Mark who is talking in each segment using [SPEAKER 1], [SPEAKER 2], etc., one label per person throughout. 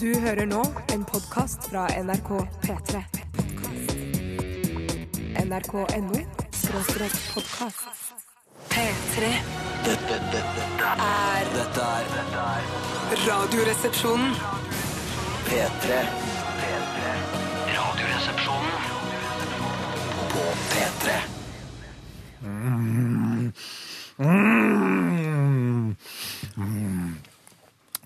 [SPEAKER 1] Du hører nå en podkast fra NRK P3. NRK.no skråstrek podkast. P3
[SPEAKER 2] Dette, dette, dette,
[SPEAKER 1] er
[SPEAKER 2] dette er dette er
[SPEAKER 1] Radioresepsjonen.
[SPEAKER 2] P3. P3. Radioresepsjonen på P3.
[SPEAKER 3] Mm.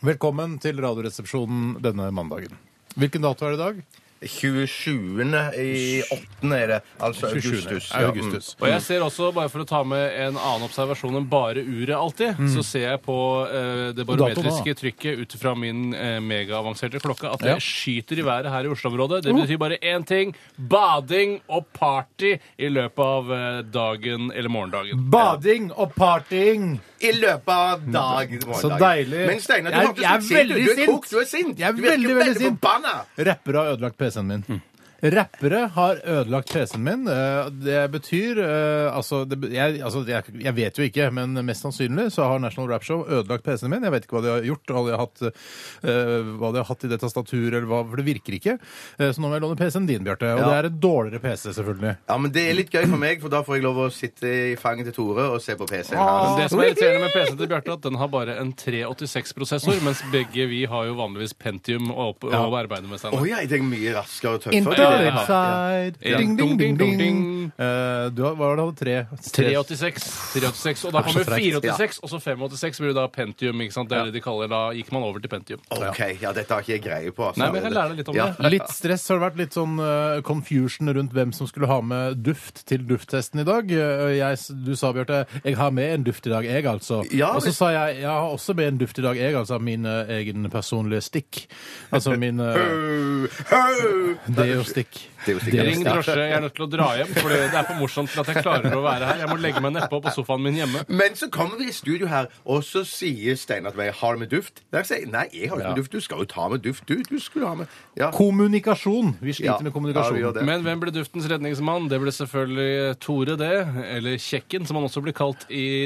[SPEAKER 3] Velkommen til Radioresepsjonen denne mandagen. Hvilken dato er det i dag?
[SPEAKER 4] 27. i 8. er det. Altså
[SPEAKER 3] 27.
[SPEAKER 4] augustus.
[SPEAKER 3] Er augustus.
[SPEAKER 5] Og jeg ser også, bare for å ta med en annen observasjon enn bare uret alltid, så ser jeg på eh, det barometriske trykket ut fra min eh, megaavanserte klokke at det
[SPEAKER 3] Ja.
[SPEAKER 5] skyter i været her i Oslo-området. Det betyr bare én ting bading og party i løpet av eh, dagen eller morgendagen.
[SPEAKER 3] Bading og partying!
[SPEAKER 4] Mm. I løpet av dag.
[SPEAKER 3] Så deilig.
[SPEAKER 4] Men Steinar, du
[SPEAKER 3] Jeg-
[SPEAKER 4] hørtes
[SPEAKER 3] jeg er
[SPEAKER 4] litt sint ut. Du
[SPEAKER 3] veldig
[SPEAKER 4] er kokt, du er
[SPEAKER 3] sint.
[SPEAKER 4] sint.
[SPEAKER 3] Jeg er
[SPEAKER 4] Du virker Mm.
[SPEAKER 3] veldig, veldig sint.
[SPEAKER 4] forbanna.
[SPEAKER 3] Rappere har ødelagt PC-en min. Rappere har ødelagt PC-en min. Eh, Det betyr eh, altså, det, be- jeg, altså jeg, jeg vet jo ikke, men mest sannsynlig så har National Rap Show ødelagt PC-en min. Jeg vet ikke hva de har gjort, hva de har hatt, eh, hva de har hatt i det tastaturet, eller hva, for det virker ikke. Eh, Så nå må jeg låne PC-en din, Bjarte. Og
[SPEAKER 4] Ja.
[SPEAKER 3] det er en dårligere PC, selvfølgelig.
[SPEAKER 4] Ja, men Det er litt gøy for meg, for da får jeg lov å sitte i fanget til Tore og se på PC-en
[SPEAKER 5] Men
[SPEAKER 4] hans.
[SPEAKER 5] det som er irriterende med PC-en til Bjarte, er at den har bare en 386-prosessor, mens begge vi har jo vanligvis Pentium å, opp, å arbeide med.
[SPEAKER 4] Å
[SPEAKER 5] Steinar.
[SPEAKER 4] ja, jeg er mye raskere og
[SPEAKER 3] Into
[SPEAKER 4] tøffere.
[SPEAKER 3] the
[SPEAKER 5] ja.
[SPEAKER 3] inside.
[SPEAKER 5] Ja.
[SPEAKER 3] Ding, ding, ding,
[SPEAKER 5] Ding, ding,
[SPEAKER 3] ding.
[SPEAKER 5] ding.
[SPEAKER 3] Eh, du har, hva var det du hadde? Tre?
[SPEAKER 5] 386, 386, og da kommer
[SPEAKER 3] så frekt.
[SPEAKER 5] 486, og så 586 blir det da Pentium. ikke sant? Det er det de kaller, Da gikk man over til Pentium.
[SPEAKER 4] OK, ja, dette har ikke jeg greie på. altså.
[SPEAKER 5] Nei, men jeg kan lære deg litt om
[SPEAKER 4] Ja.
[SPEAKER 5] det.
[SPEAKER 3] Litt stress har det vært, litt sånn eh, confusion rundt hvem som skulle ha med duft til dufttesten i dag. Eh, jeg, s- du sa, Bjarte, 'jeg har med en duft i dag, jeg', altså.
[SPEAKER 4] Ja,
[SPEAKER 3] og så
[SPEAKER 4] men-
[SPEAKER 3] sa jeg 'jeg har også med en duft i dag, jeg', altså min eh, egen personlige stikk. Altså min uh,
[SPEAKER 4] Hø, hø.
[SPEAKER 3] deo-stikk.
[SPEAKER 4] Deo-stikk,
[SPEAKER 3] Deo-stikk.
[SPEAKER 4] ja.
[SPEAKER 5] Ring drosje, jeg er nødt til å dra hjem, for det er for morsomt til at jeg klarer å være her. Jeg må legge meg nedpå på sofaen min hjemme.
[SPEAKER 4] Men så kommer vi i studio her, og så sier Steinar til meg 'Har du med duft?' Jeg sier 'Nei, jeg har ikke med duft. Du skal jo ta med duft, du. Du skulle ha med ja.
[SPEAKER 3] Kommunikasjon. Vi sliter
[SPEAKER 4] Ja.
[SPEAKER 3] med
[SPEAKER 4] Ja, vi
[SPEAKER 3] kommunikasjon.
[SPEAKER 4] gjør det.
[SPEAKER 5] Men hvem ble duftens redningsmann? Det ble selvfølgelig Tore, det. Eller Kjekken, som han også blir kalt i,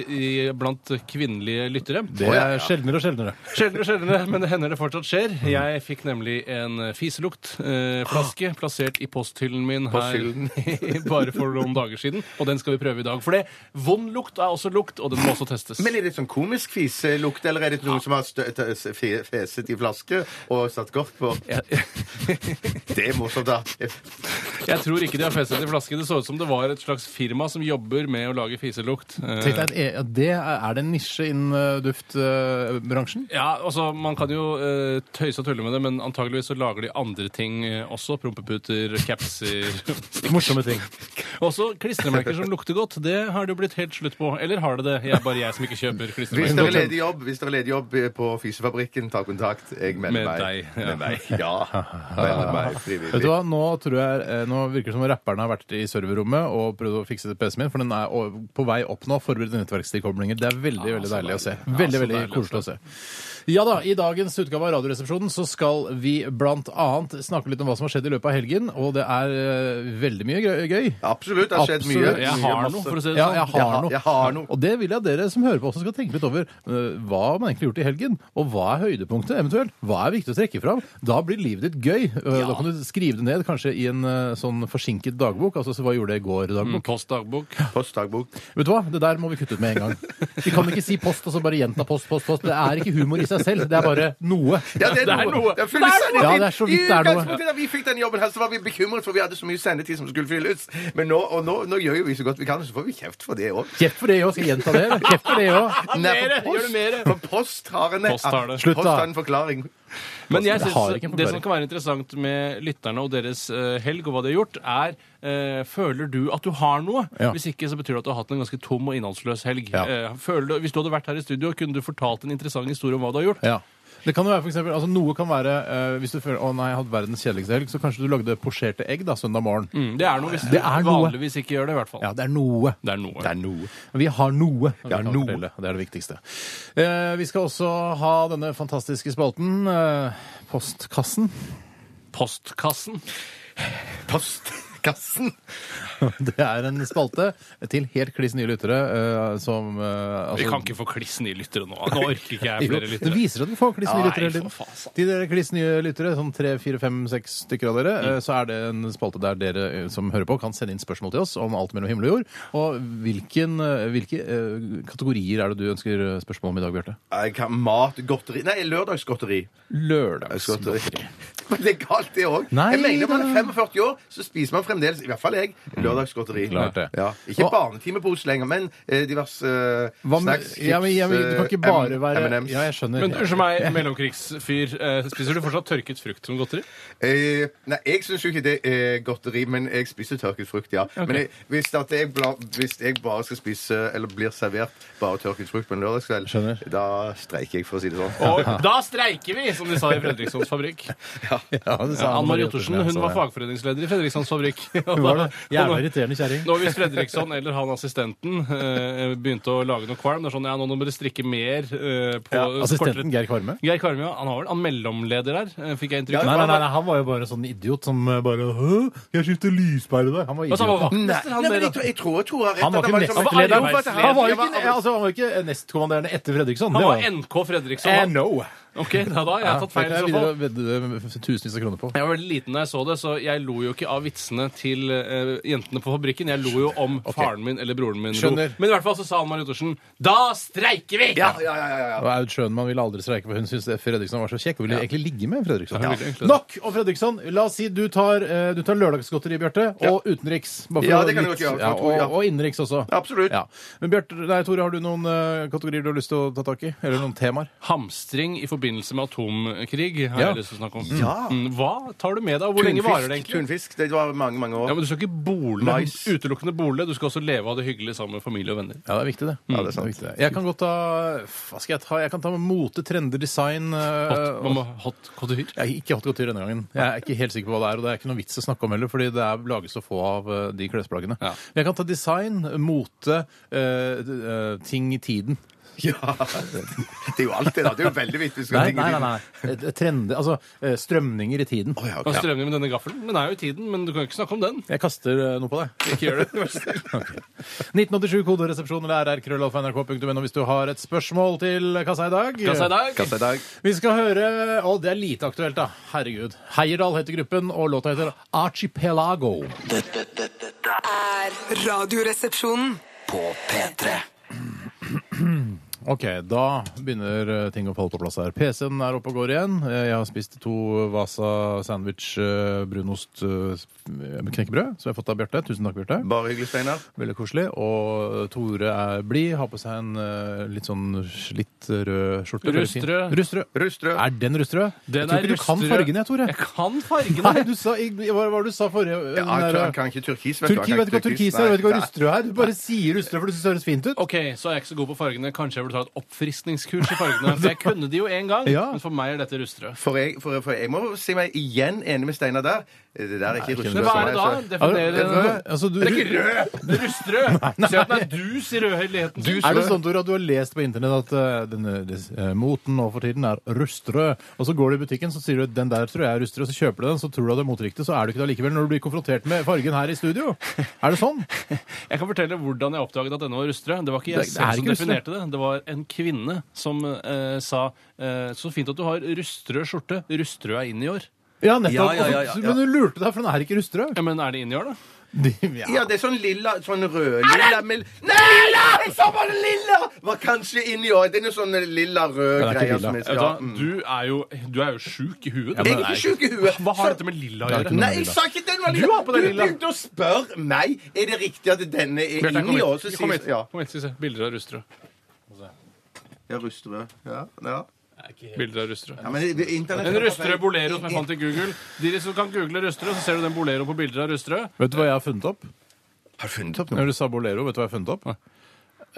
[SPEAKER 5] i, blant kvinnelige lyttere.
[SPEAKER 3] det er sjeldnere og sjeldnere.
[SPEAKER 4] Øh.
[SPEAKER 5] Sjeldnere, sjeldnere, men det hender det fortsatt skjer. Jeg fikk nemlig en fiseluktflaske eh, flaske plassert i posthyllen min her bare for noen dager siden, og den skal vi prøve i dag. For det, vond lukt er også lukt, og den må også testes.
[SPEAKER 4] Men er det sånn komisk fiselukt, eller er det noen som har stø t- s- fe- feset i flaske og satt godt på? Det er morsomt, da.
[SPEAKER 5] Jeg tror ikke de har festet i flaske. Det så ut som det var et slags firma som jobber med å lage fiselukt. Eh,
[SPEAKER 3] Tenk deg at e- at det er, er det en nisje innen eh, duftbransjen?
[SPEAKER 5] Ja, altså, Man kan jo eh, tøyse og tulle med det, men antageligvis så lager de andre ting eh, også. Prompeputer, capser
[SPEAKER 3] Morsomme ting.
[SPEAKER 5] Også klistremerker som lukter godt. Det har det jo blitt helt slutt på. Eller har det det? Jeg er bare jeg som ikke kjøper
[SPEAKER 4] Hvis dere er
[SPEAKER 5] klistremerker.
[SPEAKER 4] ledig jobb, hvis dere er ledig jobb eh, på Fisefabrikken, ta kontakt. Jeg melder
[SPEAKER 5] Med
[SPEAKER 4] meg.
[SPEAKER 5] deg, ja.
[SPEAKER 4] Med meg. Ja. Melder meg
[SPEAKER 3] Vet du
[SPEAKER 4] frivillig.
[SPEAKER 3] hva, nå, tror jeg, eh, nå virker det som om rapperne har vært i serverrommet og prøvd å fikse PC-en min, for den er o- på vei opp nå. Forberedt nettverkstilkoblinger. Det er veldig veldig deilig å se. Veldig, veldig
[SPEAKER 5] deilig,
[SPEAKER 3] koselig å se. Ja da, i dagens utgave av Radioresepsjonen så skal vi blant annet snakke litt om hva som har skjedd i løpet av helgen, og det er eh, veldig mye gøy- gøy.
[SPEAKER 4] Absolutt. Det har skjedd mye.
[SPEAKER 3] Absolutt.
[SPEAKER 5] Jeg
[SPEAKER 4] mye
[SPEAKER 5] har
[SPEAKER 4] masse.
[SPEAKER 5] noe, for å si det
[SPEAKER 3] Ja, jeg
[SPEAKER 5] sånn.
[SPEAKER 4] Jeg
[SPEAKER 3] har
[SPEAKER 4] har-
[SPEAKER 3] noe.
[SPEAKER 4] jeg har noe.
[SPEAKER 3] Og det vil jeg at dere som hører på også skal tenke litt over. eh, Hva har man egentlig gjort i helgen? Og hva er høydepunktet eventuelt? Hva er viktig å trekke fram? Da blir livet ditt gøy. Eh, Da kan du skrive det ned, kanskje i en eh, sånn forsinket dagbok. Altså så hva gjorde jeg i går?
[SPEAKER 5] Mm.
[SPEAKER 4] Mm.
[SPEAKER 3] dagbok.
[SPEAKER 5] Postdagbok.
[SPEAKER 4] Postdagbok.
[SPEAKER 3] Vet du hva? Det der må vi kutte ut med en gang. Vi kan ikke si post og så bare gjenta post, post, post. Det er ikke humor i seg selv. Det er bare noe.
[SPEAKER 4] Ja, det er noe. Det er full sendetid.
[SPEAKER 3] Ja, det er så vidt det er noe.
[SPEAKER 4] I utgangspunktet Da vi fikk den jobben her, så var vi bekymret, for vi hadde så mye sendetid som skulle fylles. Men nå, og nå, nå gjør jo vi så godt vi kan, så får vi kjeft for det òg.
[SPEAKER 3] Kjeft for det òg. Skal jeg gjenta det? eller? Kjeft for det òg.
[SPEAKER 4] Nei,
[SPEAKER 5] Mere!
[SPEAKER 4] for
[SPEAKER 5] Gjør det mere!
[SPEAKER 4] For post har en
[SPEAKER 5] Post har det.
[SPEAKER 3] Slutt, da.
[SPEAKER 4] Post har en forklaring.
[SPEAKER 5] Men jeg
[SPEAKER 3] Det har
[SPEAKER 5] synes
[SPEAKER 3] ikke en
[SPEAKER 5] det
[SPEAKER 3] forklaring.
[SPEAKER 5] som kan være interessant med lytterne og deres eh, helg, og hva de har gjort, er eh, føler du at du har noe?
[SPEAKER 3] Ja.
[SPEAKER 5] Hvis ikke, så betyr det at du har hatt en ganske tom og innholdsløs helg.
[SPEAKER 3] Ja.
[SPEAKER 5] Eh, føler du, hvis du hadde vært her i studio, kunne du fortalt en interessant historie om hva du har gjort?
[SPEAKER 3] Ja. Det kan jo være for eksempel, altså Noe kan være eh, hvis du føler å nei, jeg hadde verdens kjedeligste helg, så kanskje du lagde posjerte egg da søndag morgen.
[SPEAKER 5] Mm, det er noe hvis
[SPEAKER 3] Det er
[SPEAKER 5] du
[SPEAKER 3] noe.
[SPEAKER 5] vanligvis ikke gjør det, i hvert fall.
[SPEAKER 3] Ja, det er noe.
[SPEAKER 5] Det er noe.
[SPEAKER 3] er noe. Vi har noe. vi
[SPEAKER 4] Ja,
[SPEAKER 3] kan
[SPEAKER 4] noe.
[SPEAKER 3] fortelle, og Det er det viktigste. Eh, vi skal også ha denne fantastiske spalten, eh, Postkassen.
[SPEAKER 5] Postkassen.
[SPEAKER 4] Post. kassen.
[SPEAKER 3] Det er en spalte til helt kliss nye lyttere eh, som eh, altså-
[SPEAKER 5] Vi kan ikke få kliss nye lyttere nå. Nå orker ikke jeg flere
[SPEAKER 3] Jo, det
[SPEAKER 5] lyttere.
[SPEAKER 3] viser at vi får kliss nye
[SPEAKER 5] Nei,
[SPEAKER 3] lyttere hele tiden.
[SPEAKER 5] for faen, altså. sant.
[SPEAKER 3] De der kliss nye lyttere, sånn tre, fire, fem, seks stykker av dere,
[SPEAKER 5] Mm.
[SPEAKER 3] eh, så er det en spalte der dere eh, som hører på, kan sende inn spørsmål til oss om alt mellom himmel og jord. Og hvilken, eh, hvilke eh, kategorier er det du ønsker eh, spørsmål om i dag, Bjarte?
[SPEAKER 4] Jeg kan mat, godteri Nei, lørdagsgodteri.
[SPEAKER 3] Lørdagsgodteri.
[SPEAKER 4] Men det er galt, det òg.
[SPEAKER 3] Nei,
[SPEAKER 4] Jeg mener man er
[SPEAKER 3] da.
[SPEAKER 4] 45 år, så spiser man fremdeles, i hvert fall jeg, lørdagsgodteri.
[SPEAKER 3] Mm. Klart det.
[SPEAKER 4] Ja. Ikke
[SPEAKER 3] Og-
[SPEAKER 4] barnetimepose lenger, men eh, diverse eh,
[SPEAKER 3] Hva med,
[SPEAKER 4] snacks,
[SPEAKER 3] ja, men, ja, men, du kan
[SPEAKER 4] chips,
[SPEAKER 3] ikke
[SPEAKER 4] eh,
[SPEAKER 3] bare være
[SPEAKER 4] M&M's.
[SPEAKER 3] Ja, jeg skjønner.
[SPEAKER 5] Men unnskyld meg, mellomkrigsfyr. eh, Spiser du fortsatt tørket frukt som godteri?
[SPEAKER 4] Eh, nei, jeg syns jo ikke det er godteri, men jeg spiser tørket frukt, ja. Men jeg, hvis, at jeg bla, hvis jeg bare skal spise, eller blir servert bare tørket frukt på en lørdagskveld,
[SPEAKER 3] Skjønner.
[SPEAKER 4] da streiker jeg, for å si det sånn.
[SPEAKER 5] Og da streiker vi, som de sa i Fredrikssons fabrikk.
[SPEAKER 3] Ja, det sa
[SPEAKER 5] Anne Marie Ottersen
[SPEAKER 3] ja,
[SPEAKER 5] hun
[SPEAKER 3] så
[SPEAKER 5] var
[SPEAKER 3] det.
[SPEAKER 5] fagforeningsleder i Fredrikssons fabrikk.
[SPEAKER 3] Hun var det. Jævla
[SPEAKER 5] Og nå-
[SPEAKER 3] irriterende kjerring.
[SPEAKER 5] Nå hvis Fredriksson eller han assistenten eh, begynte å lage noe kvalm, det er sånn, ja, nå må dere strikke mer eh, på
[SPEAKER 3] Assistenten Geir Kvarme?
[SPEAKER 5] Geir Karmøy, han har vel han mellomleder der, eh, fikk jeg inntrykk
[SPEAKER 3] Nei,
[SPEAKER 5] av.
[SPEAKER 3] nei, nei, nei, han var jo bare sånn idiot som eh, bare Hø, jeg skifter lyspære der. Han var
[SPEAKER 5] Altså,
[SPEAKER 3] idiot.
[SPEAKER 5] han var
[SPEAKER 4] Nei,
[SPEAKER 5] vaktmester,
[SPEAKER 4] nei,
[SPEAKER 5] han
[SPEAKER 4] men
[SPEAKER 5] der,
[SPEAKER 4] jeg,
[SPEAKER 5] da.
[SPEAKER 4] tror- jeg tror jeg tror jeg har rett.
[SPEAKER 3] Han var
[SPEAKER 4] at
[SPEAKER 3] ikke
[SPEAKER 4] liksom-
[SPEAKER 5] nestleder.
[SPEAKER 3] Han
[SPEAKER 4] Han var
[SPEAKER 3] var ikke,
[SPEAKER 4] arbeidsleder.
[SPEAKER 3] ja, altså, han var ikke nestkommanderende etter Fredriksson.
[SPEAKER 5] Han
[SPEAKER 3] det
[SPEAKER 5] var NK Fredriksson.
[SPEAKER 3] Eh,
[SPEAKER 5] han.
[SPEAKER 3] no.
[SPEAKER 5] Ok, da, da, jeg har tatt feil i
[SPEAKER 3] Ja,
[SPEAKER 5] så
[SPEAKER 3] det kan
[SPEAKER 5] fall.
[SPEAKER 3] jeg videre vedde tusenvis av kroner på.
[SPEAKER 5] Jeg var veldig liten da jeg så det, så jeg lo jo ikke av vitsene til eh, jentene på fabrikken. Jeg lo jo om faren min eller broren min. lo.
[SPEAKER 3] Skjønner.
[SPEAKER 5] Men i hvert fall så sa Anne Marie Ottersen Da streiker vi!
[SPEAKER 4] Ja, ja, ja, ja, ja.
[SPEAKER 3] Og Aud Schønmann ville aldri streike, for hun syntes det Fredriksson var så kjekk. Hun ville egentlig ligge med Fredriksson.
[SPEAKER 5] Ja, hun ville egentlig det.
[SPEAKER 3] Nok om Fredriksson! La oss si du tar, eh, du tar lørdagsgodteri, Bjarte, og utenriks. Bare
[SPEAKER 4] Ja,
[SPEAKER 3] å
[SPEAKER 4] det kan jeg
[SPEAKER 3] litt-
[SPEAKER 4] godt gjøre, for
[SPEAKER 3] Ja,
[SPEAKER 4] jeg tror-
[SPEAKER 3] og,
[SPEAKER 4] ja.
[SPEAKER 3] og innenriks også.
[SPEAKER 4] Absolutt.
[SPEAKER 3] Ja. Men Bjarte, nei, Tore, har du noen eh, kategorier du har lyst til å ta tak i? Eller noen temaer?
[SPEAKER 5] Hamstring i forbindelse med atomkrig har
[SPEAKER 3] Ja.
[SPEAKER 5] jeg lyst til å snakke om. Mm, Hva tar du med deg, og hvor lenge varer det
[SPEAKER 4] Tunfisk.
[SPEAKER 5] egentlig?
[SPEAKER 4] Tunfisk. Det var mange, mange år.
[SPEAKER 5] Ja, men Du skal ikke bole,
[SPEAKER 4] Mais.
[SPEAKER 5] utelukkende bole. Du skal også leve og ha det hyggelig sammen med familie og venner.
[SPEAKER 3] Ja, det er viktig, det. Ja, det er sant. viktig, det. Jeg kan godt ta Hva skal jeg ta? Jeg kan ta med mote, trender, design eh,
[SPEAKER 5] Hot,
[SPEAKER 3] og-
[SPEAKER 5] mamma, hot couture.
[SPEAKER 3] Jeg har ikke hatt godt tid denne gangen. Jeg er ikke helt sikker på hva det er, og det er ikke noe vits å snakke om heller, fordi det er lages så få av eh, de klesplaggene.
[SPEAKER 5] Ja.
[SPEAKER 3] Men jeg kan ta design, mote, eh, d- eh, ting i tiden.
[SPEAKER 4] Ja. Det er jo alt det, da. Det er jo veldig viktig. hvis vi skal tenke litt.
[SPEAKER 3] Eh, Trender, altså eh, strømninger i tiden.
[SPEAKER 4] Å, ja,
[SPEAKER 5] Kan
[SPEAKER 4] ok.
[SPEAKER 5] strømme med denne gaffelen. Den er jo i tiden, men du kan jo ikke snakke om den.
[SPEAKER 3] Jeg kaster eh, noe på deg.
[SPEAKER 5] Ikke gjør det.
[SPEAKER 3] 1987 koderesepsjon eller rrkrøllalfa.nrk.no hvis du har et spørsmål til kassa i dag.
[SPEAKER 5] Kassa i dag.
[SPEAKER 4] Kassa i dag.
[SPEAKER 3] Vi skal høre Å, det er lite aktuelt, da. Herregud. Heierdal heter gruppen, og låta heter Archipelago.
[SPEAKER 2] Dette, dette, dette er
[SPEAKER 1] Er Radioresepsjonen.
[SPEAKER 2] på P3.
[SPEAKER 3] Ok, da begynner eh, ting å falle på plass her. PC-en er oppe og går igjen. Eh, Jeg har spist to Vasa sandwich eh, brunost eh, med knekkebrød, som jeg har fått av Bjarte. Tusen takk, Bjarte.
[SPEAKER 4] Bare hyggelig, Steinar.
[SPEAKER 3] Veldig koselig. Og Tore er blid, har på seg en eh, litt sånn slitt rød skjorte. Veldig fin.
[SPEAKER 5] Rustrød.
[SPEAKER 3] Rustrød.
[SPEAKER 4] Rustrød.
[SPEAKER 3] Er den rustrød?
[SPEAKER 5] Den
[SPEAKER 3] jeg tror
[SPEAKER 5] er
[SPEAKER 3] ikke du kan
[SPEAKER 5] rustrød.
[SPEAKER 3] fargene, jeg, Tore.
[SPEAKER 5] Jeg kan fargene.
[SPEAKER 3] Nei, du sa, i- hva var det du sa forrige?
[SPEAKER 4] Ja,
[SPEAKER 3] Den
[SPEAKER 4] jeg
[SPEAKER 3] der,
[SPEAKER 4] tror han kan ikke turkis. vet du. Han
[SPEAKER 3] Turki,
[SPEAKER 4] kan
[SPEAKER 3] vet du hva turkis er?
[SPEAKER 4] Nei,
[SPEAKER 3] Vet du hva
[SPEAKER 4] nei.
[SPEAKER 3] rustrød er? Du bare sier rustrød, for du syns det høres fint ut.
[SPEAKER 5] Ok, så er jeg ikke så god på fargene. Kanskje jeg burde ta et oppfriskningskurs i fargene. For jeg kunne de jo en gang,
[SPEAKER 3] Ja.
[SPEAKER 5] men for meg er dette rustrød.
[SPEAKER 4] For jeg, for, for jeg må si meg igjen enig med Steinar der. Det der er ikke rustrød.
[SPEAKER 5] Men hva er det da? Definerer
[SPEAKER 3] Ja,
[SPEAKER 5] det.
[SPEAKER 3] altså, du-
[SPEAKER 5] Det er ikke rød! Det er rustrød! Se at den er dus i rødheten sin.
[SPEAKER 3] Er det sånn, Tore, at du har lest på internett at eh, denne, des- eh, moten nå for tiden er rustrød, og så går du i butikken så sier du den der tror jeg er rustrød, og så kjøper du den, så tror du at det er moteriktig, så er du ikke det allikevel når du blir konfrontert med fargen her i studio. Er det sånn?
[SPEAKER 5] Jeg kan fortelle hvordan jeg oppdaget at denne var rustrød. Det var ikke
[SPEAKER 3] Det-
[SPEAKER 5] jeg
[SPEAKER 3] det er
[SPEAKER 5] selv som
[SPEAKER 3] ikke rustrød.
[SPEAKER 5] definerte det. Det var en kvinne som eh, sa eh, Så fint at du har rustrød skjorte. Rustrød er inn i år.
[SPEAKER 3] Ja, nettopp.
[SPEAKER 4] Ja, ja, ja, ja,
[SPEAKER 3] Og så-
[SPEAKER 4] ja.
[SPEAKER 3] Men du lurte deg, for den er ikke rustrød.
[SPEAKER 5] Ja, Men er det inn i år, da?
[SPEAKER 4] Ja, det er sånn lilla, sånn rød-lilla med... Nei, lilla! Jeg sa bare lilla! Var kanskje inni år. Det er noe sånn
[SPEAKER 3] Ja, det
[SPEAKER 4] lilla-rød
[SPEAKER 3] er ikke
[SPEAKER 4] greier
[SPEAKER 3] lilla.
[SPEAKER 4] som mm. jeg
[SPEAKER 5] Vet
[SPEAKER 4] skal
[SPEAKER 5] du
[SPEAKER 4] ha.
[SPEAKER 5] hva? Du er jo, du er jo sjuk i huet.
[SPEAKER 4] Jeg er ikke sjuk i huet.
[SPEAKER 5] Hva
[SPEAKER 4] Så-
[SPEAKER 5] har dette med lilla å
[SPEAKER 3] Det er ikke
[SPEAKER 5] gjøre?
[SPEAKER 3] noe-
[SPEAKER 4] Nei, jeg sa ikke den var
[SPEAKER 5] Du har på den lilla.
[SPEAKER 4] Du begynte å spørre meg. Er det riktig at denne er
[SPEAKER 5] Bjarte,
[SPEAKER 4] inni
[SPEAKER 5] kom
[SPEAKER 4] år? Så
[SPEAKER 5] hit. Kom
[SPEAKER 4] sier
[SPEAKER 5] hit.
[SPEAKER 4] ja.
[SPEAKER 5] Kom hit, skal vi se. Bilder av rustrød.
[SPEAKER 4] Ja, rustrød. Ja, ja.
[SPEAKER 5] Bilder av rustrød.
[SPEAKER 4] ja men det- det- internett...
[SPEAKER 5] En rustrød bolero som jeg fant i Google. De som kan google rustrød, så ser du den bolero på bilder av rustrød.
[SPEAKER 3] Vet du hva jeg har funnet opp?
[SPEAKER 4] Har du funnet opp noe?
[SPEAKER 3] Når du sa bolero, vet du hva jeg har funnet opp?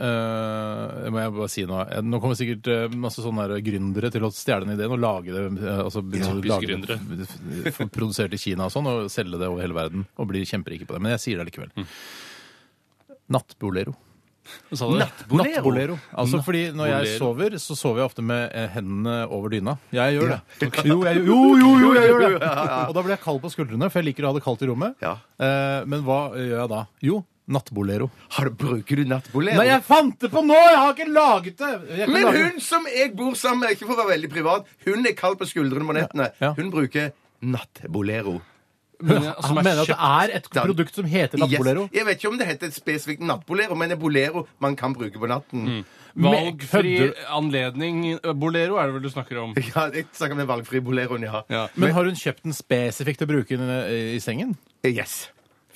[SPEAKER 3] Eh, det må jeg bare si Nå Nå kommer sikkert eh, masse sånne der gründere til å stjele den ideen og lage det. eh, Altså, begynne å
[SPEAKER 5] Typisk
[SPEAKER 3] lage det f- f- produsert i Kina og sånn, og selge
[SPEAKER 5] Mm.
[SPEAKER 3] det over hele verden. Og bli kjemperike på det. Men jeg sier det likevel. Nattbolero.
[SPEAKER 5] Hva sa du?
[SPEAKER 3] Nattbolero. Altså
[SPEAKER 5] Natt-
[SPEAKER 3] fordi Når jeg
[SPEAKER 5] bolero.
[SPEAKER 3] sover, så sover jeg ofte med eh, hendene over dyna. Jeg gjør det.
[SPEAKER 5] Ok.
[SPEAKER 3] Jo, jeg, jo, jo, jo, jeg gjør det! Og da blir jeg kald på skuldrene, for jeg liker å ha det kaldt i rommet.
[SPEAKER 4] Ja.
[SPEAKER 3] Eh, men hva gjør jeg da? Jo, nattbolero.
[SPEAKER 4] Har du, bruker du nattbolero?
[SPEAKER 3] Nei, jeg fant det på nå! Jeg har ikke laget det! Jeg kan
[SPEAKER 4] Men
[SPEAKER 3] lage-
[SPEAKER 4] hun som jeg bor sammen med, ikke for å være veldig privat, hun er kald på skuldrene på nettene.
[SPEAKER 3] Ja.
[SPEAKER 4] Hun bruker nattbolero.
[SPEAKER 5] Men, ja, som
[SPEAKER 3] Han
[SPEAKER 5] er
[SPEAKER 3] mener at det er et
[SPEAKER 4] Da-
[SPEAKER 3] produkt som heter
[SPEAKER 4] Yes.
[SPEAKER 3] nattbolero.
[SPEAKER 4] Jeg vet ikke om det heter spesifikt nattbolero, men det er bolero man kan bruke på natten.
[SPEAKER 5] Valgfri
[SPEAKER 3] Kødder-
[SPEAKER 5] anledning Bolero er det vel du snakker om?
[SPEAKER 4] Ja, jeg snakker om den valgfrie boleroen, ja.
[SPEAKER 5] Ja.
[SPEAKER 3] Men har hun kjøpt den spesifikt til å bruke den eh, i sengen?
[SPEAKER 4] Yes.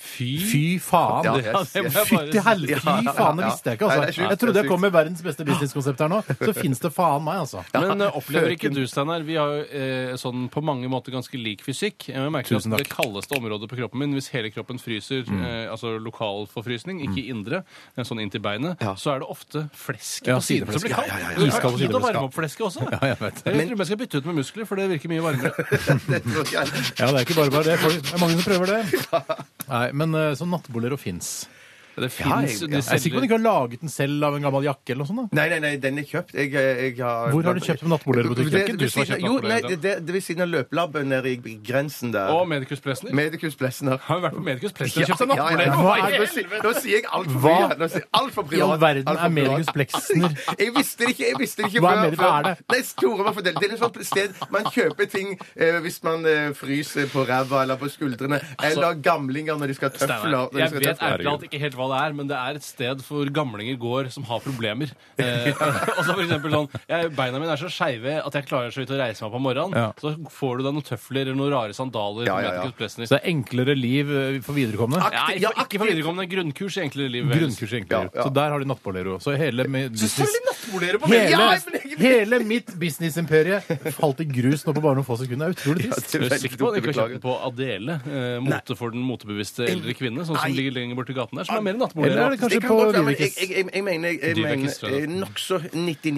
[SPEAKER 5] Fy,
[SPEAKER 3] Fy faen!
[SPEAKER 4] Ja,
[SPEAKER 3] det-
[SPEAKER 4] yes,
[SPEAKER 5] det må
[SPEAKER 4] yes.
[SPEAKER 5] jeg bare
[SPEAKER 3] Fytti helvete!
[SPEAKER 4] Ja, ja,
[SPEAKER 3] Fy faen, det
[SPEAKER 4] ja.
[SPEAKER 3] visste jeg ikke.
[SPEAKER 4] Nei, det er
[SPEAKER 3] altså.
[SPEAKER 4] sykt,
[SPEAKER 3] Jeg trodde
[SPEAKER 4] det er
[SPEAKER 3] jeg kom med verdens beste businesskonsept her nå. Så fins det faen meg, altså.
[SPEAKER 5] Men eh, opplever ikke
[SPEAKER 4] frøken.
[SPEAKER 5] du, Steinar Vi har jo eh, sånn på mange måter ganske lik fysikk. Jeg merker
[SPEAKER 3] Tusen
[SPEAKER 5] at det
[SPEAKER 3] takk. Mm.
[SPEAKER 5] kaldeste området på kroppen min, hvis hele kroppen fryser, eh, altså lokalforfrysning, ikke indre, men sånn inntil beinet,
[SPEAKER 4] Ja.
[SPEAKER 5] så er det ofte flesk
[SPEAKER 3] Ja,
[SPEAKER 5] på siden som
[SPEAKER 3] sideflesk.
[SPEAKER 5] blir
[SPEAKER 3] Ja,
[SPEAKER 5] kaldt.
[SPEAKER 3] ja, ja, ja.
[SPEAKER 5] Det
[SPEAKER 3] Iskald
[SPEAKER 5] er tid å
[SPEAKER 3] sideflesk, ja.
[SPEAKER 5] varme opp flesket også.
[SPEAKER 3] Ja, jeg vet det.
[SPEAKER 5] Jeg tror jeg skal bytte ut med muskler, for det virker mye varmere.
[SPEAKER 4] Det tror jeg.
[SPEAKER 3] Ja, det er ikke bare bare det. Folk, det er mange som prøver det. Nei, Men eh, sånn nattbolero fins.
[SPEAKER 5] Det finnes,
[SPEAKER 4] jeg-
[SPEAKER 3] Jeg er sikker
[SPEAKER 5] de
[SPEAKER 3] på at
[SPEAKER 5] selger-
[SPEAKER 3] hun ikke har laget den selv av en gammel jakke eller noe sånt. da.
[SPEAKER 4] Nei, nei, nei, den er kjøpt. Jeg, eh, jeg har...
[SPEAKER 3] Hvor har du kjøpt nattbolerbutikken?
[SPEAKER 4] Det-
[SPEAKER 5] Det er ikke du som har kjøpt
[SPEAKER 4] Jo, nei,
[SPEAKER 5] nattbolerbutikken.
[SPEAKER 4] det, det, det er ved siden av løplabben nede i grensen der.
[SPEAKER 5] Og Medicus Plesner.
[SPEAKER 4] Medicus Plessner.
[SPEAKER 5] Har jo vært på Medicus
[SPEAKER 4] Ja,
[SPEAKER 5] Plesner og kjøpt seg
[SPEAKER 4] ja, ja.
[SPEAKER 5] nattbolero.
[SPEAKER 4] Hva er- Nå sier- Nå sier jeg altfor
[SPEAKER 3] Hva?
[SPEAKER 4] mye. Nå sier jeg alt for
[SPEAKER 3] I
[SPEAKER 4] privat.
[SPEAKER 3] all verden
[SPEAKER 4] alt for
[SPEAKER 3] er Medicus
[SPEAKER 4] privat.
[SPEAKER 3] Plexner.
[SPEAKER 4] Jeg visste det ikke, jeg visste det ikke
[SPEAKER 3] Hva er
[SPEAKER 4] før-
[SPEAKER 3] Medicus-
[SPEAKER 4] før-
[SPEAKER 3] hva er det?
[SPEAKER 4] Nei, Tore må fortelle. Det er et sånt sted man kjøper ting eh, hvis man eh, fryser på ræva eller på skuldrene.
[SPEAKER 3] Altså-
[SPEAKER 4] Eller gamlinger når de skal ha tøfler.
[SPEAKER 5] Steinar,
[SPEAKER 4] når de
[SPEAKER 5] jeg
[SPEAKER 4] skal ha
[SPEAKER 5] vet
[SPEAKER 4] tøfler.
[SPEAKER 5] ærlig talt ikke helt hva det er, men det er et sted for gamlinger går som har problemer. Eh, og så for eksempel sånn, jeg, Beina mine er så skeive at jeg klarer så vidt å reise meg på morgenen.
[SPEAKER 3] Ja.
[SPEAKER 5] Så får du deg noen tøfler eller noen rare sandaler.
[SPEAKER 4] Ja, ja,
[SPEAKER 5] på
[SPEAKER 4] ja.
[SPEAKER 5] Medicus Plessner.
[SPEAKER 3] Så det er enklere liv eh, for viderekomne.
[SPEAKER 5] Nei,
[SPEAKER 4] ja,
[SPEAKER 5] for, ikke for viderekomne. Grunnkurs i enklere liv.
[SPEAKER 3] Grunnkurs enklere.
[SPEAKER 4] Ja, ja.
[SPEAKER 3] Så der har de nattbolero. Så hele mi- business-
[SPEAKER 5] nattbolere på
[SPEAKER 3] Hele,
[SPEAKER 4] Ja, men jeg-
[SPEAKER 3] hele mitt businessimperiet falt i grus nå på bare noen få sekunder. Det er utrolig trist.
[SPEAKER 4] det er
[SPEAKER 5] Jeg er sikker på at
[SPEAKER 4] veldig
[SPEAKER 5] de ikke har
[SPEAKER 4] dumt,
[SPEAKER 5] kjøpt den på Adele, eh, mote for den motebevisste eldre kvinne, sånn som
[SPEAKER 4] Nei.
[SPEAKER 5] ligger lenger borti gaten der, som er mer
[SPEAKER 3] Eller er
[SPEAKER 5] nattbolere.
[SPEAKER 3] det
[SPEAKER 4] Det
[SPEAKER 3] kanskje
[SPEAKER 4] kan
[SPEAKER 3] på
[SPEAKER 4] godt være, men jeg,
[SPEAKER 3] Vivikis?
[SPEAKER 4] jeg, jeg, jeg mener jeg
[SPEAKER 5] Dyrekis, tror jeg det
[SPEAKER 4] mener eh, nokså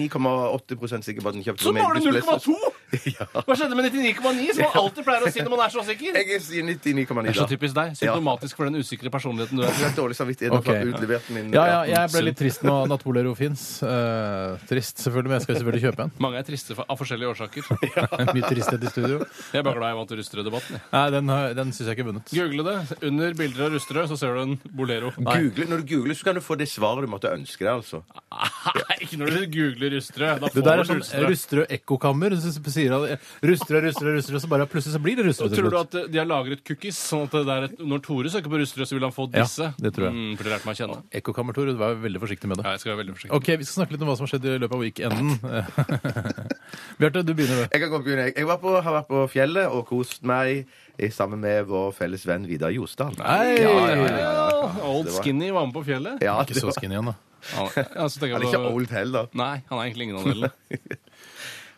[SPEAKER 4] 99,8 sikker på at den kjøpte
[SPEAKER 5] Så mangler
[SPEAKER 4] Medicus Plessner.
[SPEAKER 5] 0,2! Hva skjedde med 99,9, som man alltid pleier å si når man er så sikker?
[SPEAKER 4] Jeg sier 99,9.
[SPEAKER 5] Det er så
[SPEAKER 4] da.
[SPEAKER 5] typisk deg. Symptomatisk for den usikre personligheten du
[SPEAKER 4] Jeg
[SPEAKER 5] er.
[SPEAKER 4] har dårlig samvittighet for å
[SPEAKER 3] Ok.
[SPEAKER 4] ha utlevert min
[SPEAKER 3] Ja, ja, jeg ble litt trist nå. Nattbolero fins. Eh, trist, selvfølgelig, men jeg skal selvfølgelig kjøpe en.
[SPEAKER 5] Mange er triste for, av forskjellige årsaker.
[SPEAKER 3] Mye tristhet i studio.
[SPEAKER 5] Jeg er bare glad jeg vant Rusterød-debatten. jeg.
[SPEAKER 3] Nei, den, har- den syns jeg ikke vunnet.
[SPEAKER 5] Google det. Under bilder av Rusterød så ser du en Bolero.
[SPEAKER 4] Google, når du googler, så kan du få det svaret du måtte ønske deg. altså.
[SPEAKER 5] Nei, ikke når du googler Rusterød. Da
[SPEAKER 3] Det der er
[SPEAKER 5] får du
[SPEAKER 3] sånn
[SPEAKER 5] Rusterød.
[SPEAKER 3] Rusterød ekkokammer. så Sier han Rusterød, Rusterød, Rusterød, så bare plutselig så blir det Rusterød til
[SPEAKER 5] Tror du
[SPEAKER 3] slutt.
[SPEAKER 5] at eh, de har lagret cookies, sånn at det der, når Tore søker på Rusterød, så vil han få
[SPEAKER 3] Ja,
[SPEAKER 5] disse?
[SPEAKER 3] det tror jeg.
[SPEAKER 5] Mm, for det lærte meg å kjenne.
[SPEAKER 3] Ekkokammer, Tore, du var veldig forsiktig med det.
[SPEAKER 5] Ja, jeg skal være veldig forsiktig.
[SPEAKER 3] OK, vi skal snakke litt om hva som har skjedd i løpet av weekenden. Bjarte, du begynner, du.
[SPEAKER 4] Jeg kan godt begynne. jeg. Jeg var på, har vært på fjellet og kost meg i- sammen med vår felles venn Vidar Josdal.
[SPEAKER 3] Nei.
[SPEAKER 4] Ja, ja, ja, ja, ja.
[SPEAKER 5] Ja, Old
[SPEAKER 4] det var-
[SPEAKER 5] Skinny var med på fjellet.
[SPEAKER 4] ja
[SPEAKER 3] Ikke
[SPEAKER 4] det
[SPEAKER 3] så
[SPEAKER 4] var,
[SPEAKER 3] skinny igjen, da.
[SPEAKER 5] Han, ja, så tenker
[SPEAKER 4] han er
[SPEAKER 5] jeg
[SPEAKER 4] ikke
[SPEAKER 5] på-
[SPEAKER 4] old heller,
[SPEAKER 5] Nei, han er egentlig ingen av delene.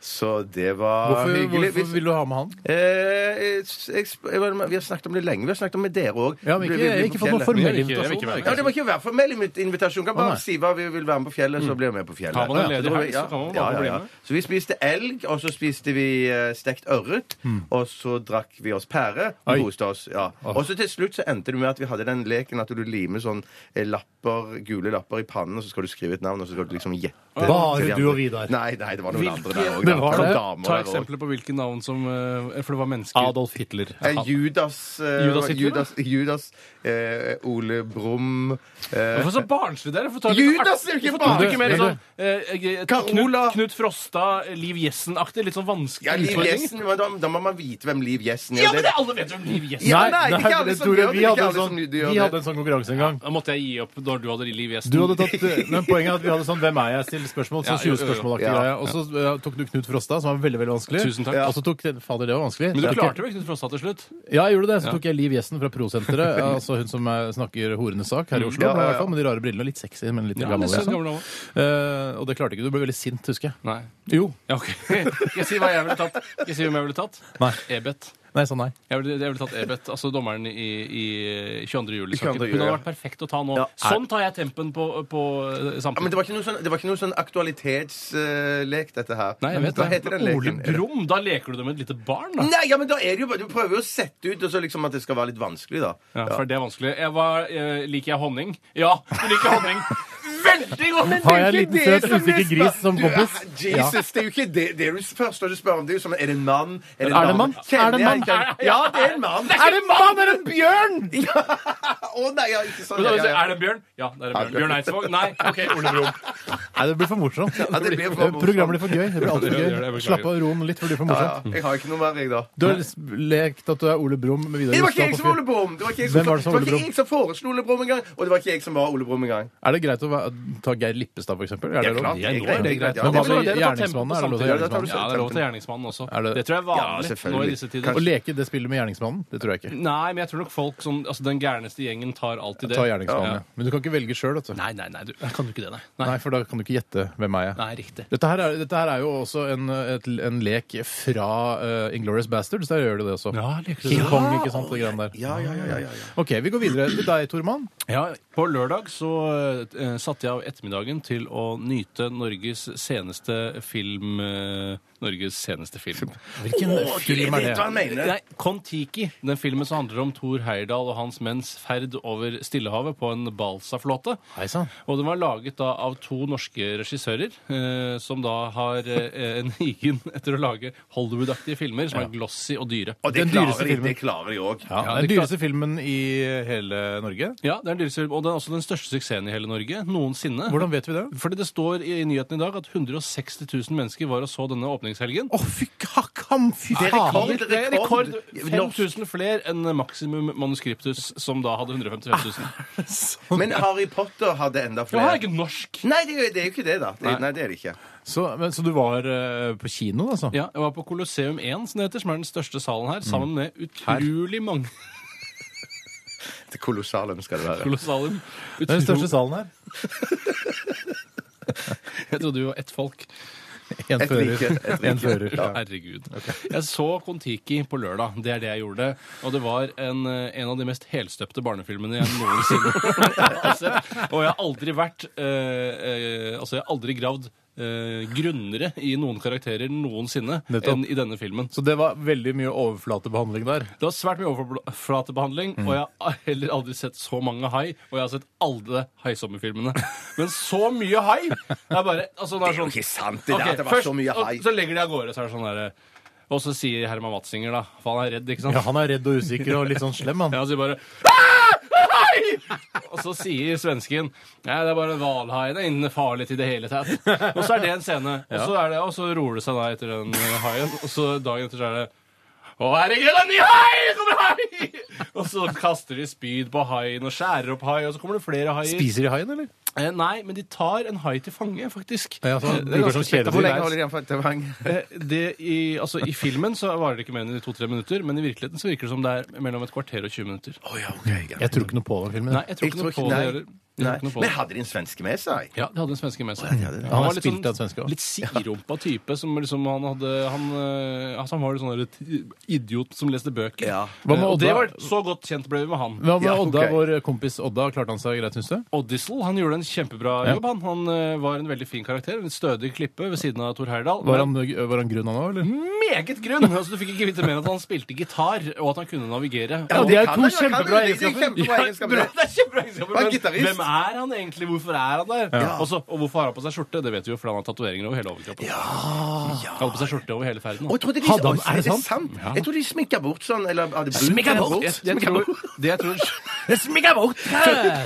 [SPEAKER 4] så det var
[SPEAKER 3] Hvorfor,
[SPEAKER 4] hyggelig.
[SPEAKER 3] hvorfor vil du ha med han?
[SPEAKER 4] Eh, jeg, jeg, jeg, vi har snakket om det lenge. Vi har snakket om det med dere òg.
[SPEAKER 3] Ja, men ikke, jeg har ikke fått noen
[SPEAKER 5] Men jeg
[SPEAKER 3] formell
[SPEAKER 5] vil ikke- jeg vil ikke være
[SPEAKER 3] invitasjon.
[SPEAKER 5] med.
[SPEAKER 4] Ja, det må ikke være formell invit- invitasjon. Kan bare
[SPEAKER 3] nei.
[SPEAKER 4] si hva vi vil være med på fjellet,
[SPEAKER 5] Mm.
[SPEAKER 4] så blir vi med på fjellet.
[SPEAKER 5] Har man en
[SPEAKER 4] Ja,
[SPEAKER 5] ledig
[SPEAKER 4] ja,
[SPEAKER 5] helg, så kan man bare
[SPEAKER 4] ja, ja,
[SPEAKER 5] bli
[SPEAKER 4] ja.
[SPEAKER 5] med.
[SPEAKER 4] Så vi spiste elg, og så spiste vi eh, stekt ørret,
[SPEAKER 5] Mm.
[SPEAKER 4] og så drakk vi oss pære og
[SPEAKER 3] Oi.
[SPEAKER 4] koste oss. Ja. Og så til slutt så endte det med at vi hadde den leken at du limer sånn eh, lapper, gule lapper i pannen, og så skal du skrive et navn, og så skal du liksom gjette.
[SPEAKER 3] Bare
[SPEAKER 4] til de
[SPEAKER 3] du og
[SPEAKER 4] andre.
[SPEAKER 3] Vidar.
[SPEAKER 4] Nei, nei, det var noen
[SPEAKER 5] Hvilke-
[SPEAKER 4] andre der òg.
[SPEAKER 3] Men var det?
[SPEAKER 5] Ta eksempler på hvilke navn som eh, For det var mennesker.
[SPEAKER 3] Adolf Hitler.
[SPEAKER 4] Eh, Judas eh,
[SPEAKER 5] Judas Hitler,
[SPEAKER 4] Judas, Judas eh, Ole Brum eh,
[SPEAKER 5] Hvorfor så barnslig dere? Hvorfor tar dere ikke
[SPEAKER 4] Judas er jo ikke
[SPEAKER 5] Hvorfor tar dere
[SPEAKER 4] bare
[SPEAKER 5] ikke mer
[SPEAKER 3] Men du-
[SPEAKER 5] sånn eh, eh, Knut,
[SPEAKER 4] Carola.
[SPEAKER 5] Knut Frosta, eh, Liv Jessen-aktig? Litt sånn vanskelig
[SPEAKER 4] Ja, Liv
[SPEAKER 5] utfordring?
[SPEAKER 4] Jessen, men da, da må man vite hvem Liv Jessen er.
[SPEAKER 5] Ja, men det alle vet hvem Liv Jessen er!
[SPEAKER 4] Ja, nei, det er ikke alle
[SPEAKER 3] men
[SPEAKER 4] som
[SPEAKER 3] Tore,
[SPEAKER 4] gjør det,
[SPEAKER 3] vi
[SPEAKER 4] det er
[SPEAKER 3] hadde
[SPEAKER 4] ikke
[SPEAKER 3] en
[SPEAKER 4] alle som
[SPEAKER 3] sånn-
[SPEAKER 4] gjør
[SPEAKER 3] Vi
[SPEAKER 4] det.
[SPEAKER 3] hadde en sånn konkurranse en gang.
[SPEAKER 5] Da måtte jeg gi opp når du hadde Liv Jessen.
[SPEAKER 3] Du hadde tatt, eh, men Poenget er at vi hadde sånn 'Hvem er jeg?'-spørsmål. Sånn
[SPEAKER 5] Ja, jo, jo, jo.
[SPEAKER 3] 20-spørsmålaktig
[SPEAKER 4] Ja.
[SPEAKER 3] greie. Og så eh, tok du Knut Frosta, som var veldig veldig vanskelig.
[SPEAKER 5] Tusen takk.
[SPEAKER 3] Og så tok den, Fader, det var vanskelig.
[SPEAKER 5] Men du
[SPEAKER 3] Så tok jeg-
[SPEAKER 5] klarte vel Knut Frosta til slutt?
[SPEAKER 3] Ja, jeg gjorde det. Så tok jeg Liv Jessen fra Prosenteret. altså hun som eh, snakker horenes sak her i Oslo.
[SPEAKER 4] Mm. Ja, ja,
[SPEAKER 3] i
[SPEAKER 4] ja.
[SPEAKER 3] hvert fall, Med de rare brillene. Litt sexy, men litt
[SPEAKER 5] Ja,
[SPEAKER 3] gammel.
[SPEAKER 5] litt sånn
[SPEAKER 3] liksom.
[SPEAKER 5] gammel dame.
[SPEAKER 3] Eh, og det klarte ikke du. Du ble veldig sint, husker jeg.
[SPEAKER 5] Nei.
[SPEAKER 3] Jo.
[SPEAKER 5] Ja, ok. Skal jeg si hva jeg ville tatt? Skal jeg si hvem jeg ville tatt?
[SPEAKER 3] Nei.
[SPEAKER 5] Ebet.
[SPEAKER 3] Nei, sa nei.
[SPEAKER 5] Jeg ville, jeg ville tatt Ebet, altså dommeren i, i 22.
[SPEAKER 4] 22.
[SPEAKER 5] juli-saken.
[SPEAKER 4] juli,
[SPEAKER 5] Hun hadde
[SPEAKER 4] ja.
[SPEAKER 5] vært perfekt å ta nå.
[SPEAKER 4] Ja.
[SPEAKER 5] Sånn tar jeg tempen på, på eh,
[SPEAKER 4] Ja, men
[SPEAKER 5] samtalen.
[SPEAKER 4] det var ikke noe sånn, det var ikke noe sånn aktualitetslek, dette her.
[SPEAKER 5] Nei, jeg vet
[SPEAKER 4] Hva heter den
[SPEAKER 5] Ole
[SPEAKER 4] leken?
[SPEAKER 5] Brumm, da leker du det med et lite barn, da.
[SPEAKER 4] Nei, ja, men da er det jo bare Du prøver jo å sette ut og så liksom at det skal være litt vanskelig, da.
[SPEAKER 5] Ja, for det er vanskelig. Jeg var, eh, liker jeg honning? Ja, du liker honning. veldig godt!
[SPEAKER 4] Men det er
[SPEAKER 3] Har jeg en
[SPEAKER 4] ikke
[SPEAKER 3] liten
[SPEAKER 4] det
[SPEAKER 3] søt,
[SPEAKER 4] som jeg
[SPEAKER 3] usikker
[SPEAKER 4] spør-
[SPEAKER 3] gris som
[SPEAKER 4] Du,
[SPEAKER 3] kompis?
[SPEAKER 4] ah, Jesus, det er jo ikke det, det er du først når du spør om. Det er jo som, er det en mann?
[SPEAKER 3] Er det en
[SPEAKER 4] dame?
[SPEAKER 3] mann?
[SPEAKER 4] Kjenner
[SPEAKER 3] Er det en
[SPEAKER 4] jeg
[SPEAKER 3] mann?
[SPEAKER 4] ikke- Ja, det er en mann.
[SPEAKER 3] Er det en mann eller en bjørn?!
[SPEAKER 4] Ja. Å nei, ja, ikke sånn. Ja, ja, ja.
[SPEAKER 5] Er det en bjørn? Ja, det er en bjørn. Bjørn Eidsvåg? Nei. OK, Ole Brumm.
[SPEAKER 3] Nei, det blir for morsomt. Eh,
[SPEAKER 4] Ja, det blir for morsomt.
[SPEAKER 3] Programmet blir for gøy. Det blir
[SPEAKER 5] Det
[SPEAKER 3] alltid
[SPEAKER 5] gjør det, jeg
[SPEAKER 3] gøy.
[SPEAKER 5] beklager.
[SPEAKER 3] Slapp av roen litt, for det blir for
[SPEAKER 4] Ja,
[SPEAKER 3] morsomt.
[SPEAKER 4] Jeg har ikke noe mer, jeg, da.
[SPEAKER 3] Du har lekt at du er Ole Brumm med Vidar
[SPEAKER 4] Det var ikke
[SPEAKER 3] Jostad
[SPEAKER 4] jeg
[SPEAKER 3] på
[SPEAKER 4] som var
[SPEAKER 3] fyr.
[SPEAKER 4] Ole Brumm! Det var ikke jeg
[SPEAKER 3] Hvem var det som var Ole
[SPEAKER 4] det var ikke jeg som foreslo Ole Brumm engang. Og det var ikke jeg som var Ole Brumm engang.
[SPEAKER 3] Er det greit å være- ta Geir Lippestad, for eksempel? Er
[SPEAKER 4] Ja,
[SPEAKER 3] det lov?
[SPEAKER 4] klart.
[SPEAKER 5] Ja, nå
[SPEAKER 4] greit,
[SPEAKER 5] er det
[SPEAKER 4] det er greit.
[SPEAKER 5] greit.
[SPEAKER 4] Ja, det
[SPEAKER 5] Men hva
[SPEAKER 4] er
[SPEAKER 5] med
[SPEAKER 4] lov.
[SPEAKER 5] å ta tempo
[SPEAKER 3] Gjerningsmannen,
[SPEAKER 5] på
[SPEAKER 3] er det lov til å
[SPEAKER 5] samtalen? Ja,
[SPEAKER 3] gjøre
[SPEAKER 5] det
[SPEAKER 3] det
[SPEAKER 4] samme?
[SPEAKER 5] er lov til gjerningsmannen også.
[SPEAKER 3] Er det-
[SPEAKER 5] Det tror jeg er
[SPEAKER 4] Ja,
[SPEAKER 5] vanlig nå
[SPEAKER 4] selvfølgelig.
[SPEAKER 5] i disse
[SPEAKER 3] Å
[SPEAKER 5] tider.
[SPEAKER 3] leke det spillet med gjerningsmannen? Det tror jeg ikke.
[SPEAKER 5] Nei, men jeg tror nok folk som Altså, den gærneste gjengen tar alltid det.
[SPEAKER 3] Ta gjerningsmannen,
[SPEAKER 5] Ja.
[SPEAKER 3] ja. Men du kan ikke velge sjøl, vet du.
[SPEAKER 5] Nei, nei, nei. Du, jeg kan jo ikke det, nei. Nei,
[SPEAKER 3] Nei, for da kan du ikke gjette hvem er jeg
[SPEAKER 5] nei riktig.
[SPEAKER 3] Dette her, er, dette her er jo også en, et, en lek fra uh, Inglorious Bastards. Der gjør de det også.
[SPEAKER 5] Ja, liker du
[SPEAKER 3] King
[SPEAKER 5] det?
[SPEAKER 3] Kong, ikke sant? Det greiene der. OK, vi går videre til deg, Tormann.
[SPEAKER 5] Ja, på lørdag så eh, satte jeg av ettermiddagen til å nyte Norges seneste film eh, Norges seneste film.
[SPEAKER 3] Hvilken film er det?
[SPEAKER 5] Nei, Kon-Tiki, den filmen som handler om Thor Heyerdahl og hans menns ferd over Stillehavet på en balsaflåte.
[SPEAKER 3] Hei sann.
[SPEAKER 5] Og den var laget da av to norske regissører, eh, som da har eh, en higen etter å lage Hollywood-aktige filmer som er glossy og dyre.
[SPEAKER 4] Og det
[SPEAKER 3] Den dyreste
[SPEAKER 4] klarer de,
[SPEAKER 3] filmen.
[SPEAKER 4] det klarer de òg.
[SPEAKER 3] Ja,
[SPEAKER 5] Ja,
[SPEAKER 3] den
[SPEAKER 5] det er klart.
[SPEAKER 3] dyreste filmen i hele Norge.
[SPEAKER 5] Ja, det er den dyreste, Og den er også den største suksessen i hele Norge noensinne.
[SPEAKER 3] Hvordan vet vi det?
[SPEAKER 5] Fordi det står i nyheten i dag at 160 000 mennesker var og så denne åpningshelgen.
[SPEAKER 3] Å, fy kakkam! Fy
[SPEAKER 4] Det er
[SPEAKER 3] faen!
[SPEAKER 4] rekord.
[SPEAKER 5] Det er rekord!
[SPEAKER 4] Norsk.
[SPEAKER 5] 5000 flere enn maksimum manuskriptus, som da hadde 155 000.
[SPEAKER 4] Men Harry Potter hadde enda
[SPEAKER 5] Det er
[SPEAKER 4] flere.
[SPEAKER 5] ikke norsk!
[SPEAKER 4] Nei, det er jo- det er jo ikke det, da. Det, nei, det er det ikke.
[SPEAKER 3] Så, men, så du var eh, på kino, altså?
[SPEAKER 5] Ja, Jeg var på Colosseum 1, som det heter, som er den største salen her, sammen med utrolig mange
[SPEAKER 4] Til Kolossalum skal det være.
[SPEAKER 5] Colosseum.
[SPEAKER 3] Det er den største
[SPEAKER 5] Utro...
[SPEAKER 3] salen her.
[SPEAKER 5] Jeg trodde vi var ett folk.
[SPEAKER 3] Én
[SPEAKER 4] Et
[SPEAKER 3] fører.
[SPEAKER 4] rike, et
[SPEAKER 3] En
[SPEAKER 4] rike.
[SPEAKER 3] fører.
[SPEAKER 4] Ja.
[SPEAKER 5] Herregud. Jeg så Kon-Tiki på lørdag. Det er det jeg gjorde. Og det var en, eh, en av de mest helstøpte barnefilmene jeg noensinne har sett. Og jeg har aldri vært eh, eh, Altså, jeg har aldri gravd eh, grunnere i noen karakterer noensinne
[SPEAKER 3] Nettopp.
[SPEAKER 5] enn i denne filmen.
[SPEAKER 3] Så det var veldig mye overflatebehandling der.
[SPEAKER 5] Det var svært mye overflatebehandling,
[SPEAKER 4] Mm.
[SPEAKER 5] og jeg har heller aldri sett så mange hai. Og jeg har sett alle haisommerfilmene. Men så mye hai! Det er bare altså,
[SPEAKER 4] Det er jo ikke sant, det der,
[SPEAKER 5] Ok,
[SPEAKER 4] at det var så mye
[SPEAKER 5] og-
[SPEAKER 4] hai.
[SPEAKER 5] Så legger de av gårde, så er det sånn derre Og så sier Herman Watzinger, da, for han er redd, ikke sant?
[SPEAKER 3] Ja, han er redd og usikker og litt sånn slem, han.
[SPEAKER 5] Ja, han sier bare Hei! Og så sier svensken Nei, det er bare hvalhaien er inne farlig til det hele tatt. Og så er det en scene, og så, er det, og så roer det seg da etter den eh, haien. Og så dagen etter så er det å, herregud, en ny hai! Det Kommer hai! Og så kaster de spyd på haien og skjærer opp hai, og så kommer det flere haier.
[SPEAKER 3] Spiser de haien, eller?
[SPEAKER 5] Eh, nei, men de tar en hai til fange, faktisk.
[SPEAKER 3] Ja, så
[SPEAKER 5] Eh, det er
[SPEAKER 3] bruker
[SPEAKER 5] ganske
[SPEAKER 3] som
[SPEAKER 5] spekt-
[SPEAKER 3] kjæledyr.
[SPEAKER 4] Hvor lenge holder de den for til Vang?
[SPEAKER 5] Eh, det i, altså, I filmen så varer det ikke mer enn i to-tre minutter, men i virkeligheten så virker det som det er mellom et kvarter og 20 minutter.
[SPEAKER 4] Å ja, ok, ja.
[SPEAKER 3] Jeg tror ikke noe på den filmen.
[SPEAKER 5] Nei, jeg tror ikke noe på det.
[SPEAKER 4] nei.
[SPEAKER 5] heller. Jeg tror
[SPEAKER 4] Nei.
[SPEAKER 5] ikke noe på
[SPEAKER 4] Men
[SPEAKER 5] det.
[SPEAKER 4] hadde de en svenske med seg?
[SPEAKER 5] Ja, de hadde en svenske med seg.
[SPEAKER 4] ja, det-
[SPEAKER 3] Han
[SPEAKER 5] var
[SPEAKER 3] er
[SPEAKER 5] litt
[SPEAKER 3] spilt
[SPEAKER 5] sånn-
[SPEAKER 3] av svensker. også.
[SPEAKER 5] Litt sidrumpa type som liksom han hadde Han, eh, altså han var litt sånn der t- idiot som leste bøker.
[SPEAKER 4] Ja.
[SPEAKER 3] Hva med
[SPEAKER 5] Eh, og det
[SPEAKER 3] Odda?
[SPEAKER 5] var så godt kjent ble vi med han.
[SPEAKER 3] Hva med
[SPEAKER 4] Ja,
[SPEAKER 3] Odda,
[SPEAKER 4] ok.
[SPEAKER 3] vår kompis Odda? Klarte han seg greit, syns du?
[SPEAKER 5] Oddisel han gjorde en kjempebra
[SPEAKER 3] Ja.
[SPEAKER 5] jobb. Han, han eh, var en veldig fin karakter. En stødig klippe ved siden av Thor Heyerdahl.
[SPEAKER 3] Var
[SPEAKER 5] Men
[SPEAKER 3] han, var han grunn han òg,
[SPEAKER 5] Mm.
[SPEAKER 3] eller?
[SPEAKER 5] Meget grunn! Altså, du fikk ikke vite mer enn at han spilte gitar, og at han kunne navigere.
[SPEAKER 3] Ja,
[SPEAKER 5] Og-
[SPEAKER 3] det er
[SPEAKER 4] kan
[SPEAKER 3] to
[SPEAKER 4] han jo, kan
[SPEAKER 3] kjempebra
[SPEAKER 4] han jo, det er
[SPEAKER 3] egenskaper.
[SPEAKER 4] kjempebra egenskaper.
[SPEAKER 5] Bra, det er kjempebra eksempel,
[SPEAKER 4] Han er
[SPEAKER 5] men
[SPEAKER 4] gitarist.
[SPEAKER 5] Hvem er han egentlig? Hvorfor er han der? Og så- og hvorfor har han på seg skjorte? Det vet vi jo, for han har tatoveringer over hele overkroppen. Han har på seg skjorte over hele ferden.
[SPEAKER 4] Og jeg trodde de,
[SPEAKER 3] Hadde han-
[SPEAKER 4] Oi,
[SPEAKER 3] er det sant?
[SPEAKER 4] Jeg trodde de smikka bort sånn. Eller hadde brukt
[SPEAKER 3] Smikka
[SPEAKER 4] den
[SPEAKER 3] bort?
[SPEAKER 5] Jeg, jeg tror, det jeg tror
[SPEAKER 3] Smikka bort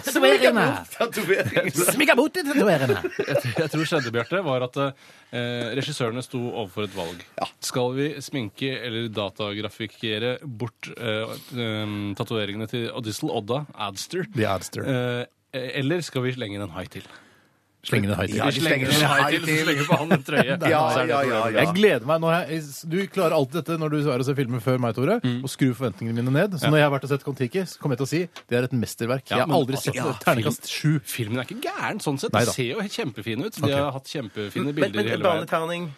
[SPEAKER 4] Smikka bort tatoveringen.
[SPEAKER 3] Smikka bort tatoveringene!
[SPEAKER 5] jeg, jeg tror skjedde, Bjarte, var at eh, regissørene sto overfor et valg. Skal vi sminke eller datagrafikere bort eh, em, tatoveringene til Oddisel Odda Adster?
[SPEAKER 3] The Adster.
[SPEAKER 5] Eh, eller skal vi slenge inn en hai til?
[SPEAKER 3] Slenge den
[SPEAKER 4] Ja,
[SPEAKER 3] high
[SPEAKER 4] de slenger
[SPEAKER 5] en
[SPEAKER 4] en hai
[SPEAKER 5] hai
[SPEAKER 4] til.
[SPEAKER 5] så slenger vi på han en trøye.
[SPEAKER 4] Ja,
[SPEAKER 5] Så er
[SPEAKER 4] ja,
[SPEAKER 5] det et
[SPEAKER 4] ja,
[SPEAKER 5] problem.
[SPEAKER 4] ja.
[SPEAKER 3] Jeg gleder meg når jeg, Du klarer alltid dette når du er og ser filmer før meg, Tore, og skrur forventningene mine ned. Så når jeg har vært og sett Kon-Tiki, så kommer jeg til å si det er et mesterverk.
[SPEAKER 5] Ja,
[SPEAKER 3] jeg har
[SPEAKER 5] men
[SPEAKER 3] aldri
[SPEAKER 5] altså,
[SPEAKER 3] sett
[SPEAKER 5] ja,
[SPEAKER 3] det. Terningkast sju.
[SPEAKER 5] Filmen er ikke gæren sånn sett.
[SPEAKER 3] Nei
[SPEAKER 5] De
[SPEAKER 3] da.
[SPEAKER 5] ser jo kjempefine ut. De
[SPEAKER 3] Ok.
[SPEAKER 5] har hatt kjempefine
[SPEAKER 4] Men,
[SPEAKER 5] bilder
[SPEAKER 4] men
[SPEAKER 5] hele veien.
[SPEAKER 4] barneterning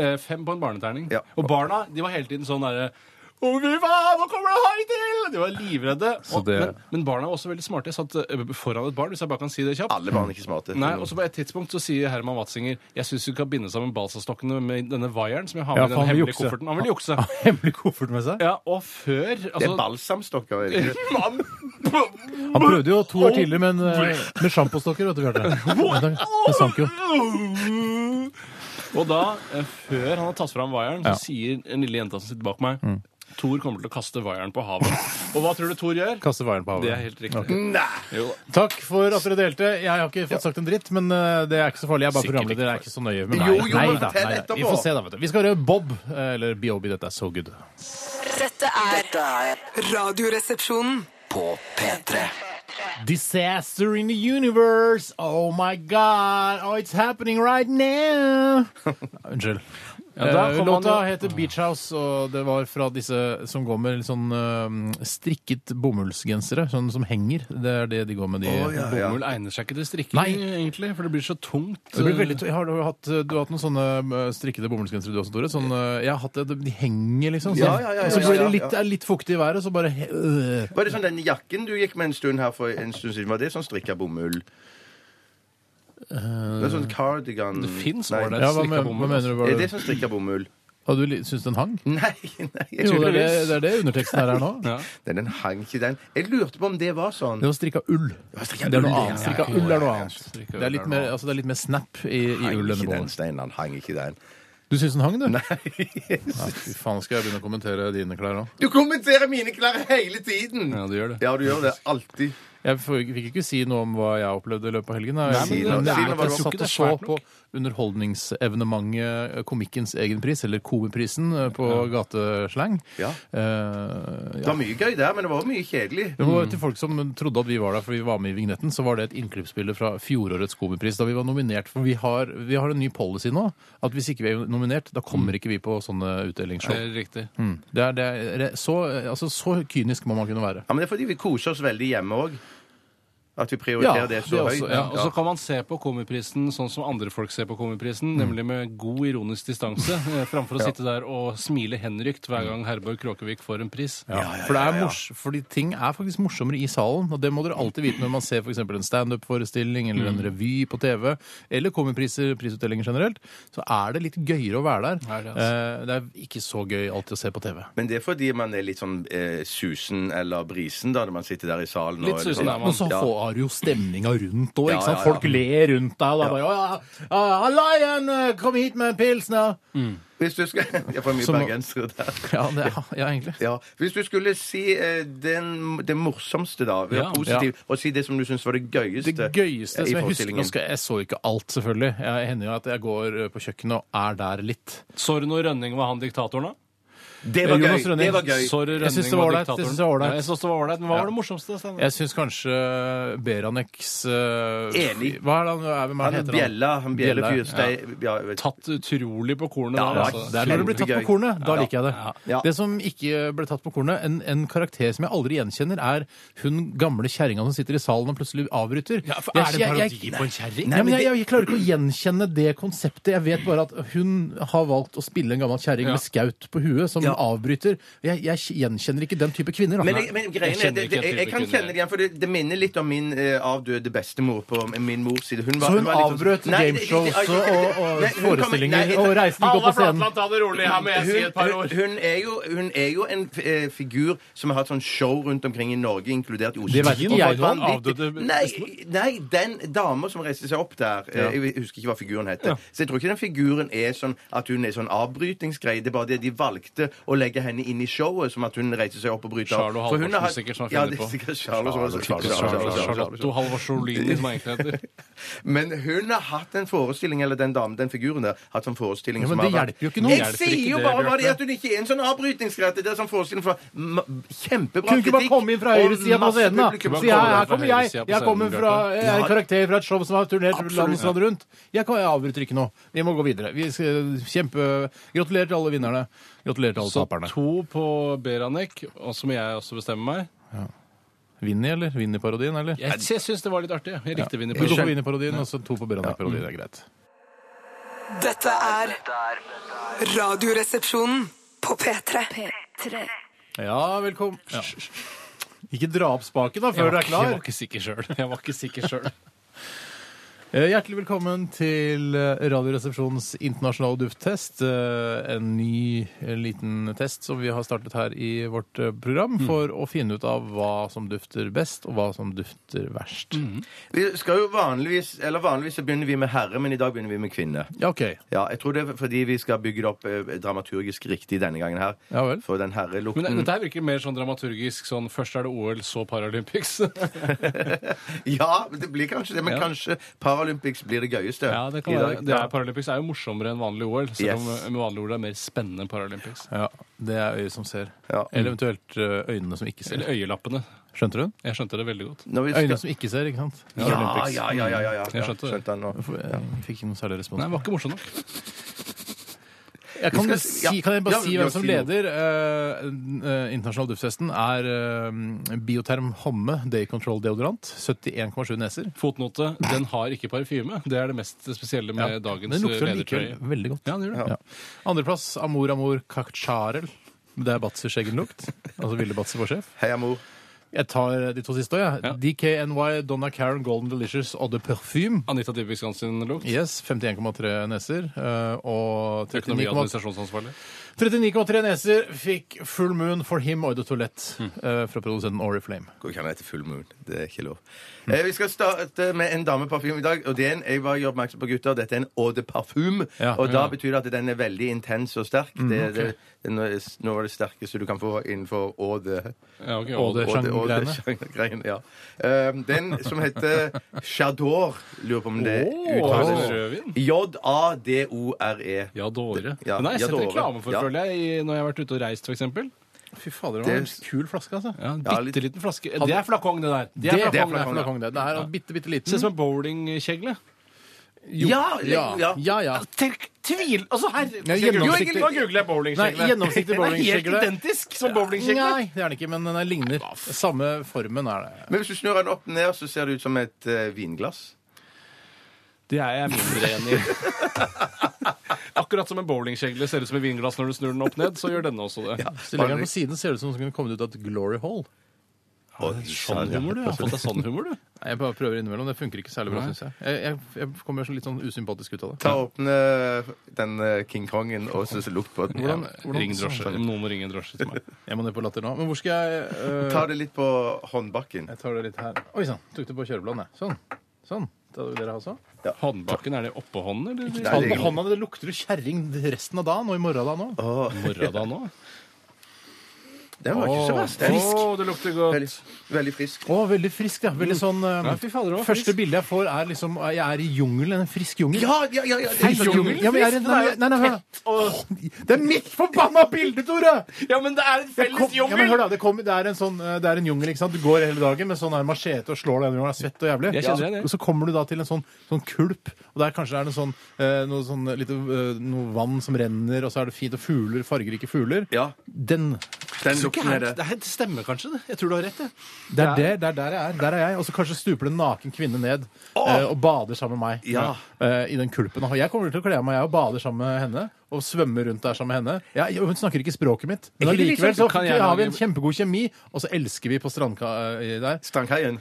[SPEAKER 5] Eh, Fem på en barneterning.
[SPEAKER 4] Ja.
[SPEAKER 5] Og barna de var hele tiden sånn derre å, fy faen, nå kommer det hai til! De var livredde. Og,
[SPEAKER 3] det-
[SPEAKER 5] men, men barna var også veldig smarte. Jeg satt eh, foran et barn, hvis jeg bare kan si det kjapt.
[SPEAKER 4] Alle barn er ikke smarte.
[SPEAKER 5] Nei, og så På et tidspunkt så sier Herman Watzinger Jeg syns du kan binde sammen balsastokkene med denne vaieren som jeg har
[SPEAKER 3] Ja,
[SPEAKER 5] med i
[SPEAKER 3] for han
[SPEAKER 5] den
[SPEAKER 3] vil
[SPEAKER 5] hemmelige
[SPEAKER 3] jukse.
[SPEAKER 5] kofferten. Han vil jukse.
[SPEAKER 3] Hemmelig koffert med seg.
[SPEAKER 5] Ja, og før
[SPEAKER 4] Det er
[SPEAKER 5] altså,
[SPEAKER 4] balsamstokker. er det ikke det?
[SPEAKER 5] Mann!
[SPEAKER 3] Han prøvde jo to år tidligere, men eh, med sjampostokker, vet du, Bjarte. Det sank jo.
[SPEAKER 5] Og da, eh, før han har tatt fram vaieren,
[SPEAKER 3] Ja. Mm.
[SPEAKER 5] så sier en lille jenta som sitter bak meg Thor kommer til å kaste vaieren på havet. Og hva tror du Thor gjør?
[SPEAKER 3] Kaste vaieren på
[SPEAKER 5] Det er
[SPEAKER 3] havet.
[SPEAKER 5] helt riktig. Jo.
[SPEAKER 3] Takk for at dere delte. Jeg har ikke fått sagt en dritt, men eh, det er ikke så farlig. Jeg er bare
[SPEAKER 5] Sikkert
[SPEAKER 3] programleder. Jeg er ikke så nøye med
[SPEAKER 4] Jo, jo, men
[SPEAKER 3] da,
[SPEAKER 4] fortell
[SPEAKER 3] nei da. Vi
[SPEAKER 4] etterpå.
[SPEAKER 3] får se, da. vet du. Vi skal høre Bob, eh, eller BOB. Dette er so good.
[SPEAKER 6] Dette er
[SPEAKER 2] Dette er
[SPEAKER 1] Radioresepsjonen.
[SPEAKER 2] på P3.
[SPEAKER 3] Disaster in the universe. Oh my god. Oh, it's happening right now. Unnskyld.
[SPEAKER 5] da
[SPEAKER 3] Eh,
[SPEAKER 5] kom
[SPEAKER 3] Låta
[SPEAKER 5] han jo-
[SPEAKER 3] heter Beach House, og det var fra disse som går med litt sånn eh, strikket bomullsgensere. Sånn som henger. Det er det de går med, de.
[SPEAKER 5] Bomull egner seg ikke til strikking,
[SPEAKER 3] Nei.
[SPEAKER 5] egentlig, for det blir så tungt.
[SPEAKER 3] Det
[SPEAKER 4] Eh,
[SPEAKER 3] blir veldig, jeg har, du, har hatt, du har hatt noen sånne eh, strikkede bomullsgensere du også, Tore. Sånn, eh, jeg har hatt det, de- de henger liksom. Sånn.
[SPEAKER 4] Ja, ja, ja,
[SPEAKER 3] og så
[SPEAKER 4] ja,
[SPEAKER 3] blir
[SPEAKER 4] ja,
[SPEAKER 3] det
[SPEAKER 4] ja.
[SPEAKER 3] litt, er litt fuktig i været, og så bare he- øh.
[SPEAKER 4] Var det sånn den jakken du gikk med en stund her for en stund siden, var det sånn strikka bomull? Det er sånn cardigan
[SPEAKER 5] Det fins
[SPEAKER 4] Nei.
[SPEAKER 5] ålreit
[SPEAKER 3] ja, hva,
[SPEAKER 5] strikka
[SPEAKER 3] men, hva
[SPEAKER 5] bomull.
[SPEAKER 3] mener du?
[SPEAKER 4] Er
[SPEAKER 3] Var
[SPEAKER 4] det
[SPEAKER 3] det?
[SPEAKER 4] sånn strikka bomull?
[SPEAKER 3] Har du li- syns den hang?
[SPEAKER 4] Nei, nei
[SPEAKER 3] Jo,
[SPEAKER 4] jeg
[SPEAKER 3] det
[SPEAKER 4] tror
[SPEAKER 3] er det,
[SPEAKER 4] ikke det.
[SPEAKER 3] det er det underteksten her er nå.
[SPEAKER 5] Ja.
[SPEAKER 4] Den, den hang ikke, den. Jeg lurte på om det var sånn.
[SPEAKER 3] Det var strikka ull.
[SPEAKER 4] strikka
[SPEAKER 3] Det er
[SPEAKER 4] ull,
[SPEAKER 3] noe
[SPEAKER 4] ja,
[SPEAKER 3] annet.
[SPEAKER 4] ja,
[SPEAKER 3] Strikka
[SPEAKER 4] ja,
[SPEAKER 3] ull er noe
[SPEAKER 4] ja,
[SPEAKER 3] annet.
[SPEAKER 5] strikka
[SPEAKER 3] Det er
[SPEAKER 5] ull er
[SPEAKER 3] litt
[SPEAKER 5] noe
[SPEAKER 3] mer,
[SPEAKER 5] annet.
[SPEAKER 3] altså, det er litt mer snap i, i
[SPEAKER 4] Hang
[SPEAKER 3] ull enn i
[SPEAKER 4] ikke den,
[SPEAKER 3] bollen.
[SPEAKER 4] Stein. Han hang ikke den.
[SPEAKER 3] Du syns den hang, du?
[SPEAKER 4] Nei.
[SPEAKER 3] Fy faen, skal jeg begynne å kommentere dine klær òg?
[SPEAKER 4] Du kommenterer mine klær hele tiden!
[SPEAKER 5] Ja, det gjør det.
[SPEAKER 4] Ja, du gjør det alltid.
[SPEAKER 3] Jeg får- fikk ikke si noe om hva jeg opplevde i løpet av helgen. da.
[SPEAKER 5] Nei,
[SPEAKER 3] Jeg-
[SPEAKER 4] men-
[SPEAKER 3] jeg-
[SPEAKER 4] men-
[SPEAKER 3] jeg-
[SPEAKER 4] men-
[SPEAKER 3] jeg satt
[SPEAKER 5] det er
[SPEAKER 3] og så
[SPEAKER 5] svært
[SPEAKER 3] på
[SPEAKER 5] nok.
[SPEAKER 3] underholdningsevenementet eh, Komikkens egen pris, eller Komiprisen, eh, på gateslang.
[SPEAKER 4] Ja.
[SPEAKER 3] Eh,
[SPEAKER 4] Det
[SPEAKER 3] ja.
[SPEAKER 4] var mye gøy der, men det var mye kjedelig.
[SPEAKER 3] Det var til folk som trodde at vi var der fordi vi var med i vignetten, så var det et innklippsbilde fra fjorårets Komipris da vi var nominert. For vi har, vi har en ny policy nå, at hvis ikke vi er nominert, da kommer ikke vi på sånne
[SPEAKER 5] Det
[SPEAKER 3] utdelingsshow.
[SPEAKER 5] er riktig.
[SPEAKER 3] Mm. Det er, det er, det er så, altså, så kynisk må man kunne være.
[SPEAKER 4] Ja, men Det er fordi vi koser oss veldig hjemme òg. At vi
[SPEAKER 3] Ja,
[SPEAKER 4] prioriterer det så
[SPEAKER 3] det
[SPEAKER 4] høyt.
[SPEAKER 3] også,
[SPEAKER 5] Ja, og så kan man se på Komiprisen sånn som andre folk ser på
[SPEAKER 3] Mm.
[SPEAKER 5] Komiprisen, nemlig med god ironisk distanse, eh, framfor å sitte der og smile henrykt hver gang Herborg Kråkevik får en pris.
[SPEAKER 3] For det er mors fordi ting er faktisk morsommere i salen. og Det må dere alltid vite når man ser for eksempel en standup-forestilling eller en revy på TV, eller kommer priser, prisutdelinger generelt. Så er det litt gøyere å være der.
[SPEAKER 5] Er det,
[SPEAKER 3] Eh, det er ikke så gøy alltid å se på TV.
[SPEAKER 4] Men det er fordi man er litt sånn eh, susen eller brisen da når man sitter der i salen. og-
[SPEAKER 5] Litt
[SPEAKER 4] eller
[SPEAKER 5] susen er
[SPEAKER 4] sånn.
[SPEAKER 5] man.
[SPEAKER 3] Og så
[SPEAKER 4] Ja.
[SPEAKER 3] har du jo stemninga rundt òg.
[SPEAKER 4] Ja, ja, ja.
[SPEAKER 3] Folk ler rundt deg. Og da bare «Å, ja, ja, 'Halla igjen! eh, Kom hit med en pils nå!'
[SPEAKER 4] Hvis du skal Jeg får mye
[SPEAKER 3] Så må-
[SPEAKER 4] bergensere der.
[SPEAKER 3] Ja, det, ja, egentlig.
[SPEAKER 4] Ja. Hvis du skulle si eh, den, det morsomste, da, være
[SPEAKER 5] Ja.
[SPEAKER 4] positiv, og si det som du syns var det gøyeste
[SPEAKER 3] Det gøyeste
[SPEAKER 4] eh, i
[SPEAKER 3] som jeg husker
[SPEAKER 4] forestillingen.
[SPEAKER 3] Nå skal jeg, jeg så ikke alt, selvfølgelig. Jeg hender jo at jeg går eh, på kjøkkenet og er der litt.
[SPEAKER 5] Så du når Rønning var han diktatoren, da?
[SPEAKER 4] Det var gøy!
[SPEAKER 3] Eh, Jonas Rønning.
[SPEAKER 4] Det var gøy.
[SPEAKER 5] Så du
[SPEAKER 3] Jeg synes
[SPEAKER 5] Rønning
[SPEAKER 3] det var
[SPEAKER 5] var
[SPEAKER 3] ålreit, jeg
[SPEAKER 5] diktatoren?
[SPEAKER 3] synes det var ålreit.
[SPEAKER 5] Ja, jeg synes det var ålreit. Men hva
[SPEAKER 3] Ja.
[SPEAKER 5] var det morsomste? Stein?
[SPEAKER 3] Jeg syns kanskje Beraneks eh,
[SPEAKER 4] Enig.
[SPEAKER 3] Hva er det han er? Hvem er
[SPEAKER 4] Han
[SPEAKER 3] det
[SPEAKER 4] er
[SPEAKER 3] heter
[SPEAKER 4] bjella, han bjella fyr.
[SPEAKER 3] Ja.
[SPEAKER 4] Stein- Ja. jeg vet-
[SPEAKER 5] Tatt utrolig på kornet.
[SPEAKER 4] Ja,
[SPEAKER 5] der,
[SPEAKER 4] det
[SPEAKER 5] altså.
[SPEAKER 3] Det er når du blir tatt på
[SPEAKER 4] Kjempegøy.
[SPEAKER 3] kornet. Da
[SPEAKER 4] Ja.
[SPEAKER 3] liker jeg det.
[SPEAKER 4] Ja.
[SPEAKER 3] Det som ikke ble tatt på kornet, en, en karakter som jeg aldri gjenkjenner, er hun gamle kjerringa som sitter i salen og plutselig avbryter.
[SPEAKER 5] Ja, for er det
[SPEAKER 3] Jeg- jeg-
[SPEAKER 5] parodi på en kjerring?
[SPEAKER 3] Nei, men jeg, jeg klarer ikke å gjenkjenne det konseptet. Jeg vet bare at hun har valgt å spille en gammel kjerring
[SPEAKER 5] Ja.
[SPEAKER 3] med skaut på huet som
[SPEAKER 4] Ja.
[SPEAKER 3] avbryter. Jeg, jeg gjenkjenner ikke den type kvinner. Da.
[SPEAKER 4] Men, jeg, men greien er,
[SPEAKER 5] kjenner
[SPEAKER 4] det, det,
[SPEAKER 5] ikke
[SPEAKER 4] jeg,
[SPEAKER 5] helt
[SPEAKER 4] jeg kan
[SPEAKER 5] typen,
[SPEAKER 4] kjenne det igjen, for det, det minner litt om min eh, avdøde bestemor på min mors side. Hun
[SPEAKER 3] Så hun
[SPEAKER 4] var litt sånn-
[SPEAKER 3] avbrøt
[SPEAKER 4] Nei, det-
[SPEAKER 3] gameshows og,
[SPEAKER 4] det-
[SPEAKER 3] og, og
[SPEAKER 4] Nei, hun kom-
[SPEAKER 3] forestillinger
[SPEAKER 4] nei,
[SPEAKER 3] og reiste ikke opp på scenen?
[SPEAKER 5] ta det rolig her, må
[SPEAKER 4] hun, hun, hun, er jo, hun er jo en f- eh, figur som har hatt sånn show rundt omkring i Norge, inkludert i Oslo.
[SPEAKER 3] Det vet ikke jeg,
[SPEAKER 4] Og var
[SPEAKER 5] du har avdøde
[SPEAKER 4] vanvittig- nei, nei, den dama som reiste seg opp der eh,
[SPEAKER 3] Ja.
[SPEAKER 4] Jeg husker ikke hva figuren heter. Så jeg tror ikke den figuren er sånn at hun er sånn avbrytingsgreie. Det er bare det de valgte å legge henne inn i showet, som at hun reiste seg opp og bryter
[SPEAKER 5] Charlo
[SPEAKER 4] For hun har
[SPEAKER 5] Halvorsen
[SPEAKER 4] hatt-
[SPEAKER 5] sikkert som har
[SPEAKER 4] Ja,
[SPEAKER 5] funnet
[SPEAKER 4] det er
[SPEAKER 5] på.
[SPEAKER 4] sikkert Charlo som har
[SPEAKER 5] Charlotte Charlotte Halvorsolini, som egentlig heter.
[SPEAKER 4] men hun har hatt en forestilling, eller den damen, den figuren der, hatt sånn forestilling
[SPEAKER 3] Ja, men
[SPEAKER 4] som
[SPEAKER 3] det
[SPEAKER 4] har vært-
[SPEAKER 3] hjelper jo ikke noe.
[SPEAKER 4] Jeg
[SPEAKER 3] Hjelper
[SPEAKER 4] sier
[SPEAKER 3] ikke
[SPEAKER 4] jo
[SPEAKER 3] det,
[SPEAKER 4] bare hva
[SPEAKER 3] Bjarte.
[SPEAKER 4] det er at hun ikke er en sånn avbrytingsgreie. Det er sånn forestilling fra ma- kjempebra
[SPEAKER 3] Kunne ikke bare
[SPEAKER 4] kritikk,
[SPEAKER 3] komme inn fra
[SPEAKER 4] og
[SPEAKER 3] høyresida på
[SPEAKER 4] masse
[SPEAKER 3] scenen, da?
[SPEAKER 4] publikum.
[SPEAKER 3] Si her, her
[SPEAKER 5] fra
[SPEAKER 3] kommer jeg.
[SPEAKER 5] høyresiden på
[SPEAKER 3] Jeg kommer
[SPEAKER 5] scenen,
[SPEAKER 3] fra
[SPEAKER 5] Bjarte.
[SPEAKER 3] jeg er en karakter fra et show som har turnert
[SPEAKER 4] Absolutt.
[SPEAKER 3] landsland rundt. Jeg, kan, jeg avbryter ikke nå. Vi må gå videre. Vi skal kjempe Gratulerer til alle vinnerne. Gratulerer til alle
[SPEAKER 5] Så
[SPEAKER 3] taperne.
[SPEAKER 5] to på Beranek, og så må jeg også bestemme meg.
[SPEAKER 3] Vinni, eller? Vinni-parodien, eller?
[SPEAKER 5] Jeg, jeg syns det var litt artig. ja. Jeg likte Vinni
[SPEAKER 3] Vi går
[SPEAKER 5] Paradis.
[SPEAKER 3] for Vinni-parodien, og så to på Beranek-parodien. Det er greit.
[SPEAKER 1] Dette er Radioresepsjonen på P3.
[SPEAKER 3] Ja, velkommen. Ikke dra opp spaken da, før du er
[SPEAKER 5] Jeg
[SPEAKER 3] klar.
[SPEAKER 5] var ikke sikker sjøl. Jeg var ikke sikker selv.
[SPEAKER 3] Eh, Hjertelig velkommen til eh, Radioresepsjonens internasjonale dufttest. eh, En ny eh, liten test som vi har startet her i vårt eh, program for å finne ut av hva som dufter best, og hva som dufter verst.
[SPEAKER 4] Vi skal jo vanligvis Eller vanligvis så begynner vi med herre, men i dag begynner vi med kvinne.
[SPEAKER 3] Ja, OK.
[SPEAKER 4] Ja, jeg tror det er fordi vi skal bygge det opp eh, dramaturgisk riktig denne gangen her.
[SPEAKER 3] Ja vel.
[SPEAKER 4] For den herrelukten
[SPEAKER 5] Men dette her virker mer sånn dramaturgisk. sånn Først er det OL, så Paralympics.
[SPEAKER 4] Ja, men det blir kanskje det. Men
[SPEAKER 5] Ja.
[SPEAKER 4] kanskje Paralympics blir det gøyeste.
[SPEAKER 5] Ja, det
[SPEAKER 4] i
[SPEAKER 5] kan
[SPEAKER 4] dag.
[SPEAKER 5] være. Det er, Paralympics er jo morsommere enn vanlig OL. Selv om
[SPEAKER 4] Yes.
[SPEAKER 5] eh, med vanlig OL er det mer spennende enn Paralympics.
[SPEAKER 3] Ja, Det er øyet som ser.
[SPEAKER 4] Ja.
[SPEAKER 3] Eller eventuelt eh, øynene som ikke ser.
[SPEAKER 5] Eller øyelappene.
[SPEAKER 3] Skjønte du den?
[SPEAKER 5] Jeg skjønte det veldig godt.
[SPEAKER 4] Når vi skal-
[SPEAKER 3] Øynene som ikke ser, ikke sant?
[SPEAKER 4] ja, ja, ja, ja, ja, ja.
[SPEAKER 5] Jeg skjønte det.
[SPEAKER 4] skjønte han nå.
[SPEAKER 3] Hvorfor- Jeg fikk ikke noe særlig respons.
[SPEAKER 5] Nei, det var ikke morsomt nok.
[SPEAKER 3] Jeg kan,
[SPEAKER 4] Vi skal-
[SPEAKER 3] si,
[SPEAKER 4] ja.
[SPEAKER 3] kan jeg bare
[SPEAKER 4] Ja,
[SPEAKER 3] si
[SPEAKER 4] ja,
[SPEAKER 3] hvem som
[SPEAKER 4] si noe.
[SPEAKER 3] leder eh, eh, internasjonal dufttesten? Er eh, Bioterm Homme Day Control Deodorant. 71,7 neser.
[SPEAKER 5] Fotnote. Den har ikke parfyme. Det er det mest spesielle med
[SPEAKER 3] Ja.
[SPEAKER 5] dagens
[SPEAKER 3] Den lukter
[SPEAKER 5] ledertrøye.
[SPEAKER 3] likevel veldig godt.
[SPEAKER 5] Ja, den gjør det.
[SPEAKER 3] Ja. Andreplass Amor Amor Kakcharel. Det er Batzy Skjeggenlukt. Altså Ville Batzy vår sjef.
[SPEAKER 4] Hei, mor.
[SPEAKER 3] Jeg tar eh, de to siste òg, jeg.
[SPEAKER 5] Ja.
[SPEAKER 3] DKNY Donna Karen Golden Delicious Eau de Perfume.
[SPEAKER 5] Anita Dybvik sin lukt.
[SPEAKER 3] Yes, 51,3 neser. eh, og
[SPEAKER 5] Økonomi- og
[SPEAKER 3] 39,3
[SPEAKER 5] administrasjonsansvarlig.
[SPEAKER 3] 39,3 neser fikk Full Moon for Him Oid de Toilette
[SPEAKER 4] Mm.
[SPEAKER 3] eh, fra produsenten Oriflame.
[SPEAKER 4] Går ikke an å hete Full Moon. Det er ikke lov. Eh, vi skal starte med en dameparfyme i dag. og det er en, Jeg bare gjør oppmerksom på gutter. Dette er en eau de parfum.
[SPEAKER 3] Ja,
[SPEAKER 4] og da
[SPEAKER 5] ja. Mm,
[SPEAKER 4] betyr det at den er veldig intens og sterk. det, det, det er noe, noe av det sterkeste du kan få innenfor eau de
[SPEAKER 5] Ja, ok,
[SPEAKER 3] Og det
[SPEAKER 5] og-
[SPEAKER 4] Og det- og det-
[SPEAKER 3] Sjanggreiene.
[SPEAKER 4] sjanggreiene, ja. Ehm, Den som heter Chador, lurer på om det
[SPEAKER 5] Åh,
[SPEAKER 4] uttales
[SPEAKER 5] rødvin?
[SPEAKER 4] J-A-D-o-r-e.
[SPEAKER 5] Ja, Dåre.
[SPEAKER 4] Ja,
[SPEAKER 5] Nei, jeg har
[SPEAKER 4] ja,
[SPEAKER 5] sett
[SPEAKER 4] Dåre.
[SPEAKER 5] reklame for,
[SPEAKER 4] Ja.
[SPEAKER 5] føler jeg, i- når jeg har vært ute og reist, f.eks.
[SPEAKER 3] Fy fader,
[SPEAKER 4] var en
[SPEAKER 3] kul flaske, altså.
[SPEAKER 5] Ja, en
[SPEAKER 4] Ja,
[SPEAKER 5] bitte
[SPEAKER 4] litt-
[SPEAKER 5] liten flaske. Det er flakong, det der.
[SPEAKER 3] Det er
[SPEAKER 4] det er
[SPEAKER 3] flakong, det er
[SPEAKER 4] flakong, ja.
[SPEAKER 3] flakong, det. Det er en bitte, bitte
[SPEAKER 5] Ser ut
[SPEAKER 3] liten.
[SPEAKER 5] som en bowlingkjegle.
[SPEAKER 4] Ja!
[SPEAKER 3] Ja,
[SPEAKER 4] ja.
[SPEAKER 3] ja. ja.
[SPEAKER 5] Tenk, tvil! Altså, herre
[SPEAKER 3] Nei,
[SPEAKER 5] Jo,
[SPEAKER 3] gjennomsiktig-
[SPEAKER 5] egentlig bare googler jeg bowlingkjegle.
[SPEAKER 3] Nei, gjennomsiktig
[SPEAKER 5] Den
[SPEAKER 3] bowlingkjegle.
[SPEAKER 5] er helt identisk som bowlingkjegle.
[SPEAKER 3] Nei, det er den ikke, men den ligner. Samme formen er det.
[SPEAKER 4] Men hvis du snur den opp ned, så ser det ut som et eh, vinglass.
[SPEAKER 5] Det er jeg mindre enig i. Akkurat som en bowlingkjegle ser ut som et vinglass når du snur den opp ned, så gjør denne også det.
[SPEAKER 3] Hvis du legger den på siden, ser det ut som den kunne kommet ut av et glory hole.
[SPEAKER 4] Oi,
[SPEAKER 5] Sånn humor, du.
[SPEAKER 4] ja.
[SPEAKER 5] Du har fått deg sånn humor, du.
[SPEAKER 3] Nei, Jeg bare prøver innimellom. Det funker ikke særlig bra,
[SPEAKER 5] Nei.
[SPEAKER 3] syns jeg. Jeg, jeg. jeg kommer så litt sånn usympatisk ut av det.
[SPEAKER 4] Ta og åpne den eh, King Kongen og så så lukt på den.
[SPEAKER 3] Hvordan- hvordan-
[SPEAKER 5] Ring drosje. Noen må ringe en drosje til meg.
[SPEAKER 3] Jeg må ned på latter nå. Men hvor skal jeg øh,
[SPEAKER 4] Ta det litt på håndbakken.
[SPEAKER 3] Jeg tar det litt her. Oi sann. Tok det på kjørebladet. Sånn. Sånn. Det hadde dere også.
[SPEAKER 5] Håndbaken, er det oppå hånden, eller?
[SPEAKER 4] Nei,
[SPEAKER 3] Ta
[SPEAKER 5] Ikke
[SPEAKER 3] det på
[SPEAKER 4] egentlig-
[SPEAKER 3] hånda, det lukter jo kjerring resten av dagen og i morgen da nå.
[SPEAKER 5] morra da nå?
[SPEAKER 4] Den var ikke så
[SPEAKER 3] Åh,
[SPEAKER 4] verst. Den.
[SPEAKER 5] Å, det lukter godt.
[SPEAKER 4] Veldig, veldig frisk.
[SPEAKER 3] Å, veldig frisk, ja. Veldig sånn eh,
[SPEAKER 5] Mm. Ja, fy fader, det var
[SPEAKER 3] Første
[SPEAKER 5] frisk.
[SPEAKER 3] bildet jeg får, er liksom Jeg er i jungelen. En frisk jungel.
[SPEAKER 4] Ja, ja, ja! ja, det er
[SPEAKER 3] Frisk
[SPEAKER 4] sånn-
[SPEAKER 3] jungel? Ja, men jeg er i nei, nei, nei, hør, da. Det er mitt forbanna bilde, Tore!
[SPEAKER 5] Ja, men det er en
[SPEAKER 3] Det, kom, ja, men hør da, det, kom, det, er en sånn, eh, det er en jungel. ikke sant? Du går hele dagen med sånn her machete og slår deg gjennom. er Svett og jævlig.
[SPEAKER 5] Jeg kjenner det, jeg.
[SPEAKER 3] Og så kommer du da til en sånn, sånn kulp, og der kanskje er det sånn, eh, noe, sånn lite, eh, noe vann som renner, og så er det fint, og fugler, fargerike fugler.
[SPEAKER 4] Ja,
[SPEAKER 3] Den.
[SPEAKER 4] den lukten er
[SPEAKER 5] Det,
[SPEAKER 4] det.
[SPEAKER 5] her stemmer kanskje, det. Jeg tror du har rett. jeg.
[SPEAKER 3] Det er det, det er der jeg er. Der er jeg. Og så kanskje stuper det en naken kvinne ned eh, og bader sammen med meg
[SPEAKER 4] Ja.
[SPEAKER 3] eh, i den kulpen. Og jeg kommer til å kle av meg jeg og bader sammen med henne. Og svømme rundt der sammen med henne. Jeg, jeg- hun snakker ikke språket mitt. Men
[SPEAKER 5] Er ikke det
[SPEAKER 3] allikevel så
[SPEAKER 5] liksom- kan jeg
[SPEAKER 3] har vi en
[SPEAKER 5] lage-
[SPEAKER 3] kjempegod kjemi, og så elsker vi på strandka eh, der.
[SPEAKER 4] Strandkaien.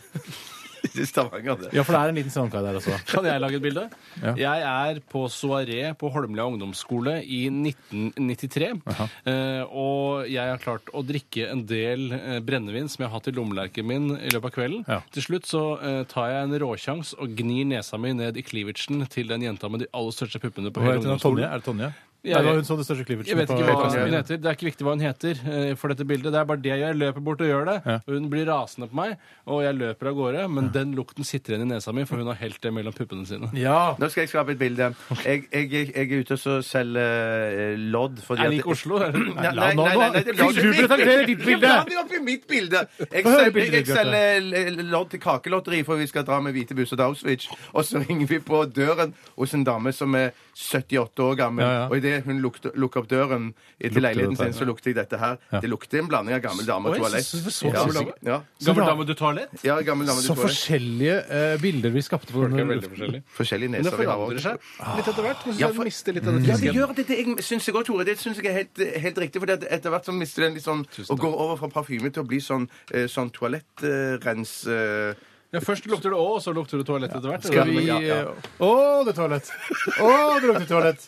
[SPEAKER 4] Det er Stavanger, det.
[SPEAKER 3] Ja, for det er en liten strandkai der også.
[SPEAKER 5] Kan jeg lage et bilde?
[SPEAKER 3] Ja.
[SPEAKER 5] Jeg er på soaré på Holmlia ungdomsskole i 1993. eh, og jeg har klart å drikke en del eh, brennevin som jeg har hatt i lommelerken min i løpet av kvelden.
[SPEAKER 3] Ja.
[SPEAKER 5] Til slutt så eh, tar jeg en råkjangs og gnir nesa mi ned i cleavagen til den jenta med de aller største puppene på
[SPEAKER 3] Hva
[SPEAKER 5] hele
[SPEAKER 3] heter hun?
[SPEAKER 5] ungdomsskolen.
[SPEAKER 3] Tonje? Er det Tonje? Nei,
[SPEAKER 5] Ja,
[SPEAKER 3] det var
[SPEAKER 5] jeg-
[SPEAKER 3] hun som hadde største klivertsen.
[SPEAKER 5] Jeg vet ikke
[SPEAKER 3] på-
[SPEAKER 5] hva hun heter. Det er ikke viktig hva hun heter eh, for dette bildet. Det er bare det jeg gjør. Jeg løper bort og gjør det.
[SPEAKER 3] Ja.
[SPEAKER 5] Og hun blir rasende på meg, og jeg løper av gårde. Men den lukten sitter igjen i nesa mi, for hun har helt det mellom puppene sine.
[SPEAKER 3] Ja.
[SPEAKER 4] Nå skal jeg skape et bilde. Jeg, jeg, jeg, jeg er ute og så selger eh, lodd. Fordi
[SPEAKER 5] Er det ikke Oslo? Er det-
[SPEAKER 4] Nei,
[SPEAKER 3] Nei,
[SPEAKER 4] nei,
[SPEAKER 3] nå-
[SPEAKER 4] nei,
[SPEAKER 3] nå-
[SPEAKER 4] nei, det er lodd.
[SPEAKER 3] Du presenterer ditt bilde.
[SPEAKER 4] Ja, det er oppi mitt bilde. Jeg
[SPEAKER 3] Få høre
[SPEAKER 4] selger,
[SPEAKER 3] bildet
[SPEAKER 4] jeg,
[SPEAKER 3] ditt, Bjarte.
[SPEAKER 4] selger l- l- lodd til kakelotteri, for vi skal dra med hvite busser til Auschwitz. Og så ringer vi på døren hos en dame som er 78 år gammel.
[SPEAKER 3] Ja, ja.
[SPEAKER 4] Og idet hun lukter, lukker opp døren til leiligheten
[SPEAKER 3] dette her?
[SPEAKER 4] sin, så lukter jeg dette her. Det lukter en blanding av gammel dame og
[SPEAKER 5] Oi,
[SPEAKER 4] toalett.
[SPEAKER 5] så- så- så gammel
[SPEAKER 4] Ja,
[SPEAKER 5] dame?
[SPEAKER 4] Ja,
[SPEAKER 5] Gammel dame, du tar lett?
[SPEAKER 4] ja, gammel dame
[SPEAKER 3] Så
[SPEAKER 4] og toalett.
[SPEAKER 3] forskjellige eh, bilder vi skapte på
[SPEAKER 5] Folk er
[SPEAKER 3] den
[SPEAKER 5] veldig forskjellige.
[SPEAKER 4] Forskjellige
[SPEAKER 5] Men det
[SPEAKER 4] neser vi har
[SPEAKER 5] forandrer
[SPEAKER 4] også.
[SPEAKER 5] seg litt etter hvert. Men
[SPEAKER 4] Ja,
[SPEAKER 5] så
[SPEAKER 4] for-
[SPEAKER 5] mister litt av det
[SPEAKER 4] Ja, det
[SPEAKER 5] friske.
[SPEAKER 4] gjør det. det jeg syns jeg òg, Tore. Det syns jeg er helt, helt riktig. For etter hvert så mister den litt sånn Og går over fra parfyme til å bli sånn, eh, sånn toalettrens... Eh,
[SPEAKER 5] Ja, først lukter det å, og så lukter det toalett etter hvert.
[SPEAKER 3] Skal
[SPEAKER 5] eller?
[SPEAKER 3] vi
[SPEAKER 4] Ja, ja.
[SPEAKER 3] eh, Å, det er toalett! Å, det lukter toalett!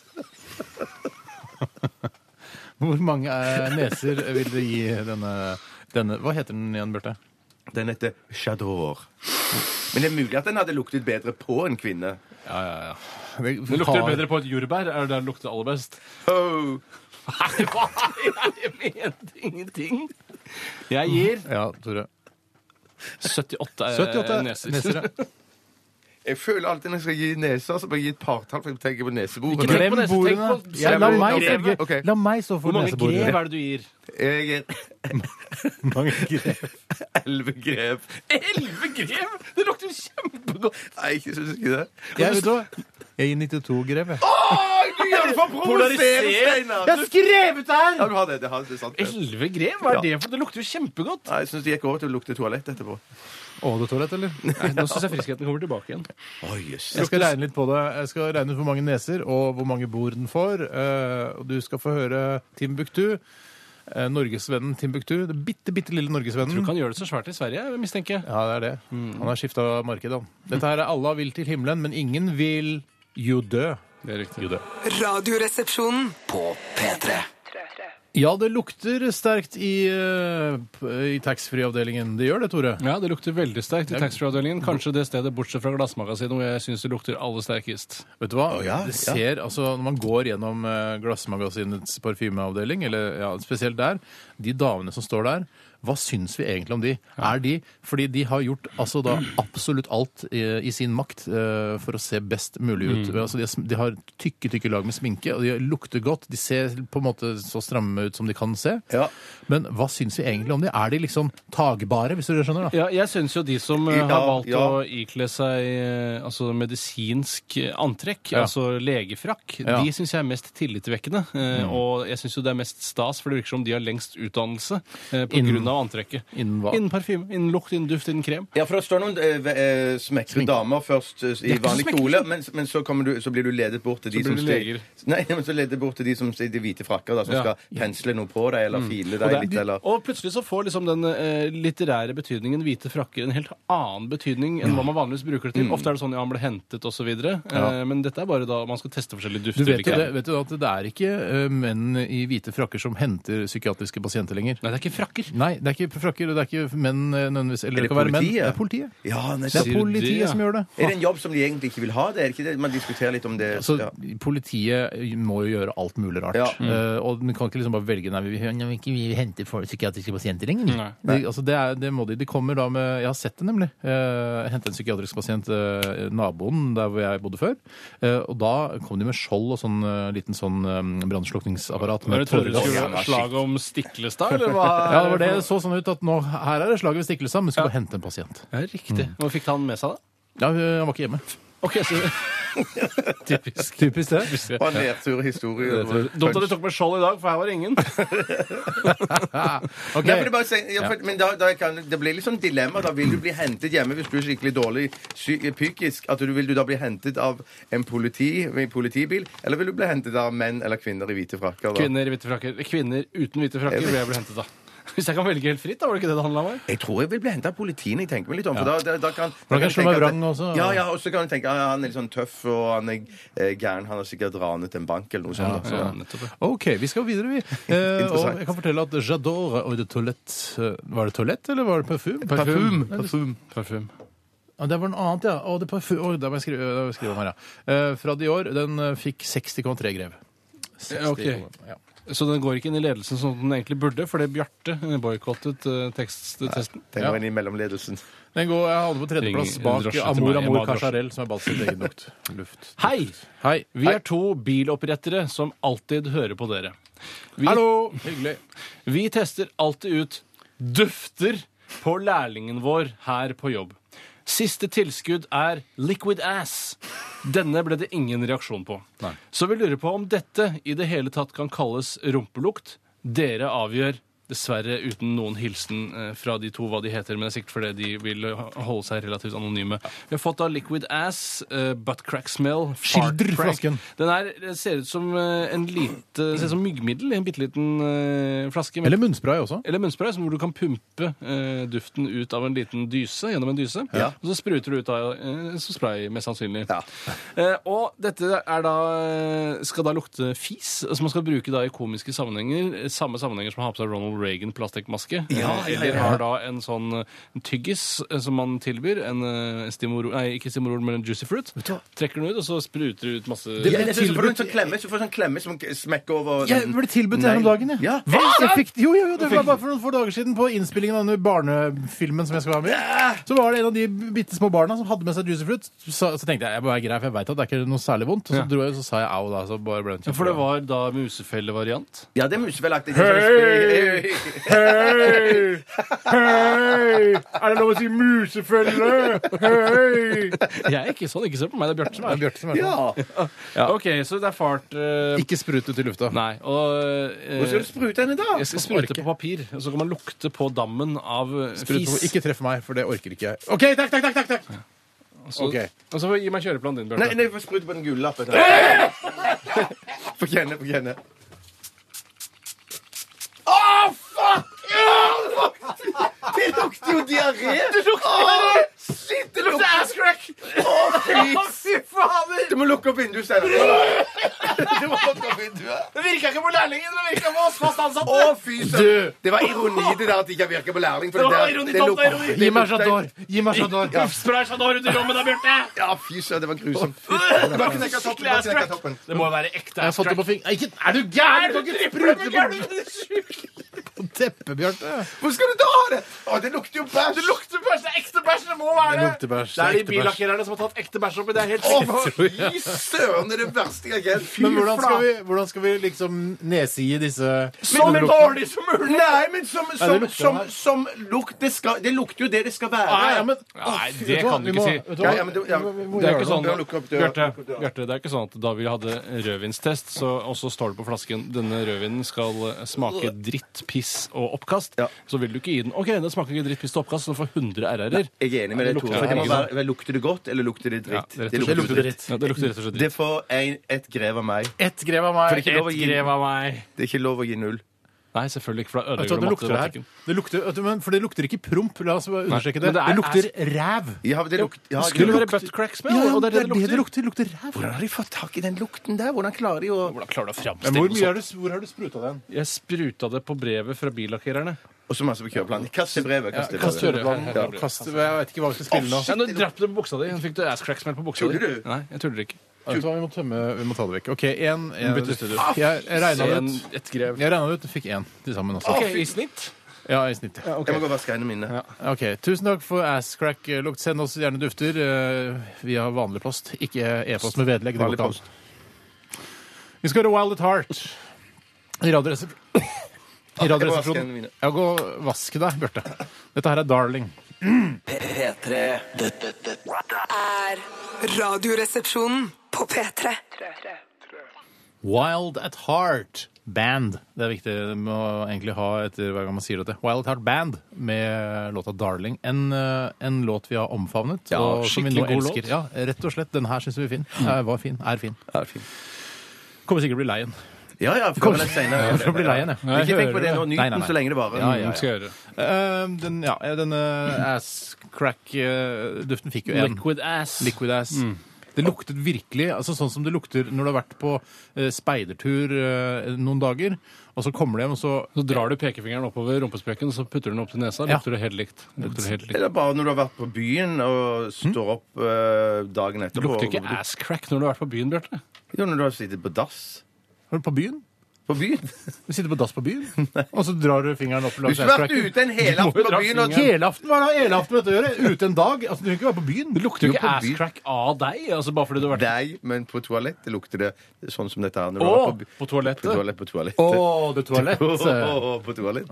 [SPEAKER 3] Hvor mange eh, neser vil du gi denne, denne Hva heter den igjen, Bjarte?
[SPEAKER 4] Den heter Chador. Men det er mulig at den hadde luktet bedre på en kvinne.
[SPEAKER 5] Ja, ja, ja.
[SPEAKER 3] Det
[SPEAKER 5] Det lukter bedre på et jordbær. Er det der det lukter aller best?
[SPEAKER 4] Oh.
[SPEAKER 5] Nei, hva? Jeg mente ingenting. Jeg gir
[SPEAKER 3] Ja, Tore.
[SPEAKER 5] 78,
[SPEAKER 3] 78
[SPEAKER 5] neser.
[SPEAKER 3] eh, neser. ja.
[SPEAKER 4] Jeg føler alltid når jeg skal gi neser, så bare gi et partall, for jeg tenker på neseborene.
[SPEAKER 5] Ikke tenk
[SPEAKER 3] Glem
[SPEAKER 5] på nese, tenk
[SPEAKER 3] bordene.
[SPEAKER 5] på-
[SPEAKER 3] Ja, la, meg stå
[SPEAKER 4] Grevet.
[SPEAKER 3] for-
[SPEAKER 4] Ok.
[SPEAKER 3] la meg stå
[SPEAKER 5] Hvor
[SPEAKER 3] for
[SPEAKER 5] mange grev
[SPEAKER 3] neseborene.
[SPEAKER 5] er det du gir?
[SPEAKER 4] Jeg er
[SPEAKER 3] Mange grev.
[SPEAKER 4] elleve grep.
[SPEAKER 5] Elleve grev! Det lukter kjempegodt!
[SPEAKER 4] Nei, ikke syns ikke det.
[SPEAKER 3] Jeg, vet du hva? jeg gir 92 grev, jeg.
[SPEAKER 4] Å, du gjør det for å provosere,
[SPEAKER 5] Polarisert.
[SPEAKER 4] Steinar!
[SPEAKER 3] har skrevet
[SPEAKER 4] Ja,
[SPEAKER 3] her!
[SPEAKER 4] du har det. Det, har, det er sant. det.
[SPEAKER 5] Elleve grev? Hva er det for Det lukter jo kjempegodt!
[SPEAKER 4] Nei, jeg syns det gikk over til å lukte toalett etterpå.
[SPEAKER 3] Å, det er toalett, eller?
[SPEAKER 5] Nei, nå syns jeg friskheten kommer tilbake igjen.
[SPEAKER 4] Oh, yes.
[SPEAKER 3] Jeg skal regne litt på det. Jeg skal regne ut hvor mange neser og hvor mange bord den får. Eh, Og du skal få høre Timbuktu. eh, Norgesvennen Timbuktu. Det bitte, bitte lille
[SPEAKER 5] Du
[SPEAKER 3] norgesvennen.
[SPEAKER 5] kan Mm. gjøre det så svært i Sverige, jeg mistenker jeg.
[SPEAKER 3] Ja, det er det. Han har skifta marked, han. Dette her er Alla vil til himmelen, men ingen vil jo dø.
[SPEAKER 5] Det er riktig.
[SPEAKER 6] Radioresepsjonen.
[SPEAKER 2] På P3
[SPEAKER 3] Ja, det lukter sterkt i, eh, p- i taxfree-avdelingen. Det gjør det, Tore.
[SPEAKER 5] Ja, det lukter veldig sterkt i taxfree-avdelingen. Kanskje det stedet bortsett fra glassmagasinet hvor jeg syns det lukter aller sterkest.
[SPEAKER 3] Vet du hva?
[SPEAKER 4] Å, ja,
[SPEAKER 3] det
[SPEAKER 4] ja.
[SPEAKER 3] ser, altså, når man går gjennom eh, glassmagasinets parfymeavdeling, eller ja, spesielt der, de damene som står der, hva syns vi egentlig om de? Er de, fordi de har gjort altså, da, absolutt alt i, i sin makt eh, for å se best mulig
[SPEAKER 4] Mm.
[SPEAKER 3] ut. Altså, de, har, sm- de har tykke, tykke lag med sminke, og de lukter godt. De ser på en måte så stramme ut som de kan se.
[SPEAKER 4] Ja.
[SPEAKER 3] Men hva syns vi egentlig om de? Er de liksom tagbare, hvis du skjønner? da?
[SPEAKER 5] Ja, jeg syns jo de som eh,
[SPEAKER 4] Ja,
[SPEAKER 5] har valgt
[SPEAKER 4] ja.
[SPEAKER 5] å ikle seg eh, altså medisinsk eh, antrekk,
[SPEAKER 3] Ja.
[SPEAKER 5] altså legefrakk,
[SPEAKER 3] Ja.
[SPEAKER 5] de syns jeg er mest tillitvekkende. eh, Og jeg syns jo det er mest stas, for det virker som de har lengst utdannelse eh, på
[SPEAKER 3] Innen-
[SPEAKER 5] grunn av antrekket.
[SPEAKER 3] Innen hva?
[SPEAKER 5] Innen parfyme, innen lukt, innen duft, innen krem.
[SPEAKER 4] Ja, for det står noen eh, ve- eh, smekre damer først eh, i
[SPEAKER 5] ikke
[SPEAKER 4] vanlig
[SPEAKER 5] smekre.
[SPEAKER 4] kjole, men, men så, kommer du, så blir du ledet bort til de
[SPEAKER 5] blir
[SPEAKER 4] som
[SPEAKER 5] du
[SPEAKER 4] steg-
[SPEAKER 5] leger.
[SPEAKER 4] Nei, men så ledet bort til de som steg i hvite frakker, da, som
[SPEAKER 5] Ja.
[SPEAKER 4] skal pensle noe på deg,
[SPEAKER 3] Mm.
[SPEAKER 4] eller file
[SPEAKER 5] Og,
[SPEAKER 4] deg
[SPEAKER 5] det,
[SPEAKER 4] litt, eller
[SPEAKER 5] og plutselig så får liksom den eh, litterære betydningen hvite frakker en helt annen betydning enn hva man vanligvis bruker
[SPEAKER 3] Mm.
[SPEAKER 5] det til. Ofte er det sånn ja, han ble hentet og så videre. Eh, men dette er bare da man skal teste forskjellige
[SPEAKER 3] Du
[SPEAKER 5] dufter.
[SPEAKER 3] vet jo,
[SPEAKER 5] eller
[SPEAKER 3] det,
[SPEAKER 5] krem.
[SPEAKER 3] vet jo at det er ikke eh, menn i hvite frakker som henter psykiatriske pasienter lenger.
[SPEAKER 5] Nei, det er ikke frakker.
[SPEAKER 3] Nei, det er ikke frakker, og det er ikke menn eh, nødvendigvis. Eller
[SPEAKER 4] Er
[SPEAKER 3] det
[SPEAKER 4] det
[SPEAKER 3] kan være menn.
[SPEAKER 4] politiet?
[SPEAKER 3] Det er politiet.
[SPEAKER 4] Ja,
[SPEAKER 3] Det
[SPEAKER 4] nettopp.
[SPEAKER 3] er
[SPEAKER 5] Sier du det,
[SPEAKER 3] politiet
[SPEAKER 5] ja?
[SPEAKER 3] som gjør det.
[SPEAKER 4] Er det en jobb som de egentlig ikke vil ha? Det er ikke det? Man diskuterer litt om det.
[SPEAKER 3] Så
[SPEAKER 4] ja.
[SPEAKER 3] Altså, politiet må jo gjøre alt mulig rart.
[SPEAKER 4] Ja.
[SPEAKER 3] Eh,
[SPEAKER 5] Mm.
[SPEAKER 3] og den kan ikke liksom bare velge Nei, vi, vi, vi, vi henter for psykiatriske pasienter lenger.
[SPEAKER 5] Nei.
[SPEAKER 3] De, altså, det, er, det må de. De kommer da med Jeg har sett det, nemlig. Eh, Jeg hentet en psykiatrisk pasient, eh, naboen der hvor jeg bodde før. Eh, og da kom de med skjold og sånn eh, liten sånn um, brannslukningsapparat
[SPEAKER 5] Men
[SPEAKER 3] med
[SPEAKER 5] jeg trodde du
[SPEAKER 3] tåregass.
[SPEAKER 4] Ja,
[SPEAKER 5] skulle
[SPEAKER 4] men
[SPEAKER 5] slag om Stiklestad, eller hva?
[SPEAKER 3] Ja, det var det. Det så sånn ut at nå, her er det slaget ved Stiklestad, men skal bare hente en pasient.
[SPEAKER 5] Ja, riktig.
[SPEAKER 3] Mm.
[SPEAKER 5] Og fikk han med seg det?
[SPEAKER 3] Ja, hun- han var ikke hjemme.
[SPEAKER 5] Ok, så Typisk.
[SPEAKER 3] Typisk det.
[SPEAKER 5] Typisk.
[SPEAKER 4] Og en nedtur i historie.
[SPEAKER 5] Dumt at du tok med skjold i dag, for her var det ingen.
[SPEAKER 3] Ok.
[SPEAKER 4] Nei, men det, bare, sier- ja, for, men da, da kan, det blir litt sånn dilemma. Da vil du bli hentet hjemme hvis du er skikkelig dårlig psy- psykisk. At du, vil du da bli hentet av en politi, i en politibil, eller vil du bli hentet av menn eller kvinner i hvite frakker? Da?
[SPEAKER 5] Kvinner i hvite frakker. Kvinner uten hvite frakker ble jeg ble hentet av. Hvis jeg kan velge helt fritt, da var det ikke det det handla om? her?
[SPEAKER 4] Jeg tror jeg vil bli hentet av politiet. Jeg tenker meg litt om, for da, da, da kan
[SPEAKER 3] Da kan jeg slå meg
[SPEAKER 4] tenke at-
[SPEAKER 3] vrang også.
[SPEAKER 4] Ja, ja, og så kan du tenke at han er litt sånn tøff og han er eh, gæren. Han har sikkert ranet en bank eller noe sånt. da. Så,
[SPEAKER 5] Ja, nettopp, ja.
[SPEAKER 3] Ok, vi skal videre, vi. Eh, og
[SPEAKER 4] Interessant.
[SPEAKER 3] jeg kan fortelle at J'adore og de Toilette eh, Var det toalett, eller var det parfum?
[SPEAKER 5] Parfym.
[SPEAKER 3] Nei, det- sånn.
[SPEAKER 5] Parfym.
[SPEAKER 3] Ja, det var noe annet, ja. Å, det parfum. Å, der må jeg skrive, der må jeg skrive om her, ja. Eh, fra Dior, den eh, fikk 60,3 grev. 60,
[SPEAKER 5] Ja, ok.
[SPEAKER 3] Ja.
[SPEAKER 5] Så den går ikke inn i ledelsen som den egentlig burde, fordi Bjarte boikottet eh, teksttesten.
[SPEAKER 4] Den går inn i mellomledelsen.
[SPEAKER 3] Den går, jeg hadde på tredjeplass
[SPEAKER 5] Ring-
[SPEAKER 3] bak
[SPEAKER 5] drosje til
[SPEAKER 3] Amour
[SPEAKER 5] meg. Jeg må
[SPEAKER 3] Amour
[SPEAKER 5] ha drosje.
[SPEAKER 3] Cacharel, som er balt sitt egen lukt. Luft.
[SPEAKER 5] Hei!
[SPEAKER 3] Hei.
[SPEAKER 5] Vi er to bilopprettere som alltid hører på dere. Vi,
[SPEAKER 3] Hallo! Hyggelig.
[SPEAKER 5] vi tester alltid ut dufter på lærlingen vår her på jobb. Siste tilskudd er liquid ass. Denne ble det ingen reaksjon på.
[SPEAKER 3] Nei.
[SPEAKER 5] Så vi lurer på om dette i det hele tatt kan kalles rumpelukt. Dere avgjør. Dessverre uten noen hilsen eh, fra de to hva de heter, men det er sikkert fordi de vil eh, holde seg relativt anonyme. Vi har fått da Liquid Ass, eh, Butt Crack Smell, Fart
[SPEAKER 3] Skildr
[SPEAKER 5] Crack.
[SPEAKER 3] flasken.
[SPEAKER 5] Den her eh, ser ut som eh, en lite, ser ut som myggmiddel i en bitte liten eh, flaske.
[SPEAKER 3] Eller munnspray også.
[SPEAKER 5] Eller munnspray, som hvor du kan pumpe eh, duften ut av en liten dyse, gjennom en dyse.
[SPEAKER 4] Ja.
[SPEAKER 5] Og så spruter du ut av eh, som spray, mest sannsynlig.
[SPEAKER 4] Ja.
[SPEAKER 5] Eh, og dette er da, eh, skal da lukte fis, som man skal bruke da i komiske sammenhenger. eh, Samme sammenhenger som man har på seg Ronald Reagan plastikkmaske.
[SPEAKER 4] Ja,
[SPEAKER 5] Eh,
[SPEAKER 4] ja,
[SPEAKER 5] Eller
[SPEAKER 4] ja.
[SPEAKER 5] har da en sånn eh, en tyggis eh, som man tilbyr. En eh, stimorol, nei, ikke stimorol, men en juicy fruit. Trekker den ut, og så spruter det ut masse
[SPEAKER 4] Ja, jeg synes du får en sånn klemme, så du får en sånn klemme som smekker over
[SPEAKER 3] Jeg ble tilbudt det her om
[SPEAKER 4] Nei.
[SPEAKER 3] dagen, jeg.
[SPEAKER 4] Ja.
[SPEAKER 3] Hva? Jeg fikk, jo, jo, jo, det var bare for noen få dager siden på innspillingen av den barnefilmen som jeg skal være med i. Så var det en av de bitte små barna som hadde med seg juicy fruit. Så, så tenkte jeg jeg må være grei, for jeg veit at det er ikke noe særlig vondt. Og så
[SPEAKER 5] Ja.
[SPEAKER 3] dro jeg, så sa jeg au, da. Så bare ble det en
[SPEAKER 5] Ja,
[SPEAKER 3] kjempe-
[SPEAKER 5] For det var da musefellevariant.
[SPEAKER 4] Ja, det er musevelaktig.
[SPEAKER 3] Hei! Hei! Hei! Er det lov å si musefelle? Hei!
[SPEAKER 5] Jeg er ikke sånn, ikke se på meg, det er Bjarte
[SPEAKER 3] Det
[SPEAKER 5] som
[SPEAKER 3] er
[SPEAKER 5] er.
[SPEAKER 3] Bjarte som er sånn.
[SPEAKER 4] Ja.
[SPEAKER 5] Ok, så det er fart eh,
[SPEAKER 3] Ikke sprut ut i lufta.
[SPEAKER 5] Nei. Og eh,
[SPEAKER 4] Hvor skal du sprute henne, da?
[SPEAKER 5] jeg skal sprute på papir, og så kan man lukte på dammen av eh,
[SPEAKER 3] Sprut
[SPEAKER 5] fis.
[SPEAKER 3] på- Ikke treff meg, for det orker ikke jeg. OK, takk, takk, takk! takk, takk.
[SPEAKER 5] Så,
[SPEAKER 3] ok.
[SPEAKER 5] Og så gi meg kjøreplanen din,
[SPEAKER 4] Nei,
[SPEAKER 5] Bjarte.
[SPEAKER 4] nei, jeg får sprute på den gule lappen. Få kjenne, få kjenne. Å, Oh, fuck! Ja, fuck! Det lukter jo diaré! Det lukter Oh, Shit, det lukter ass crack! Oh, Å, fy fader! Du må lukke opp vinduet, Steinar. Du må lukke opp vinduet.
[SPEAKER 5] Det virka ikke på lærlingen, det virka på oss fast ansatte!
[SPEAKER 4] Å, fy søren! Det var ironi det der at det ikke har virket på lærling. For det, der,
[SPEAKER 5] ironi,
[SPEAKER 4] det
[SPEAKER 5] tomt,
[SPEAKER 4] lukter-
[SPEAKER 5] ironi.
[SPEAKER 4] det
[SPEAKER 3] Gi meg
[SPEAKER 4] lukter-
[SPEAKER 3] Jador! Gi meg Jador!
[SPEAKER 4] Ja.
[SPEAKER 5] Spray seg da rundt i rommet da, Bjarte!
[SPEAKER 4] Ja, fy søren, det var grusomt. Du må knekke toppen. Du må knekke toppen.
[SPEAKER 5] Det må jo være ekte.
[SPEAKER 3] Jeg satte på fing... Nei, ikke- Er du gæren? Du kan ikke sprute på- på teppet, Bjarte!
[SPEAKER 4] Hvor skal du da ha det? Å, det lukter jo bæsj! Det
[SPEAKER 5] lukter bæsj! Det er ekte bæsj! Det må være
[SPEAKER 3] Det lukter bæsj, det er ekte bæsj.
[SPEAKER 5] som har tatt ekte bæsj oppi. Det er helt
[SPEAKER 4] Å, fy søren, det er det verste jeg har
[SPEAKER 3] Men hvordan skal,
[SPEAKER 4] vi
[SPEAKER 3] vi, hvordan skal vi liksom nedsige disse
[SPEAKER 5] Som
[SPEAKER 3] denne
[SPEAKER 5] en
[SPEAKER 3] lukten?
[SPEAKER 5] dårlig som mulig!
[SPEAKER 4] Nei, men som, som,
[SPEAKER 3] lukter
[SPEAKER 4] som,
[SPEAKER 3] her.
[SPEAKER 4] som lukt det, skal, det lukter jo det det skal være.
[SPEAKER 3] Nei, Ah, ja, men,
[SPEAKER 5] Nei,
[SPEAKER 3] Vet
[SPEAKER 5] det
[SPEAKER 3] hva?
[SPEAKER 5] kan du
[SPEAKER 3] Vi
[SPEAKER 5] ikke
[SPEAKER 3] må-
[SPEAKER 5] si.
[SPEAKER 3] vet du
[SPEAKER 4] Ja,
[SPEAKER 3] hva?
[SPEAKER 4] ja, men du- ja.
[SPEAKER 3] Vi må- vi må
[SPEAKER 5] Det er
[SPEAKER 3] gjøre
[SPEAKER 5] ikke sånn,
[SPEAKER 4] Ja, lukk opp døra.
[SPEAKER 5] Bjarte,
[SPEAKER 4] Lukk opp døra.
[SPEAKER 5] Bjarte, det er ikke sånn at da vi hadde rødvinstest, så, og så står det på flasken denne rødvinen skal eh, smake dritt, piss og oppkast,
[SPEAKER 4] Ja.
[SPEAKER 5] så vil du ikke gi den OK, den smaker ikke dritt, piss og oppkast, så den får 100 RR-er.
[SPEAKER 4] Jeg er enig med
[SPEAKER 5] Ja,
[SPEAKER 4] deg, Tore.
[SPEAKER 5] det lukter
[SPEAKER 4] for Det må
[SPEAKER 5] ikke
[SPEAKER 4] være, vel, lukter det godt, eller lukter det
[SPEAKER 5] Ja,
[SPEAKER 4] dritt?
[SPEAKER 5] det, lukter,
[SPEAKER 3] lukter dritt.
[SPEAKER 5] Ja, det lukter rett og slett dritt.
[SPEAKER 4] Det får en, et grev av meg.
[SPEAKER 3] Ett grev av meg.
[SPEAKER 4] For det er ikke lov å gi-
[SPEAKER 5] av meg.
[SPEAKER 4] Det er ikke lov å gi null.
[SPEAKER 5] Nei, selvfølgelig ikke, for da
[SPEAKER 4] Altså,
[SPEAKER 3] Vet du hva,
[SPEAKER 5] ødelegger
[SPEAKER 3] det
[SPEAKER 5] du
[SPEAKER 3] lukter det her.
[SPEAKER 5] matematikken.
[SPEAKER 3] Det lukter, vet du, men, for det lukter ikke promp. La oss bare understreke det.
[SPEAKER 5] Nei, men
[SPEAKER 3] Det,
[SPEAKER 5] det er-
[SPEAKER 3] lukter ræv.
[SPEAKER 4] Ja, det lukter, ja, det
[SPEAKER 5] Skulle
[SPEAKER 4] lukter.
[SPEAKER 5] være butt crack smell,
[SPEAKER 3] Ja,
[SPEAKER 5] og det er det det lukter.
[SPEAKER 3] lukter. Det lukter ræv.
[SPEAKER 4] Hvordan har de fått tak i den lukten der? Hvordan klarer de å
[SPEAKER 5] Hvordan klarer
[SPEAKER 3] Men
[SPEAKER 5] du å
[SPEAKER 3] hvor,
[SPEAKER 5] framstille sånn?
[SPEAKER 3] mye
[SPEAKER 5] noe sånt?
[SPEAKER 3] har du, hvor har du spruta den?
[SPEAKER 5] Jeg spruta det på brevet fra billakkererne.
[SPEAKER 4] Og så altså masse på kjøreplanen. Kast det brevet. Kast det
[SPEAKER 5] kast
[SPEAKER 4] brevet.
[SPEAKER 5] kjøreplanen.
[SPEAKER 4] Ja.
[SPEAKER 3] Kast, jeg vet ikke hva vi skal spille nå.
[SPEAKER 5] Ja, nå drapp du på buksa di. Fikk du ass crack smell på buksa di?
[SPEAKER 4] Tuller du?
[SPEAKER 5] Nei, jeg tuller ikke.
[SPEAKER 3] Vet du hva, vi må tømme, vi må ta det vekk. OK, én.
[SPEAKER 5] Bytte studio.
[SPEAKER 3] Jeg regna det
[SPEAKER 5] En,
[SPEAKER 3] ut.
[SPEAKER 5] et grev.
[SPEAKER 3] Jeg regnet det ut, fikk én til sammen også.
[SPEAKER 5] Ok, i snitt.
[SPEAKER 3] Ja, i snitt.
[SPEAKER 4] Jeg må gå og vaske hendene mine.
[SPEAKER 3] Ok, Tusen takk for asscrack-lukt. Send oss gjerne dufter eh, via vanlig post. Ikke e-post med vedlegg. det går
[SPEAKER 4] Vanlig
[SPEAKER 3] ikke an.
[SPEAKER 4] post.
[SPEAKER 3] Vi skal høre Wild at Heart i Radioresepsjonen. I
[SPEAKER 4] Jeg må vaske
[SPEAKER 3] radioresepsjonen.
[SPEAKER 4] hendene mine.
[SPEAKER 3] Ja, gå og vask deg, Bjarte. Dette her er Darling.
[SPEAKER 2] P3 Dette- dette-
[SPEAKER 6] Er Radioresepsjonen på P3.
[SPEAKER 3] Wild at Heart Band. Det er viktig det må egentlig ha etter hver gang man sier dette. Wild at Heart Band med låta Darling. En, eh, en låt vi har omfavnet.
[SPEAKER 5] Ja,
[SPEAKER 3] og som vi
[SPEAKER 5] skikkelig
[SPEAKER 3] nå
[SPEAKER 5] god
[SPEAKER 3] elsker.
[SPEAKER 5] låt.
[SPEAKER 3] Ja, rett og slett. Den her syns vi er fin.
[SPEAKER 4] Mm.
[SPEAKER 3] Eh, Var fin. Er fin.
[SPEAKER 4] Ja, fint.
[SPEAKER 3] Kommer sikkert bli lei den.
[SPEAKER 4] Ja, ja. Før eller senere.
[SPEAKER 3] Jeg tror jeg blir lei igjen, jeg.
[SPEAKER 4] Ikke tenk på det nå. Nyt
[SPEAKER 3] Nei, nei,
[SPEAKER 4] den
[SPEAKER 3] nei.
[SPEAKER 4] så lenge det varer.
[SPEAKER 3] Ja, ja, ja.
[SPEAKER 5] Skal jeg gjøre.
[SPEAKER 3] Ehm, den, ja, denne
[SPEAKER 4] eh,
[SPEAKER 3] ass-crack-duften fikk jo en.
[SPEAKER 5] Liquid ass.
[SPEAKER 3] Liquid ass. Det luktet virkelig altså sånn som det lukter når du har vært på eh, speidertur eh, noen dager, og så kommer du hjem, og så
[SPEAKER 5] Så drar du pekefingeren oppover rumpesprekken, så putter du den opp til nesa.
[SPEAKER 3] Ja.
[SPEAKER 5] Lukter det helt likt. Lukter det helt likt.
[SPEAKER 4] Eller bare når du har vært på byen og står opp eh, dagen
[SPEAKER 5] Det
[SPEAKER 4] etterpå.
[SPEAKER 5] lukter ikke ass crack når du har vært på byen, Bjarte.
[SPEAKER 4] Jo, når du har sittet på dass.
[SPEAKER 3] Har du på byen?
[SPEAKER 4] På byen?
[SPEAKER 3] Du sitter på dass på byen, og så drar du fingeren opp og
[SPEAKER 4] Du
[SPEAKER 3] lager
[SPEAKER 4] skulle vært
[SPEAKER 3] ass-crack.
[SPEAKER 4] ute en hel aften på
[SPEAKER 5] dra
[SPEAKER 4] byen og
[SPEAKER 5] fingeren.
[SPEAKER 3] Helaften, hva har helaften med dette å gjøre? Ute en dag? Altså, Du trenger ikke være på byen.
[SPEAKER 5] Det lukter jo ikke
[SPEAKER 4] på
[SPEAKER 5] ass
[SPEAKER 4] byen.
[SPEAKER 5] crack av deg, altså bare fordi du har vært
[SPEAKER 4] Nei, men på toalettet lukter det sånn som dette her. Når du
[SPEAKER 5] Å,
[SPEAKER 4] har vært
[SPEAKER 5] på
[SPEAKER 4] på
[SPEAKER 5] toalettet.
[SPEAKER 4] toalettet. På toalettet.
[SPEAKER 3] Å, det er toalett.
[SPEAKER 4] Å,
[SPEAKER 5] eh.
[SPEAKER 4] å, å, på toalettet.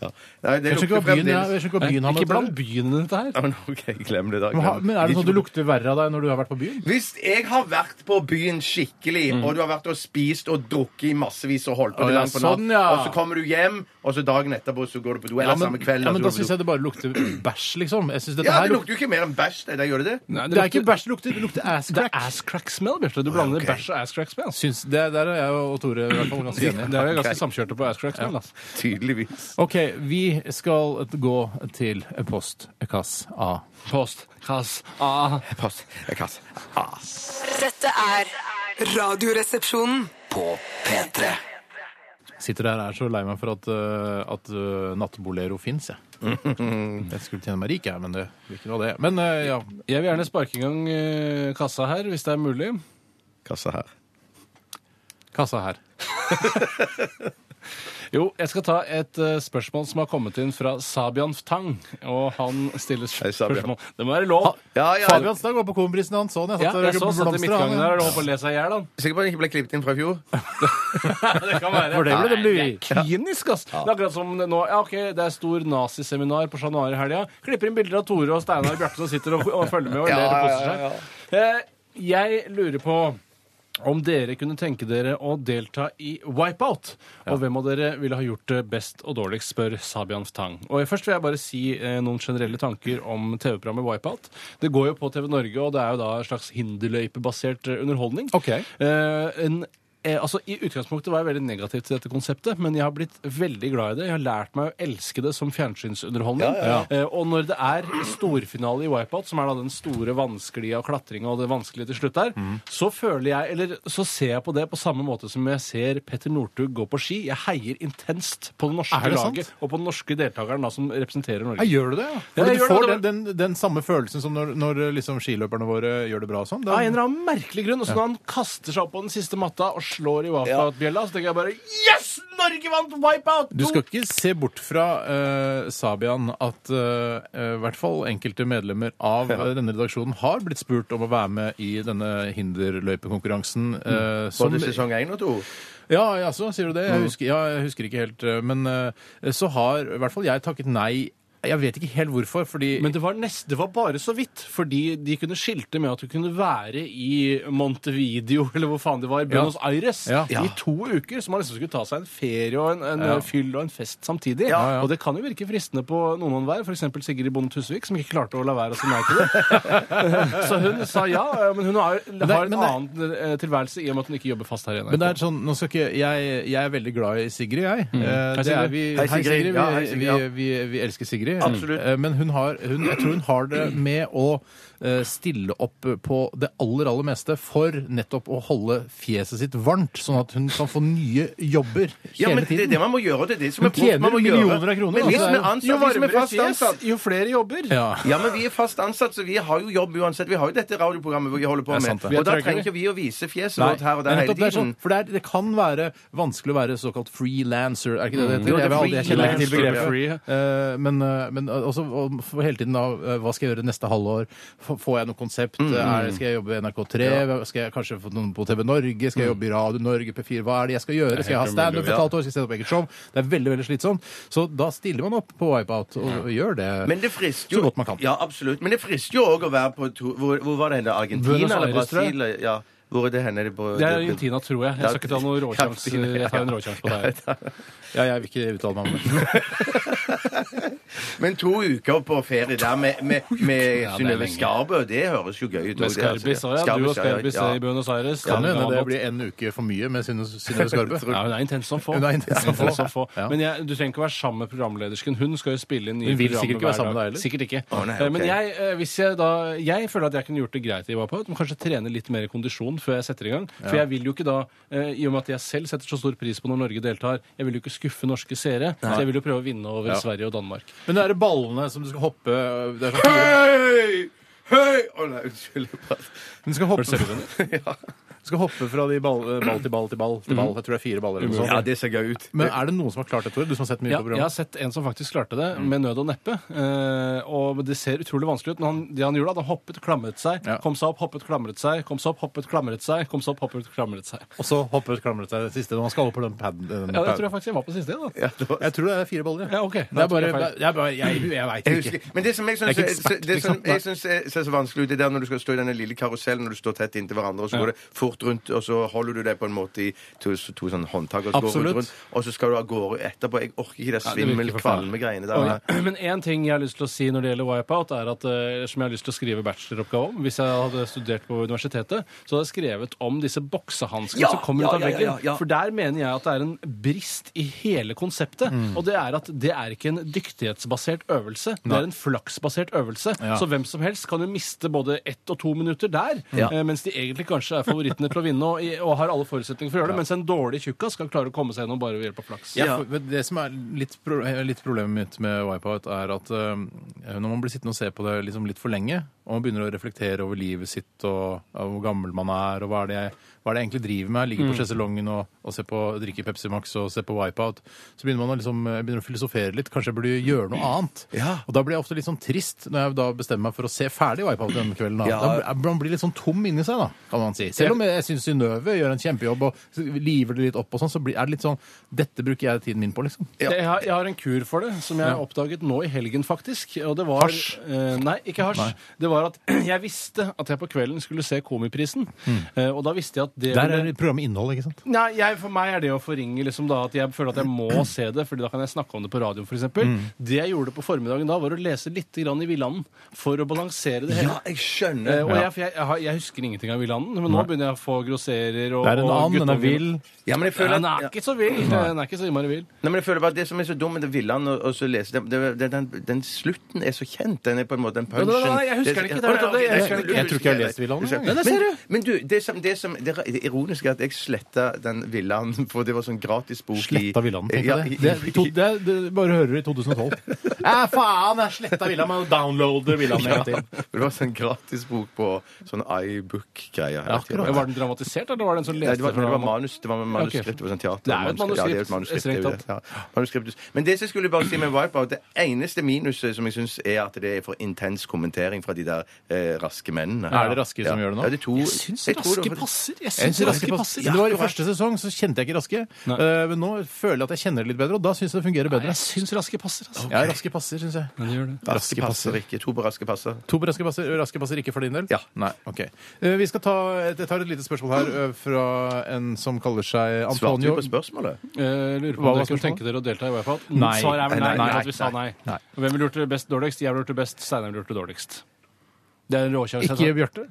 [SPEAKER 4] Ja. Nei,
[SPEAKER 3] Jeg skjønner ikke
[SPEAKER 4] det
[SPEAKER 3] hva byen, jeg,
[SPEAKER 4] lukter fremdeles.
[SPEAKER 3] jeg skjønner ikke hva
[SPEAKER 5] Nei,
[SPEAKER 3] byen har med
[SPEAKER 5] Ikke
[SPEAKER 3] dette å
[SPEAKER 5] bland
[SPEAKER 3] gjøre.
[SPEAKER 5] byen i dette her.
[SPEAKER 4] Ja, men OK, glem det. da.
[SPEAKER 3] Men ha-
[SPEAKER 4] Glem.
[SPEAKER 3] Men er det sånn at du lukter verre av deg når du har vært på byen?
[SPEAKER 4] Hvis jeg har vært på byen skikkelig, og du har vært og spist og drukket i massevis avis og holdt på
[SPEAKER 3] Mm. Å,
[SPEAKER 4] til
[SPEAKER 3] ja,
[SPEAKER 4] langt på natt.
[SPEAKER 3] sånn, ja.
[SPEAKER 4] Og så kommer du hjem, og så dagen etterpå så går du på do. Eller samme kveld.
[SPEAKER 3] ja,
[SPEAKER 4] og
[SPEAKER 3] men da
[SPEAKER 4] så går du på
[SPEAKER 3] syns
[SPEAKER 4] do.
[SPEAKER 3] jeg det bare lukter bæsj, liksom. Jeg synes dette
[SPEAKER 4] ja,
[SPEAKER 3] her
[SPEAKER 4] det
[SPEAKER 3] lukter
[SPEAKER 4] lukter jo ikke mer enn bæsj. Det, det gjør det det.
[SPEAKER 5] Nei,
[SPEAKER 3] Det er ikke bæsj det lukter, det lukter ass
[SPEAKER 5] Det er
[SPEAKER 3] crack.
[SPEAKER 5] ass crack smell, Bjarte. Du blander bæsj og ass crack smell.
[SPEAKER 3] Syns, det, der er jeg og Tore i hvert fall ganske enige.
[SPEAKER 5] Det er jo ganske samkjørte på ass crack smell. Altså.
[SPEAKER 4] Tydeligvis.
[SPEAKER 3] OK, vi skal gå til postkass A.
[SPEAKER 5] Post, kass, ah.
[SPEAKER 4] Pass. Jeg kaster.
[SPEAKER 6] Dette er Radioresepsjonen.
[SPEAKER 2] På P3.
[SPEAKER 3] Sitter her og er så lei meg for at, uh, at uh, nattbolero fins, jeg. Jeg skulle tjene meg rik, jeg, men det blir ikke noe av det. Men uh, ja.
[SPEAKER 5] Jeg vil gjerne sparke i gang eh, kassa her, hvis det er mulig.
[SPEAKER 4] Kassa her.
[SPEAKER 3] Kassa her.
[SPEAKER 5] Jo, jeg skal ta et eh, spørsmål som har kommet inn fra Sabian Ftang. Og han stiller
[SPEAKER 4] Hei, Sabian.
[SPEAKER 5] spørsmål Det må være lov!
[SPEAKER 4] Ja, ja.
[SPEAKER 3] Fabian Stang var på komprisen hans sånn. Jeg
[SPEAKER 5] Ja,
[SPEAKER 3] satt der
[SPEAKER 5] jeg
[SPEAKER 3] og
[SPEAKER 5] så satt i
[SPEAKER 3] blomstra, han,
[SPEAKER 5] midtgangen
[SPEAKER 3] ja.
[SPEAKER 5] der og holdt på å le seg i hjel, han.
[SPEAKER 4] Sikker på at den ikke ble klippet inn fra i fjor?
[SPEAKER 5] Det kan være.
[SPEAKER 3] For det ble det bli.
[SPEAKER 5] Nei, det er klinisk, ass. Det er akkurat som nå Ja, OK, det er stor naziseminar på Chat Noir i helga. Klipper inn bilder av Tore og Steinar og Bjarte som sitter og, og følger med og ler og koser seg. Eh, Jeg lurer på om dere kunne tenke dere å delta i Wipeout. Og hvem av dere ville ha gjort det best og dårligst, spør Sabian Tang. Og Først vil jeg bare si eh, noen generelle tanker om TV-programmet Wipeout. Det går jo på TV Norge, og det er jo da en slags hinderløypebasert eh, underholdning.
[SPEAKER 3] Ok.
[SPEAKER 5] Eh, en Eh, altså, I utgangspunktet var jeg veldig negativ til dette konseptet, men jeg har blitt veldig glad i det. Jeg har lært meg å elske det som fjernsynsunderholdning. Eh, og når det er storfinale i Wipeout, som er da den store vanskelige og klatringa og det vanskelige til slutt der,
[SPEAKER 3] Mm.
[SPEAKER 5] så føler jeg, eller så ser jeg på det på samme måte som jeg ser Petter Northug gå på ski. Jeg heier intenst på det norske
[SPEAKER 3] Er det sant?
[SPEAKER 5] laget og på den norske deltakeren da, som representerer Norge.
[SPEAKER 3] Ja, gjør du det? Ja. Fordi
[SPEAKER 5] jeg
[SPEAKER 3] du
[SPEAKER 5] gjør det,
[SPEAKER 3] får
[SPEAKER 5] det var-
[SPEAKER 3] Den, den, den samme følelsen som når, når liksom skiløperne våre gjør det bra og sånn. Da-
[SPEAKER 5] Av en eller annen merkelig grunn. Og så når han kaster seg opp på den siste matta og slår i wipeout-bjella, så tenker jeg bare Yes! Norge vant wipeout!
[SPEAKER 3] Du skal ikke se bort fra, eh, Sabian, at eh, eh, i hvert fall enkelte medlemmer av eh, denne redaksjonen har blitt spurt om å være med i denne hinderløypekonkurransen.
[SPEAKER 5] Mm.
[SPEAKER 3] eh, som-
[SPEAKER 4] Både sesong én og to.
[SPEAKER 3] Ja, jaså, sier du det? Jeg husker, ja, jeg husker ikke helt. eh, Men eh, så har i hvert fall jeg takket nei. Jeg vet ikke helt hvorfor, fordi
[SPEAKER 5] Men det var, nest, det var bare så vidt, fordi de kunne skilte med at du kunne være i Montevideo, eller hvor faen det var, Buenos Aires,
[SPEAKER 3] Ja.
[SPEAKER 5] i to uker, så man liksom skulle ta seg en ferie og en, en
[SPEAKER 3] Ja.
[SPEAKER 5] eh, fyll og en fest samtidig.
[SPEAKER 3] Ja, ja.
[SPEAKER 5] Og det kan jo virke fristende på noen og enhver, f.eks. Sigrid Bonde Tusvik, som ikke klarte å la være å si nei til det. så hun sa ja, eh, men hun har,
[SPEAKER 3] det-
[SPEAKER 5] har en
[SPEAKER 3] men
[SPEAKER 5] annen eh, tilværelse i og med at hun ikke jobber fast her i NRK.
[SPEAKER 3] Men det er sånn, nå skal ikke, jeg, jeg er veldig glad i Sigrid, jeg. Eh,
[SPEAKER 5] Mm. Hei,
[SPEAKER 3] det
[SPEAKER 5] Sigrid.
[SPEAKER 3] er vi,
[SPEAKER 4] Hei, Sigrid.
[SPEAKER 3] Vi,
[SPEAKER 4] Ja, hei, Sigrid,
[SPEAKER 3] vi,
[SPEAKER 4] ja.
[SPEAKER 3] vi, vi elsker Sigrid.
[SPEAKER 4] Absolutt.
[SPEAKER 3] Eh, Men hun har, hun, jeg tror hun har det med å eh, stille opp på det aller, aller meste for nettopp å holde fjeset sitt varmt, sånn at hun kan få nye jobber
[SPEAKER 4] Ja,
[SPEAKER 3] hele
[SPEAKER 4] men det er
[SPEAKER 3] tiden.
[SPEAKER 4] det man må gjøre. Det er det som er
[SPEAKER 3] Hun tjener
[SPEAKER 4] man må gjøre.
[SPEAKER 3] millioner av kroner,
[SPEAKER 4] Men
[SPEAKER 3] altså.
[SPEAKER 4] vi som er
[SPEAKER 5] jo
[SPEAKER 4] ansatt, vi som er
[SPEAKER 5] varmere
[SPEAKER 4] fast
[SPEAKER 5] fjes,
[SPEAKER 4] ansatt
[SPEAKER 5] jo flere jobber.
[SPEAKER 3] Ja.
[SPEAKER 4] Ja, men vi er fast ansatt, så vi har jo jobb uansett. Vi har jo dette radioprogrammet hvor vi holder på
[SPEAKER 3] Det
[SPEAKER 4] med.
[SPEAKER 3] er sant, det.
[SPEAKER 4] og da
[SPEAKER 5] Vi er
[SPEAKER 4] trenger ikke
[SPEAKER 5] trøggere.
[SPEAKER 4] vi å vise fjeset
[SPEAKER 3] Nei,
[SPEAKER 4] vårt her
[SPEAKER 3] men
[SPEAKER 4] og der hele
[SPEAKER 3] nettopp, det, er
[SPEAKER 4] tiden.
[SPEAKER 3] sånn, for det, er, det kan være vanskelig å være såkalt frilanser, er ikke det det heter?
[SPEAKER 4] Jo, det er
[SPEAKER 3] Jeg vil aldri- Jeg kjenner ikke til
[SPEAKER 4] freelancer,
[SPEAKER 3] begrepet.
[SPEAKER 4] ja.
[SPEAKER 5] Free.
[SPEAKER 3] Eh, men, eh, men også og for hele tiden da eh, Hva skal jeg gjøre neste halvår? F- Får jeg noe konsept? Er, skal jeg jobbe i NRK3? Skal jeg kanskje få noen på TV Norge? Skal jeg jobbe i Radio Norge P4? Hva er det jeg skal gjøre? Skal jeg ha standup for et halvt år? Skal jeg sette opp eget show? Det er veldig veldig slitsomt. Så da stiller man opp på Wipeout og, og gjør det.
[SPEAKER 4] Men det frister jo
[SPEAKER 3] Så godt man kan.
[SPEAKER 4] Ja, absolutt. Men det frister jo òg å være på to, hvor, hvor var det henne?
[SPEAKER 5] Buenos
[SPEAKER 4] Argentina eller
[SPEAKER 5] Aires, tror jeg.
[SPEAKER 4] Brasil? Ja. Hvor er det henne? Det, på,
[SPEAKER 5] Det er Argentina, tror jeg. Jeg skal ikke ta noen råkjangs.
[SPEAKER 4] Ja, Argentina,
[SPEAKER 5] Jeg tar en råkjangs på deg.
[SPEAKER 3] Ja, jeg vil ikke uttale meg om det.
[SPEAKER 4] Men to uker på ferie der med, med, med
[SPEAKER 5] er
[SPEAKER 4] Synnøve
[SPEAKER 5] lenge.
[SPEAKER 4] Skarbø, det høres jo gøy ut.
[SPEAKER 5] Med
[SPEAKER 4] også, det, altså.
[SPEAKER 5] Skarbis også, ja. Du og
[SPEAKER 4] Skarbis, ja,
[SPEAKER 5] Skarbis
[SPEAKER 4] ja.
[SPEAKER 5] i Buenos Aires.
[SPEAKER 3] Kan
[SPEAKER 5] Ja,
[SPEAKER 3] hende
[SPEAKER 5] han
[SPEAKER 3] eh, det
[SPEAKER 5] var-
[SPEAKER 3] blir en uke for mye med Synnøve Synnøve Skarpe.
[SPEAKER 5] ja, hun er intens som få.
[SPEAKER 3] Hun er intens som
[SPEAKER 5] Ja,
[SPEAKER 3] få. Ja.
[SPEAKER 5] Men jeg, du trenger ikke være sammen med programledersken. Hun skal jo spille inn nye
[SPEAKER 3] Hun vil
[SPEAKER 5] programmer
[SPEAKER 3] sikkert ikke
[SPEAKER 5] hver
[SPEAKER 3] være sammen med
[SPEAKER 5] dag.
[SPEAKER 3] deg heller.
[SPEAKER 5] Sikkert ikke.
[SPEAKER 4] Å, nei,
[SPEAKER 5] Eh, Men
[SPEAKER 4] ok.
[SPEAKER 5] jeg, eh, hvis jeg, da, jeg føler at jeg kunne gjort det greit i Wipeout, men kanskje trene litt mer kondisjon før jeg setter i gang. For jeg vil jo ikke da, eh, i og med at jeg selv setter så stor pris på når Norge deltar, jeg vil jo ikke skuffe norske seere, så jeg vil jo prøve å vinne over Sverige og Danmark.
[SPEAKER 3] Men det er det ballene som du skal hoppe det er sånn fire-
[SPEAKER 4] Hei! Hei! Å nei, unnskyld. jeg bare-
[SPEAKER 3] Du skal hoppe, du skal hoppe fra de ball, øh, ball til ball til ball til ball. Jeg tror det er fire baller. eller noe sånt.
[SPEAKER 4] Mhm. Ja, det ser gøy ut.
[SPEAKER 3] Men er det noen som har klart det, Tore? Du som har sett mye
[SPEAKER 5] Ja,
[SPEAKER 3] på
[SPEAKER 5] jeg har
[SPEAKER 3] programmet?
[SPEAKER 5] sett en som faktisk klarte det med nød og neppe. Eh, og det ser utrolig vanskelig ut. Men han, det han gjorde, da, han hoppet, klamret seg,
[SPEAKER 3] Ja.
[SPEAKER 5] kom seg opp, hoppet, klamret seg, kom seg opp, hoppet, klamret seg, kom seg opp, hoppet, klamret seg.
[SPEAKER 3] Og så hoppet klamret seg det siste. Man skal over på den paden. den
[SPEAKER 5] Ja, det
[SPEAKER 3] paden.
[SPEAKER 5] tror jeg faktisk jeg var på siste, da.
[SPEAKER 4] Ja, det var-
[SPEAKER 3] jeg tror det er fire baller.
[SPEAKER 5] Ja, ok.
[SPEAKER 3] Det er
[SPEAKER 5] Da tok
[SPEAKER 3] bare,
[SPEAKER 5] jeg feil.
[SPEAKER 3] det er bare Jeg, jeg veit
[SPEAKER 4] Jeg
[SPEAKER 3] ikke.
[SPEAKER 4] husker, men det som jeg syns
[SPEAKER 3] Jeg er
[SPEAKER 4] er,
[SPEAKER 3] ikke ekspert,
[SPEAKER 4] det som
[SPEAKER 3] liksom.
[SPEAKER 4] jeg synes er, ser så vanskelig ut, det er der når du skal stå i denne lille karusellen når du står tett inntil hverandre, og så går det fort skort rundt, og så holder du deg på en måte i to, to sånne håndtak, og så går
[SPEAKER 3] Absolutt.
[SPEAKER 4] du rundt, og så skal du av gårde etterpå. Jeg orker ikke det
[SPEAKER 5] det virker
[SPEAKER 4] svimmel,
[SPEAKER 5] forferdelig.
[SPEAKER 4] kvalme-greiene der. nei.
[SPEAKER 5] Men én ting jeg har lyst til å si når det gjelder Wipeout, er at eh, som jeg har lyst til å skrive bacheloroppgave om Hvis jeg hadde studert på universitetet, så hadde jeg skrevet om disse boksehanskene
[SPEAKER 2] Ja,
[SPEAKER 5] som kommer
[SPEAKER 2] ja,
[SPEAKER 5] ut av
[SPEAKER 2] ja, ja,
[SPEAKER 5] veggen.
[SPEAKER 2] ja.
[SPEAKER 5] For der mener jeg at det er en brist i hele konseptet. Og det er at det er ikke en dyktighetsbasert øvelse. Det er en flaksbasert øvelse.
[SPEAKER 3] Ja.
[SPEAKER 5] Så hvem som helst kan jo miste både ett og to minutter der,
[SPEAKER 2] Ja.
[SPEAKER 5] eh, mens de egentlig kanskje er favorittene til å vinne og, og har alle forutsetninger for å gjøre det, mens en dårlig tjukkas skal klare å komme seg gjennom bare ved hjelp av flaks.
[SPEAKER 3] Ja, for, men det som er litt, pro litt problemet mitt med Wipeout, er at eh, når man blir sittende og se på det liksom litt for lenge, og man begynner å reflektere over livet sitt og, og hvor gammel man er, og hva er det jeg, hva er det jeg egentlig driver med, ligger på sjeselongen og, og ser på, drikker Pepsi Max og ser på Wipeout, så begynner man å, liksom, eh, begynner å filosofere litt. Kanskje jeg burde gjøre noe annet. Og da blir jeg ofte litt sånn trist når jeg da bestemmer meg for å se ferdig Wipeout denne kvelden. Da.
[SPEAKER 2] Ja.
[SPEAKER 3] Da blir- man blir litt sånn tom inni seg, da, kan man si. Selv om jeg syns Synnøve gjør en kjempejobb og liver det litt opp, og sånn, så blir- er det litt sånn Dette bruker jeg tiden min på, liksom.
[SPEAKER 4] Ja.
[SPEAKER 5] Jeg, har, jeg har en kur for det, som jeg oppdaget nå i helgen, faktisk. Og det var,
[SPEAKER 3] Hasj?
[SPEAKER 5] Eh, nei, ikke hasj. Det var at jeg visste at jeg på kvelden skulle se Komiprisen. Eh, og da visste jeg at det
[SPEAKER 3] Mm. Der
[SPEAKER 5] ville-
[SPEAKER 3] er programmet innhold, ikke sant?
[SPEAKER 5] Nei, jeg, For meg er det å forringe liksom da, at jeg føler at jeg må se det, Fordi da kan jeg snakke om det på radioen f.eks. eksempel
[SPEAKER 3] Mm.
[SPEAKER 5] Det jeg gjorde på formiddagen da, var å lese litt grann i Villanden for å balansere det hele.
[SPEAKER 4] Ja, jeg skjønner.
[SPEAKER 5] Eh, og jeg, for jeg, jeg, har, jeg husker ingenting av Villanden, men nå begynner jeg å få grosserer og
[SPEAKER 3] Det er en
[SPEAKER 5] og
[SPEAKER 3] and, den er
[SPEAKER 5] guttungen.
[SPEAKER 3] vill.
[SPEAKER 4] Ja, men jeg
[SPEAKER 5] Ja,
[SPEAKER 4] føler
[SPEAKER 5] Den
[SPEAKER 4] at,
[SPEAKER 5] er ikke så vill. Den er ikke så innmari vill.
[SPEAKER 4] Nei, men jeg føler bare at Det som er så dumt med det Villand og, og så lese det, det, det den, den slutten er så kjent. Den er på en måte den
[SPEAKER 5] nei,
[SPEAKER 4] punchen.
[SPEAKER 5] nei, jeg husker den ikke, det er-
[SPEAKER 4] Å, ok,
[SPEAKER 5] jeg- jeg-
[SPEAKER 4] skjønner, du
[SPEAKER 3] jeg tror ikke jeg har
[SPEAKER 4] husker
[SPEAKER 3] lest Villand,
[SPEAKER 4] Du skjønner.
[SPEAKER 3] jeg. Nei,
[SPEAKER 5] det ser du.
[SPEAKER 4] Men, men du, det som, det som det, er- det ironiske er at jeg sletta den Villand, for det var sånn gratis bok i
[SPEAKER 3] Sletta Villand, tenk
[SPEAKER 4] ja,
[SPEAKER 3] deg det.
[SPEAKER 4] i-
[SPEAKER 3] Det, er to, det, er- det bare hører i 2012. Æ, faen! Jeg sletta Villand, men downloader Villand en gang til.
[SPEAKER 4] Det var sånn gratis bok på sånn iBook-greier. hele tiden.
[SPEAKER 5] Var den dramatisert, eller var det en sånn som
[SPEAKER 4] Nei,
[SPEAKER 5] leste
[SPEAKER 4] det var, det
[SPEAKER 5] fra-
[SPEAKER 4] var manus, det var manuskript. Det var sånn teater.
[SPEAKER 5] Det er jo et
[SPEAKER 4] Ja, det er et
[SPEAKER 5] manuskript,
[SPEAKER 4] manuskript. det er jo
[SPEAKER 5] strengt
[SPEAKER 4] det. Ja, manuskript. Men det som jeg skulle bare si med Wipeout, det eneste minuset som jeg syns er at det er for intens kommentering fra de der eh, raske mennene.
[SPEAKER 3] Er det Raske som gjør det nå?
[SPEAKER 4] Ja, det er to,
[SPEAKER 5] Jeg syns
[SPEAKER 4] jeg tror det
[SPEAKER 5] Raske
[SPEAKER 4] var-
[SPEAKER 5] passer. Jeg
[SPEAKER 3] Jeg
[SPEAKER 5] syns
[SPEAKER 3] synes
[SPEAKER 5] Raske
[SPEAKER 3] Raske pass-
[SPEAKER 5] passer.
[SPEAKER 3] Det var I første sesong så kjente jeg ikke Raske, Eh, men nå føler jeg at jeg kjenner det litt bedre, og da syns jeg det fungerer bedre.
[SPEAKER 5] Jeg syns Raske passer, altså.
[SPEAKER 3] Ja, Raske passer, syns jeg.
[SPEAKER 4] Raske passer ikke. To på raske passer.
[SPEAKER 3] To på raske passer, raske passer ikke for din del?
[SPEAKER 4] Ja.
[SPEAKER 3] Nei, ok. Eh, Vi skal ta, et- jeg tar et lite spørsmål her eh, fra en som kaller seg
[SPEAKER 4] Svarte du
[SPEAKER 3] Antonio.
[SPEAKER 4] på spørsmålet?
[SPEAKER 5] Eh, lurer
[SPEAKER 3] Hva
[SPEAKER 5] på om
[SPEAKER 3] var
[SPEAKER 5] dere kunne
[SPEAKER 3] spørsmålet?
[SPEAKER 5] tenke dere å delta i Wipeout.
[SPEAKER 3] Nei.
[SPEAKER 5] Svaret er vel nei.
[SPEAKER 4] Nei, nei,
[SPEAKER 5] ikke at vi sa nei.
[SPEAKER 3] nei.
[SPEAKER 5] Og Hvem lurte best dårligst? Jeg lurte best, Steinar lurte dårligst. Det er en råkjøring.
[SPEAKER 3] Ikke Bjarte?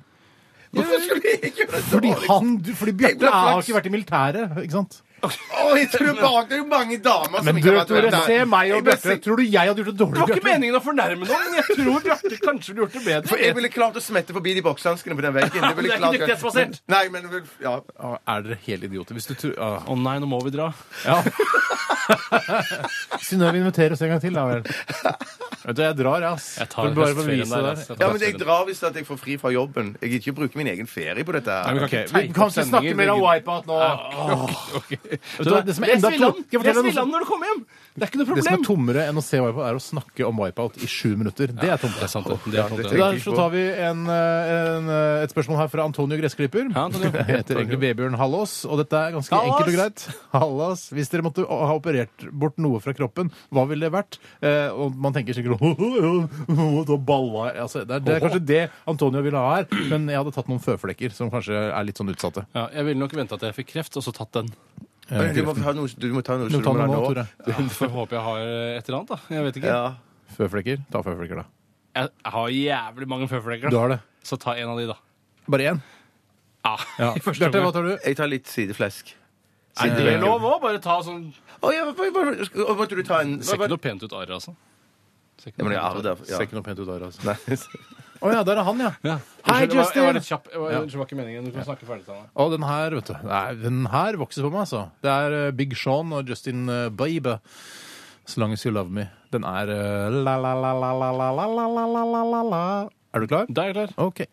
[SPEAKER 4] Hvorfor skulle jeg ikke gjøre det?
[SPEAKER 3] Fordi, han, du- fordi
[SPEAKER 4] Jeg ble
[SPEAKER 3] Bjarte har
[SPEAKER 4] flaks.
[SPEAKER 3] ikke vært i militæret, ikke sant?
[SPEAKER 4] Å, jeg tror bare, det er jo mange damer som
[SPEAKER 3] Men
[SPEAKER 4] ikke
[SPEAKER 3] du,
[SPEAKER 4] har vært
[SPEAKER 3] Tore,
[SPEAKER 4] der.
[SPEAKER 3] se meg og
[SPEAKER 4] Jeg ble
[SPEAKER 3] Bjarte. Tror du jeg hadde gjort det
[SPEAKER 5] Det
[SPEAKER 3] dårlig,
[SPEAKER 5] var ikke meningen å fornærme noen, men jeg tror Bjarte kanskje ville gjort det bedre.
[SPEAKER 4] For jeg ville klart å smette forbi de boksehanskene på den veggen.
[SPEAKER 5] Men det er
[SPEAKER 4] klart-
[SPEAKER 5] ikke dyktighetsbasert.
[SPEAKER 4] Nei, men vel, ja.
[SPEAKER 3] Å, Er dere helt idioter? Hvis du tror ah.
[SPEAKER 5] Å nei, nå må vi dra.
[SPEAKER 3] Ja. Synnøve inviterer oss en gang til, da vel. Vet du, jeg drar, jeg, ass.
[SPEAKER 5] Jeg tar
[SPEAKER 3] For bare for å
[SPEAKER 5] høstferien
[SPEAKER 3] vise
[SPEAKER 5] der,
[SPEAKER 3] det
[SPEAKER 5] ass. Jeg tar
[SPEAKER 4] Ja, men jeg drar hvis at jeg får fri fra jobben. Jeg gidder ikke å bruke min egen ferie på dette. her.
[SPEAKER 5] Nei,
[SPEAKER 3] Ok,
[SPEAKER 5] ikke
[SPEAKER 3] Vi
[SPEAKER 5] tegne
[SPEAKER 3] kan ikke
[SPEAKER 5] opp
[SPEAKER 3] snakke
[SPEAKER 5] sendinger,
[SPEAKER 3] mer om
[SPEAKER 5] Viggen.
[SPEAKER 3] Wipeout nå. Vet du hva, det som er
[SPEAKER 5] Les
[SPEAKER 3] enda to-
[SPEAKER 5] Villand
[SPEAKER 3] Skal jeg fortelle noe
[SPEAKER 5] Les
[SPEAKER 3] som-
[SPEAKER 5] Villand når du kommer hjem! Det er ikke noe
[SPEAKER 3] Det som er
[SPEAKER 5] problem.
[SPEAKER 3] tommere enn å se Wipeout, er å snakke om Wipeout i sju minutter. Det er tomt.
[SPEAKER 5] Det er sant, det. Det er sant, det.
[SPEAKER 4] tenker
[SPEAKER 3] Der
[SPEAKER 4] jeg
[SPEAKER 3] så
[SPEAKER 4] på.
[SPEAKER 3] tar vi en, eh, en, eh, et spørsmål her fra Antonio Gressklipper.
[SPEAKER 5] Ja, Antonio.
[SPEAKER 3] Jeg heter egentlig Vebjørn Hallås, og dette er ganske
[SPEAKER 5] Hallås!
[SPEAKER 3] enkelt og greit. Hallås. Hvis dere måtte ha operert bort noe fra kroppen, hva ville det vært? Eh, og man tenker sikkert «Åh, da balla jeg». altså, det, er, det er kanskje det Antonio ville ha her, men jeg hadde tatt noen føflekker som kanskje er litt sånn utsatte.
[SPEAKER 5] Ja, jeg ville nok vente at jeg fikk kreft, og så tatt den.
[SPEAKER 4] Men Du må ta noe, du må ta noe,
[SPEAKER 3] Du
[SPEAKER 4] så
[SPEAKER 3] må ta
[SPEAKER 4] du må
[SPEAKER 3] noe
[SPEAKER 4] ha
[SPEAKER 3] nå,
[SPEAKER 4] nå.
[SPEAKER 3] Tore.
[SPEAKER 5] Får håpe jeg har et eller annet, da. Jeg vet ikke.
[SPEAKER 4] Ja.
[SPEAKER 3] Føflekker? Ta føflekker, da.
[SPEAKER 5] Jeg har jævlig mange føflekker.
[SPEAKER 3] Du
[SPEAKER 5] da.
[SPEAKER 3] har det.
[SPEAKER 5] Så ta en av de, da.
[SPEAKER 3] Bare én?
[SPEAKER 5] Ja.
[SPEAKER 3] Ja.
[SPEAKER 5] i første
[SPEAKER 3] Bjarte, hva
[SPEAKER 5] omgang.
[SPEAKER 3] tar du?
[SPEAKER 4] Jeg tar litt sideflesk.
[SPEAKER 5] Nei, det er lov òg. Bare ta sånn
[SPEAKER 4] Å, ja, hva- hva- hva- hva- Måtte du ta en
[SPEAKER 5] Det ser
[SPEAKER 4] hva-
[SPEAKER 5] ikke
[SPEAKER 4] hva-
[SPEAKER 5] noe pent ut arr, altså. Ser ikke
[SPEAKER 4] Ja,
[SPEAKER 5] noe
[SPEAKER 4] men jeg
[SPEAKER 5] pent
[SPEAKER 4] er
[SPEAKER 5] ut,
[SPEAKER 4] der. Ja.
[SPEAKER 3] Ser ikke noe pent ut der, altså.
[SPEAKER 4] Nei.
[SPEAKER 3] Å ja, der er han, ja.
[SPEAKER 5] Ja.
[SPEAKER 3] Hei,
[SPEAKER 5] Unnskyld, jeg var- Jeg var
[SPEAKER 3] Justin!
[SPEAKER 5] litt kjapp. Jeg var, Det var ikke meningen. Du kan snakke ferdig til meg.
[SPEAKER 3] Å, den her, vet du. Nei, den her vokser på meg, altså. Det er eh, Big Sean og Justin eh, Bieber. As long as you love me. Den er eh, la la la la la la la la la la la la la Er du klar?
[SPEAKER 5] Da er jeg klar.
[SPEAKER 3] OK.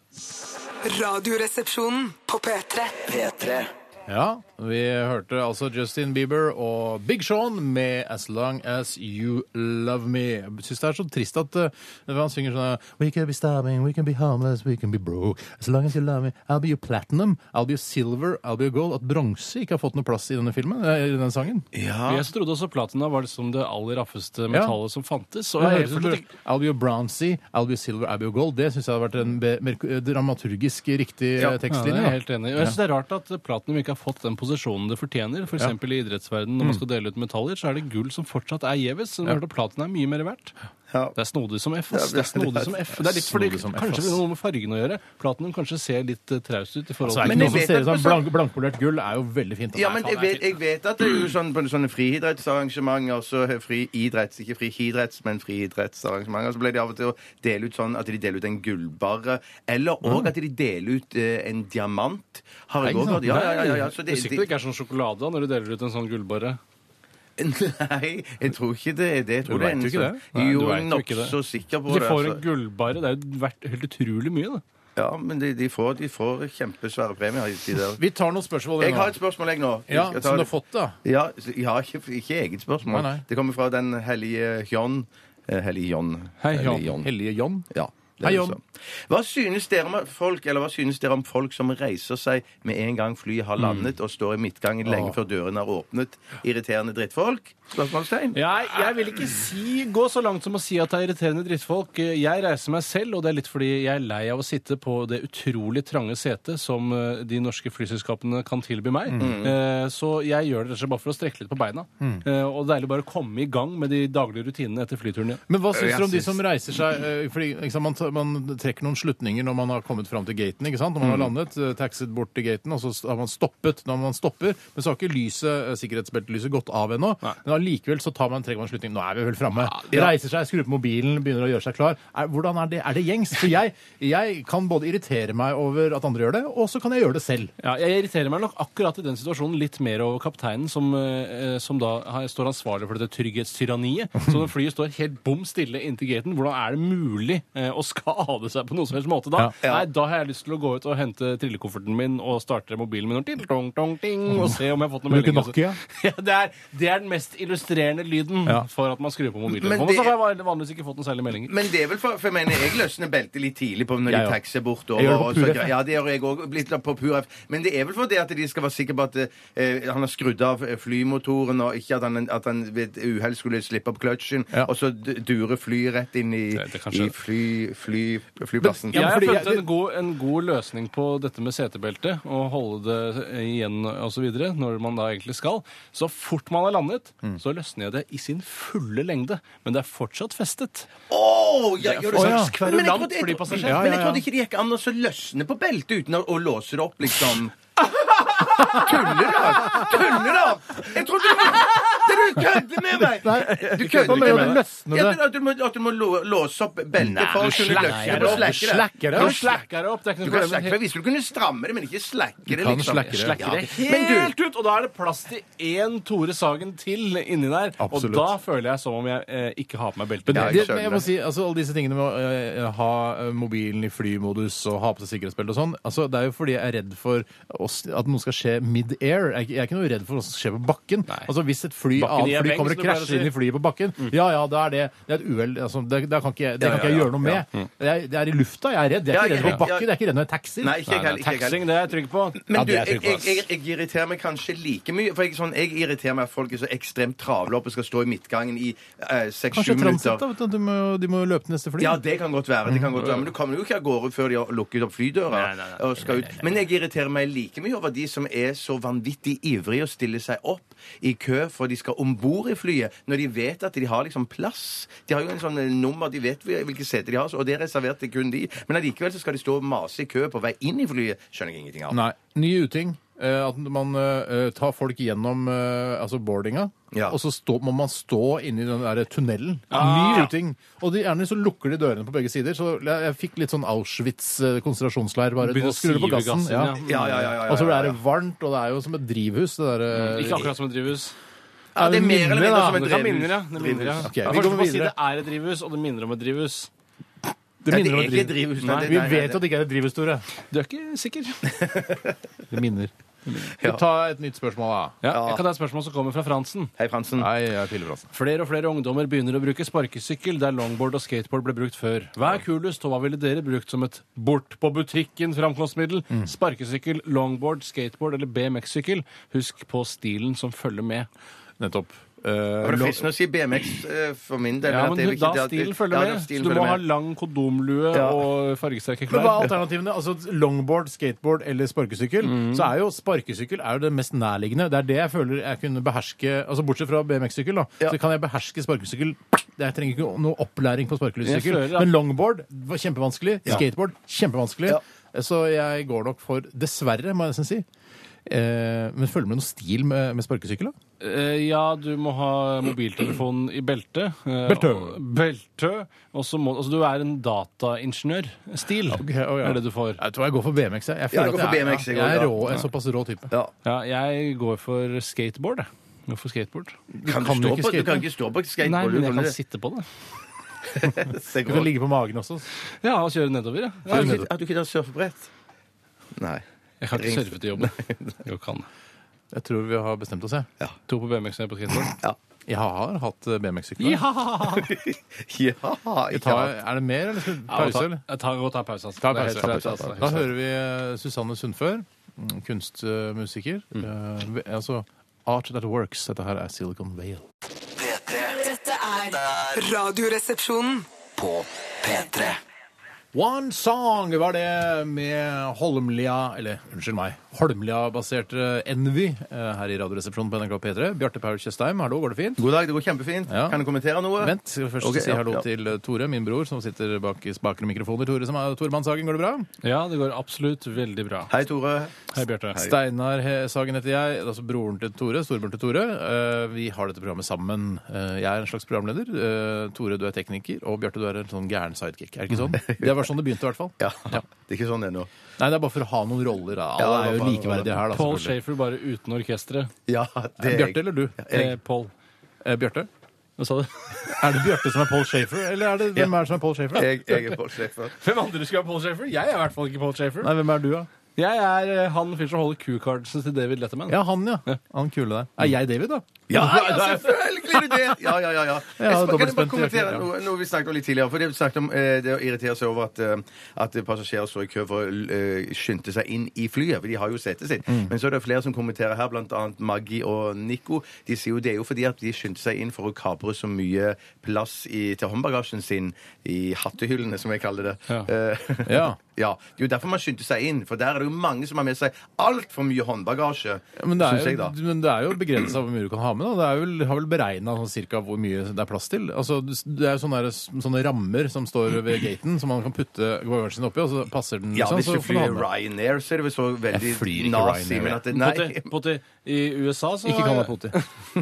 [SPEAKER 6] Radioresepsjonen på P3.
[SPEAKER 2] P3.
[SPEAKER 3] Ja. Vi hørte altså Justin Bieber og Big Sean med 'As Long As You Love Me'. Jeg syns det er så trist at eh, når han synger sånn eh, We can be starving, we can be homeless, we can be broke. As long as you love me, I'll be your platinum, I'll be your silver, I'll be your gold. At bronse ikke har fått noe plass i denne filmen, eh, i denne sangen.
[SPEAKER 5] Men Jeg trodde også platina var liksom det aller raffeste metallet som fantes. Og
[SPEAKER 3] Det
[SPEAKER 5] jeg,
[SPEAKER 3] høres ut som I'll be your bronzy, I'll be your silver, I'll be your gold. Det syns jeg hadde vært en be- merk- dramaturgisk riktig eh,
[SPEAKER 5] ja, det
[SPEAKER 3] tekstlinje.
[SPEAKER 5] er jeg
[SPEAKER 3] da.
[SPEAKER 5] helt enig i. Og jeg synes det er rart at platinum ikke har fått den posisjonen det fortjener. For eksempel i idrettsverdenen, når man skal dele ut medaljer, så er det gull som fortsatt er gjeves. Mm. Ja. Platina er mye mer verdt.
[SPEAKER 4] Ja.
[SPEAKER 5] Det er snodig som F. ass. Det er snodig som F. Det er litt fordi
[SPEAKER 3] Snodig som F,
[SPEAKER 5] Kanskje
[SPEAKER 3] ass.
[SPEAKER 5] det har noe med fargen å gjøre. Platinum kanskje ser litt eh, traust ut i forhold
[SPEAKER 3] Så er
[SPEAKER 5] til
[SPEAKER 3] det ikke noe
[SPEAKER 4] Men jeg
[SPEAKER 3] som
[SPEAKER 4] vet
[SPEAKER 3] ser ut
[SPEAKER 4] at-
[SPEAKER 3] som blank, blankpolert gull, er jo veldig fint. da.
[SPEAKER 4] Ja, men jeg vet, jeg vet at det er jo sånn, på sånne friidrettsarrangementer så er friidretts, Ikke friidretts, men friidrettsarrangementer. Så ble de av og til å dele ut sånn at de deler ut en gullbarre. Eller òg at de deler ut eh, en diamant. Har jeg
[SPEAKER 3] Nei,
[SPEAKER 4] òg hørt. Ja, ja, ja. ja, så
[SPEAKER 5] det,
[SPEAKER 4] det,
[SPEAKER 5] sånn. du er sikker på det
[SPEAKER 4] det,
[SPEAKER 5] ikke er sånn sjokolade da, når du deler ut en sånn gullbarre?
[SPEAKER 4] nei, jeg tror ikke det er det. Jeg
[SPEAKER 5] Du
[SPEAKER 4] tror det er
[SPEAKER 5] vet
[SPEAKER 4] en
[SPEAKER 5] jo ikke
[SPEAKER 4] sånn-
[SPEAKER 5] det. Nei, du
[SPEAKER 4] Jo,
[SPEAKER 5] vet jo ikke det.
[SPEAKER 4] nokså sikker på
[SPEAKER 5] De
[SPEAKER 4] det.
[SPEAKER 5] får en
[SPEAKER 4] altså.
[SPEAKER 5] gullbarre. Det er jo verdt helt utrolig mye, da.
[SPEAKER 4] Ja, men de, de, får, de får kjempesvære premier. De der.
[SPEAKER 3] Vi tar noen spørsmål. vi,
[SPEAKER 4] Jeg
[SPEAKER 3] nå.
[SPEAKER 4] har et spørsmål, jeg nå.
[SPEAKER 3] ja,
[SPEAKER 4] Jeg tar
[SPEAKER 3] som du
[SPEAKER 4] det.
[SPEAKER 3] har fått, da.
[SPEAKER 4] Ja, s- ja ikke, ikke eget spørsmål.
[SPEAKER 3] Nei, nei.
[SPEAKER 4] Det kommer fra den hellige John. Eh, Hellige John.
[SPEAKER 5] Hei, John.
[SPEAKER 4] Hellige John.
[SPEAKER 3] Hellige John.
[SPEAKER 4] Ja. det er
[SPEAKER 3] Hei,
[SPEAKER 4] det
[SPEAKER 3] John.
[SPEAKER 4] sånn. Hva synes, dere om folk, eller hva synes dere om folk som reiser seg med en gang flyet
[SPEAKER 3] Mm.
[SPEAKER 4] har landet, og står i midtgangen lenge før dørene er åpnet? Irriterende drittfolk? Spørsmålstegn?
[SPEAKER 5] Ja, jeg vil ikke si, gå så langt som å si at det er irriterende drittfolk. Jeg reiser meg selv, og det er litt fordi jeg er lei av å sitte på det utrolig trange setet som eh, de norske flyselskapene kan tilby meg.
[SPEAKER 4] Mm.
[SPEAKER 5] Eh, Så jeg gjør det rett og slett bare for å strekke litt på beina. Eh, Og det er deilig bare å komme i gang med de daglige rutinene etter flyturen igjen.
[SPEAKER 3] Men hva syns
[SPEAKER 4] Jeg
[SPEAKER 3] dere om de
[SPEAKER 4] syns-
[SPEAKER 3] som reiser seg eh, fordi, ikke sant, man, tar- man trekker noen slutninger når man har kommet fram til gaten. ikke sant? Når
[SPEAKER 4] Mm.
[SPEAKER 3] man har landet, eh, taxet bort til gaten, og så har man stoppet når man stopper. Men så har ikke lyset, eh, sikkerhetsbeltelyset gått av ennå. Men allikevel så tar man, trekker man en slutning. Nå er vi vel framme. Reiser seg, skrur på mobilen, begynner å gjøre seg klar. Er, hvordan er det? Er det gjengs? For jeg, jeg kan både irritere meg over at andre gjør det, og så kan jeg gjøre det selv.
[SPEAKER 5] Ja, jeg irriterer meg nok akkurat i den situasjonen litt mer over kapteinen, som, eh, som da har- står ansvarlig for dette trygghetstyranniet. Så når flyet står helt bom stille inntil gaten, hvordan er det mulig eh, å skade seg på noen som helst måte da? Nei, da har jeg lyst til å gå ut og hente trillekofferten min og starte mobilen min og, ting, tong, tong, ting, og se om jeg har fått noen
[SPEAKER 3] Bruker
[SPEAKER 5] meldinger.
[SPEAKER 3] Nokia?
[SPEAKER 5] Ja, det, er, det er den mest illustrerende lyden
[SPEAKER 3] Ja.
[SPEAKER 5] for at man skrur på mobilen.
[SPEAKER 4] Men
[SPEAKER 5] Men
[SPEAKER 4] det-
[SPEAKER 5] så har jeg vanligvis ikke fått noen særlige meldinger.
[SPEAKER 4] Men det er vel for, for jeg mener, jeg løsner beltet litt tidlig på når
[SPEAKER 3] Jeg
[SPEAKER 4] de
[SPEAKER 3] òg.
[SPEAKER 4] taxer
[SPEAKER 3] Jeg gjør
[SPEAKER 4] bortover.
[SPEAKER 3] det på
[SPEAKER 4] og så
[SPEAKER 3] pur
[SPEAKER 4] gre-
[SPEAKER 3] F.
[SPEAKER 4] Ja, det gjør jeg òg. Litt på pur F. Men det er vel fordi at de skal være sikre på at eh, han har skrudd av flymotoren, og ikke at han, at han ved et uhell skulle slippe opp kløtsjen,
[SPEAKER 3] Ja.
[SPEAKER 4] og så d- durer flyet rett inn i,
[SPEAKER 5] Det- det kan skje.
[SPEAKER 4] i fly, fly, flyplassen.
[SPEAKER 3] Men- Ja,
[SPEAKER 5] jeg har
[SPEAKER 3] fordi
[SPEAKER 5] funnet
[SPEAKER 3] jeg-
[SPEAKER 5] en god, en god løsning på dette med setebelte, og holde det igjen osv. når man da egentlig skal. Så fort man har landet, så løsner jeg det i sin fulle lengde. Men det er fortsatt festet.
[SPEAKER 4] Åh, ja,
[SPEAKER 5] Det er
[SPEAKER 4] gjør
[SPEAKER 5] for
[SPEAKER 4] det
[SPEAKER 5] en
[SPEAKER 4] sånn.
[SPEAKER 5] slags kverulant
[SPEAKER 4] Men jeg trodde- jeg-
[SPEAKER 5] flypassasjer.
[SPEAKER 4] Men
[SPEAKER 3] Ja,
[SPEAKER 4] jeg
[SPEAKER 3] ja, ja.
[SPEAKER 4] trodde ikke det gikk an å så løsne på beltet uten å, å låse det opp, liksom. Tuller du? Tuller du? Jeg trodde du var- Du kødder med meg! Du kødder
[SPEAKER 3] Hva
[SPEAKER 4] ikke
[SPEAKER 3] mener du?
[SPEAKER 4] med meg.
[SPEAKER 3] Løsne
[SPEAKER 4] Ja,
[SPEAKER 3] det?
[SPEAKER 4] men at, du må, at du må lå- låse opp beltet for å kunne løsne
[SPEAKER 3] det
[SPEAKER 4] det
[SPEAKER 3] opp.
[SPEAKER 4] og
[SPEAKER 3] Du
[SPEAKER 4] slakke
[SPEAKER 3] slakker det
[SPEAKER 4] Du
[SPEAKER 3] opp.
[SPEAKER 5] Du
[SPEAKER 4] slakker-
[SPEAKER 5] slakker det opp. Det er
[SPEAKER 4] Du
[SPEAKER 5] ikke noe
[SPEAKER 4] kan
[SPEAKER 5] problem.
[SPEAKER 4] slakke det. Jeg visste du kunne stramme det, men ikke slakke det,
[SPEAKER 3] kan
[SPEAKER 4] liksom.
[SPEAKER 3] slakke det.
[SPEAKER 5] Slakker det
[SPEAKER 4] Ja. Men du,
[SPEAKER 5] helt ut, og da er det plass til én Tore Sagen til inni der.
[SPEAKER 3] Absolutt.
[SPEAKER 5] Og da føler jeg som om jeg eh, ikke har på meg belte.
[SPEAKER 3] Men
[SPEAKER 4] Ja,
[SPEAKER 3] det,
[SPEAKER 4] jeg
[SPEAKER 3] det, men jeg
[SPEAKER 4] skjønner.
[SPEAKER 3] må si, altså, alle disse tingene med å eh, ha eh, mobilen i flymodus og ha på seg sikkerhetsbelte og sånn, altså, det er jo fordi jeg er redd for oss, at noe skal skje mid-air. Jeg, er ikke- jeg er ikke noe redd for hva som skjer på bakken. Altså, hvis et fly,
[SPEAKER 5] Bakken i
[SPEAKER 3] annet
[SPEAKER 5] er
[SPEAKER 3] fly kommer
[SPEAKER 5] peng, som
[SPEAKER 3] og
[SPEAKER 5] du pleier å
[SPEAKER 3] krasjer
[SPEAKER 5] si.
[SPEAKER 3] inn i flyet på bakken,
[SPEAKER 4] Mm.
[SPEAKER 3] ja ja, da er det, det er et uhell. Altså, det, da kan ikke jeg, det kan ikke jeg gjøre noe med. Jeg, det er i lufta jeg er redd. Jeg
[SPEAKER 4] Mm. Ja,
[SPEAKER 3] er ikke
[SPEAKER 4] jeg-
[SPEAKER 3] redd for
[SPEAKER 4] ja.
[SPEAKER 3] bakken, jeg er ikke redd når jeg taxier.
[SPEAKER 4] Nei, ikke jeg heller. ikke jeg heller.
[SPEAKER 5] Taxing, det er jeg trygg på.
[SPEAKER 4] Men du,
[SPEAKER 5] det er
[SPEAKER 4] jeg,
[SPEAKER 5] jeg trygg
[SPEAKER 4] jeg,
[SPEAKER 5] på, ass.
[SPEAKER 4] jeg, jeg irriterer meg kanskje like mye. For jeg, sånn, jeg irriterer meg at folk er så ekstremt travle opp og skal stå i midtgangen i seks-sju
[SPEAKER 3] Kanskje transit,
[SPEAKER 4] minutter.
[SPEAKER 3] da. Vet du, de, må, de må jo løpe til neste fly.
[SPEAKER 4] Ja, det kan godt være. det kan godt
[SPEAKER 5] Mm.
[SPEAKER 4] være Men du kommer jo ikke av gårde før de har lukket opp flydøra. og skal ut. Men jeg irriterer meg like mye over de som er så vanvittig ivrige og stiller seg opp i kø for de skal om bord i flyet, når de vet at de har liksom plass. De har jo en sånn eh, nummer, de vet hvilke seter de har, så- og det er reservert til kun de. Men allikevel så skal de stå og mase i kø på vei inn i flyet. Skjønner jeg ingenting av.
[SPEAKER 3] Nei. Ny uting. eh, At man eh, tar folk gjennom eh, altså boardinga,
[SPEAKER 4] Ja.
[SPEAKER 3] og så stå, må man stå inni den der tunnelen.
[SPEAKER 5] Ah,
[SPEAKER 3] Ny uting. Og de, gjerne så lukker de dørene på begge sider. Så jeg, jeg fikk litt sånn Auschwitz eh, konsentrasjonsleir. Bare nå
[SPEAKER 5] Begynner å
[SPEAKER 3] skrur du på
[SPEAKER 5] sive
[SPEAKER 3] gassen.
[SPEAKER 5] gassen,
[SPEAKER 3] ja.
[SPEAKER 4] Ja,
[SPEAKER 5] ja.
[SPEAKER 4] ja, ja, ja, ja,
[SPEAKER 3] Og så
[SPEAKER 4] ja,
[SPEAKER 3] er det
[SPEAKER 4] ja.
[SPEAKER 3] varmt, og det er jo som et drivhus. Det der, eh,
[SPEAKER 5] Mm, Ikke akkurat som et drivhus.
[SPEAKER 4] Ja, det er mer eller mindre som
[SPEAKER 5] Det
[SPEAKER 4] et
[SPEAKER 5] kan minner, ja. Det minner, ja.
[SPEAKER 4] drivhus.
[SPEAKER 3] Ok, vi
[SPEAKER 5] Ja,
[SPEAKER 3] går
[SPEAKER 5] Først må man si
[SPEAKER 3] videre.
[SPEAKER 5] det er et drivhus, og det minner om et drivhus.
[SPEAKER 3] det minner
[SPEAKER 4] Nei,
[SPEAKER 3] om
[SPEAKER 4] det er
[SPEAKER 3] et
[SPEAKER 4] ikke drivhus, nei,
[SPEAKER 3] Nei,
[SPEAKER 4] det-
[SPEAKER 3] Vi
[SPEAKER 4] nei, nei,
[SPEAKER 3] vet jo at det ikke er et drivhus, Tore.
[SPEAKER 5] Du er ikke sikker?
[SPEAKER 3] Det minner. Ta et nytt spørsmål, da.
[SPEAKER 5] Ja, jeg kan ta et spørsmål som kommer fra Fransen.
[SPEAKER 4] Hei, Fransen.
[SPEAKER 3] Nei, jeg er pillebransen.
[SPEAKER 5] Flere og flere ungdommer begynner å bruke sparkesykkel der longboard og skateboard ble brukt før. Hva er kulest, og hva ville dere brukt som et bort på butikken-framkomstmiddel?
[SPEAKER 4] Mm.
[SPEAKER 5] Sparkesykkel, longboard, skateboard eller BMX-sykkel? Husk på stilen som følger med.
[SPEAKER 3] Nettopp.
[SPEAKER 4] Var
[SPEAKER 3] Eh,
[SPEAKER 4] det
[SPEAKER 3] lo-
[SPEAKER 4] fristende å si BMX eh, for min del?
[SPEAKER 5] Ja,
[SPEAKER 4] at det er
[SPEAKER 5] men
[SPEAKER 4] viktig
[SPEAKER 5] da
[SPEAKER 4] at-
[SPEAKER 5] stilen følger
[SPEAKER 4] Ja,
[SPEAKER 5] med.
[SPEAKER 4] da
[SPEAKER 5] Så
[SPEAKER 4] stilen
[SPEAKER 5] du må
[SPEAKER 4] følger
[SPEAKER 5] ha
[SPEAKER 4] med.
[SPEAKER 5] lang kondomlue
[SPEAKER 4] Ja.
[SPEAKER 5] og fargesterke
[SPEAKER 3] Men hva er
[SPEAKER 5] klær.
[SPEAKER 3] alternativene? Altså Longboard, skateboard eller sparkesykkel?
[SPEAKER 4] Mm.
[SPEAKER 3] Så er jo sparkesykkel er jo det mest nærliggende. Det er det jeg føler jeg kunne beherske Altså Bortsett fra BMX-sykkel, da.
[SPEAKER 4] Ja.
[SPEAKER 3] Så kan jeg beherske sparkesykkel. Jeg trenger ikke noe opplæring på
[SPEAKER 5] Jeg
[SPEAKER 3] sparkesykkel.
[SPEAKER 5] føler at-
[SPEAKER 3] Men longboard var kjempevanskelig. Skateboard kjempevanskelig.
[SPEAKER 4] Ja.
[SPEAKER 3] Så jeg går nok for Dessverre, må jeg nesten si. Eh, men følger med noe stil med, med sparkesykkel, da?
[SPEAKER 5] Eh, Ja, du må ha mobiltelefonen i beltet. eh,
[SPEAKER 3] Beltø.
[SPEAKER 5] og- Beltø. Og så må Altså, du er en dataingeniør-stil,
[SPEAKER 3] å ja.
[SPEAKER 5] er det du får.
[SPEAKER 3] Jeg tror jeg går for BMX. Jeg, jeg,
[SPEAKER 4] Ja,
[SPEAKER 3] føler
[SPEAKER 4] jeg går
[SPEAKER 3] at
[SPEAKER 4] for
[SPEAKER 3] jeg,
[SPEAKER 4] BMX,
[SPEAKER 3] jeg,
[SPEAKER 4] jeg går,
[SPEAKER 3] er
[SPEAKER 4] ja.
[SPEAKER 3] rå, en såpass rå type.
[SPEAKER 4] Ja.
[SPEAKER 5] Ja, jeg går for skateboard, jeg. Går for skateboard.
[SPEAKER 4] Kan du,
[SPEAKER 3] kan jo
[SPEAKER 4] stå
[SPEAKER 3] ikke
[SPEAKER 4] på, du
[SPEAKER 3] skate.
[SPEAKER 4] kan ikke stå på skateboard.
[SPEAKER 5] Nei,
[SPEAKER 4] du
[SPEAKER 5] men jeg
[SPEAKER 4] kan
[SPEAKER 5] kan
[SPEAKER 4] det.
[SPEAKER 5] sitte på det.
[SPEAKER 4] Det
[SPEAKER 3] Du
[SPEAKER 4] går.
[SPEAKER 3] kan ligge på magen også.
[SPEAKER 5] Ja, og kjøre nedover, ja.
[SPEAKER 4] Har
[SPEAKER 5] Jeg,
[SPEAKER 4] du ikke- har du ikke tatt surfebrett? Nei.
[SPEAKER 5] jeg kan ikke surfe til jobben. Jo, kan.
[SPEAKER 3] Jeg tror vi har bestemt oss, jeg.
[SPEAKER 5] To på BMX og en på skateboard.
[SPEAKER 3] Jeg har hatt eh, BMX-sykkel.
[SPEAKER 4] Ja,
[SPEAKER 3] Vi
[SPEAKER 4] ikke
[SPEAKER 3] tar,
[SPEAKER 4] hatt.
[SPEAKER 3] er det mer, eller skal vi
[SPEAKER 5] Ja,
[SPEAKER 3] pause?
[SPEAKER 5] ta-
[SPEAKER 3] eller?
[SPEAKER 5] Jeg tar, ta pause, altså.
[SPEAKER 3] Ta
[SPEAKER 5] Det er helt
[SPEAKER 3] pause,
[SPEAKER 5] rett,
[SPEAKER 3] ta
[SPEAKER 5] altså.
[SPEAKER 3] Da hører vi eh, Susanne Sundfør, mm, kunstmusiker. Eh, ve- altså Art That Works. Dette her er Silicon Vale.
[SPEAKER 2] P3
[SPEAKER 6] Dette er Radioresepsjonen.
[SPEAKER 2] på P3.
[SPEAKER 3] One Song var det med Holmlia Eller unnskyld meg. Holmlia-baserte Envy eh, her i Radioresepsjonen på NRK P3. Bjarte Paul Tjøstheim, hallo, går det fint?
[SPEAKER 4] God dag, det går kjempefint.
[SPEAKER 3] Ja.
[SPEAKER 4] Kan du kommentere noe?
[SPEAKER 3] Vent, skal vi først
[SPEAKER 4] Ok,
[SPEAKER 3] si
[SPEAKER 4] ja,
[SPEAKER 3] hallo
[SPEAKER 4] ja.
[SPEAKER 3] til eh, Tore, min bror, som sitter bak i spakere mikrofoner. Tore, som er Tore Mannshagen, går det bra?
[SPEAKER 5] Ja, det går absolutt veldig bra.
[SPEAKER 4] Hei, Tore.
[SPEAKER 5] Hei, Bjarte.
[SPEAKER 3] Steinar He- Sagen heter jeg, altså broren til Tore, storebroren til Tore. Eh, Vi har dette programmet sammen. Eh, Jeg er en slags programleder. eh, Tore, du er tekniker, og Bjarte, du er en sånn gæren sidekick. Er det ikke sånn? Det var sånn det begynte, i hvert fall.
[SPEAKER 4] Ja. Det er ikke sånn ennå.
[SPEAKER 3] Nei, det er bare for å ha noen roller. Da.
[SPEAKER 4] Ja,
[SPEAKER 3] Alle er jo
[SPEAKER 4] bare-
[SPEAKER 3] likeverdige her, da.
[SPEAKER 5] Paul
[SPEAKER 3] selvfølgelig.
[SPEAKER 5] Shafer bare uten orkesteret.
[SPEAKER 4] Ja, det er
[SPEAKER 3] Bjarte eller du?
[SPEAKER 5] Eh, Paul.
[SPEAKER 3] Eh, Bjarte?
[SPEAKER 5] Hva sa du?
[SPEAKER 3] Er det Bjarte som er Paul Shafer, eller er det, hvem er det som er Paul Shafer? da?
[SPEAKER 4] jeg. Jeg, jeg er Paul Schäfer.
[SPEAKER 5] Hvem andre skulle være Paul Shafer? Jeg er i hvert fall ikke Paul Shafer.
[SPEAKER 3] Nei, hvem er du, da?
[SPEAKER 5] Jeg er eh, han fyren som holder Q-cardsen til David Letterman.
[SPEAKER 3] Ja, han, ja. Han kule der. Er jeg David, da?
[SPEAKER 4] Ja, ja, selvfølgelig er det det! Ja, ja, ja. ja. Jeg, kan jeg bare
[SPEAKER 3] dobbeltspent
[SPEAKER 4] kommentere
[SPEAKER 3] i- ja.
[SPEAKER 4] noe, noe vi snakket om litt tidligere? For det vi snakket om eh, det å irritere seg over at, eh, at passasjerer står i kø for å eh, skynde seg inn i flyet, for de har jo setet sitt.
[SPEAKER 3] Mm.
[SPEAKER 4] Men så er det flere som kommenterer her, blant annet Maggie og Nico. De sier jo det er jo fordi at de skyndte seg inn for å kapre så mye plass i, til håndbagasjen sin i hattehyllene, som jeg kaller det.
[SPEAKER 5] Ja.
[SPEAKER 4] Eh,
[SPEAKER 3] Ja.
[SPEAKER 4] ja. Det er jo derfor man skyndte seg inn, for der er det jo mange som har med seg altfor mye håndbagasje,
[SPEAKER 3] Ja, Men det
[SPEAKER 4] synes
[SPEAKER 3] er
[SPEAKER 4] jeg,
[SPEAKER 3] jo,
[SPEAKER 4] da.
[SPEAKER 3] men det er jo begrensa hvor mye du kan ha med. Da. Det er vel, har vel beregna sånn, cirka hvor mye det er plass til. Altså, det er jo sånne, der- sånne rammer som står ved gaten, som man kan putte bagasjen sin oppi, og så passer den.
[SPEAKER 4] Ja,
[SPEAKER 3] liksom,
[SPEAKER 4] hvis
[SPEAKER 3] så
[SPEAKER 4] du
[SPEAKER 3] får den
[SPEAKER 4] flyr
[SPEAKER 3] ha med.
[SPEAKER 4] Ryanair, så er det vel så veldig
[SPEAKER 3] Jeg flyr ikke
[SPEAKER 4] nazi.
[SPEAKER 3] Ryanair,
[SPEAKER 4] Men at det, nei,
[SPEAKER 5] Poti, poti, I USA så
[SPEAKER 3] Ikke kall meg Poti.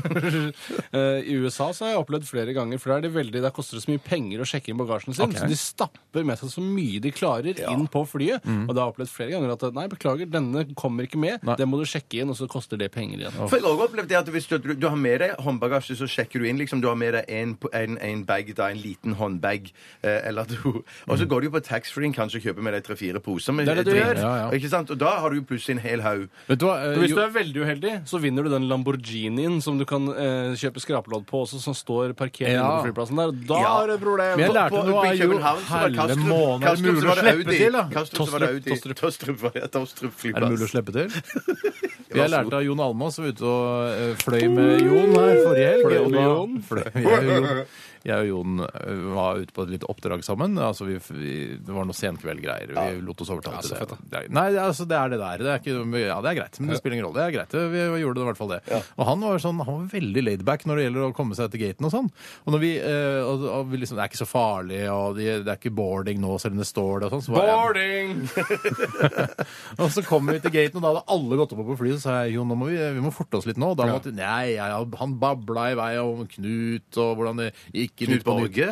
[SPEAKER 5] Eh, I USA så har jeg opplevd flere ganger, for der, er det veldig, der koster det så mye penger å sjekke inn bagasjen sin, så de stapper med seg så mye de klarer inn på flyet.
[SPEAKER 3] Mm.
[SPEAKER 5] Og da har jeg opplevd flere ganger at eh, nei, beklager, denne kommer ikke med, den må du sjekke inn, og så koster det penger igjen.
[SPEAKER 4] for jeg har også opplevd det at hvis du, du har med deg håndbagasje, så sjekker du inn liksom, du har med deg en, en, en bag, da, en liten håndbag, eh, eller to. Og så går du jo på taxfree-en kanskje og kjøper med deg tre-fire poser med
[SPEAKER 5] Det er det du
[SPEAKER 4] drink.
[SPEAKER 5] gjør.
[SPEAKER 3] Ja, ja.
[SPEAKER 4] Ikke sant? Og da har du jo plutselig en hel haug.
[SPEAKER 3] Vet du hva? eh,
[SPEAKER 5] Og Hvis du
[SPEAKER 3] jo,
[SPEAKER 5] er veldig uheldig, så vinner du den Lamborghinien som du kan eh, kjøpe skrapelodd på også, som står parkert
[SPEAKER 3] Ja.
[SPEAKER 5] inne på flyplassen der. Da
[SPEAKER 4] Ja.
[SPEAKER 5] er det et problem!
[SPEAKER 3] Men jeg lærte
[SPEAKER 4] På-
[SPEAKER 3] noe
[SPEAKER 4] på-
[SPEAKER 3] av
[SPEAKER 4] i
[SPEAKER 3] jo
[SPEAKER 4] København så var det
[SPEAKER 3] helle
[SPEAKER 4] Kastrup.
[SPEAKER 3] måned, er det
[SPEAKER 4] Kastrup,
[SPEAKER 3] mulig
[SPEAKER 4] så var
[SPEAKER 3] å
[SPEAKER 4] det
[SPEAKER 3] slippe
[SPEAKER 4] Audi.
[SPEAKER 3] til, da?
[SPEAKER 4] Kastrup, så var det Audi. Tostrup, var det, Tostrup
[SPEAKER 3] er det mulig å
[SPEAKER 4] flyplass.
[SPEAKER 3] slippe til? Jeg lærte av Jon Almaas, som var ute og eh, fløy med Jon her forrige helg.
[SPEAKER 5] Fløy
[SPEAKER 3] og
[SPEAKER 5] med
[SPEAKER 3] da-
[SPEAKER 5] Jon?
[SPEAKER 3] Fløy- Jeg og Jon. Jeg og Jon eh, var ute på et lite oppdrag sammen. Altså, vi, vi, det var noe senkveldgreier. Vi lot oss overtale
[SPEAKER 5] Ja, så
[SPEAKER 3] til
[SPEAKER 5] fett,
[SPEAKER 3] det. det. er- Nei, det er- altså, det er det der. Det er, ikke, ja, det er greit, men det spiller ingen rolle. Det er greit. Det- Vi gjorde det i hvert fall det. Og han var, sånn, han var veldig laidback når det gjelder å komme seg til gaten og sånn. Og når vi, eh, og, og vi liksom, Det er ikke så farlig, og de, det er ikke boarding nå, selv om det står det og sånn. Så var jeg-
[SPEAKER 5] Boarding!
[SPEAKER 3] og så kommer vi til gaten, og da hadde alle gått opp på flyet. Så sa jeg jo, nå må vi, vi må forte oss litt nå. Da måtte, nei, ja, ja, han babla i vei om Knut og hvordan det gikk i
[SPEAKER 4] Knut
[SPEAKER 3] Nytt på Nytt.
[SPEAKER 4] Borge?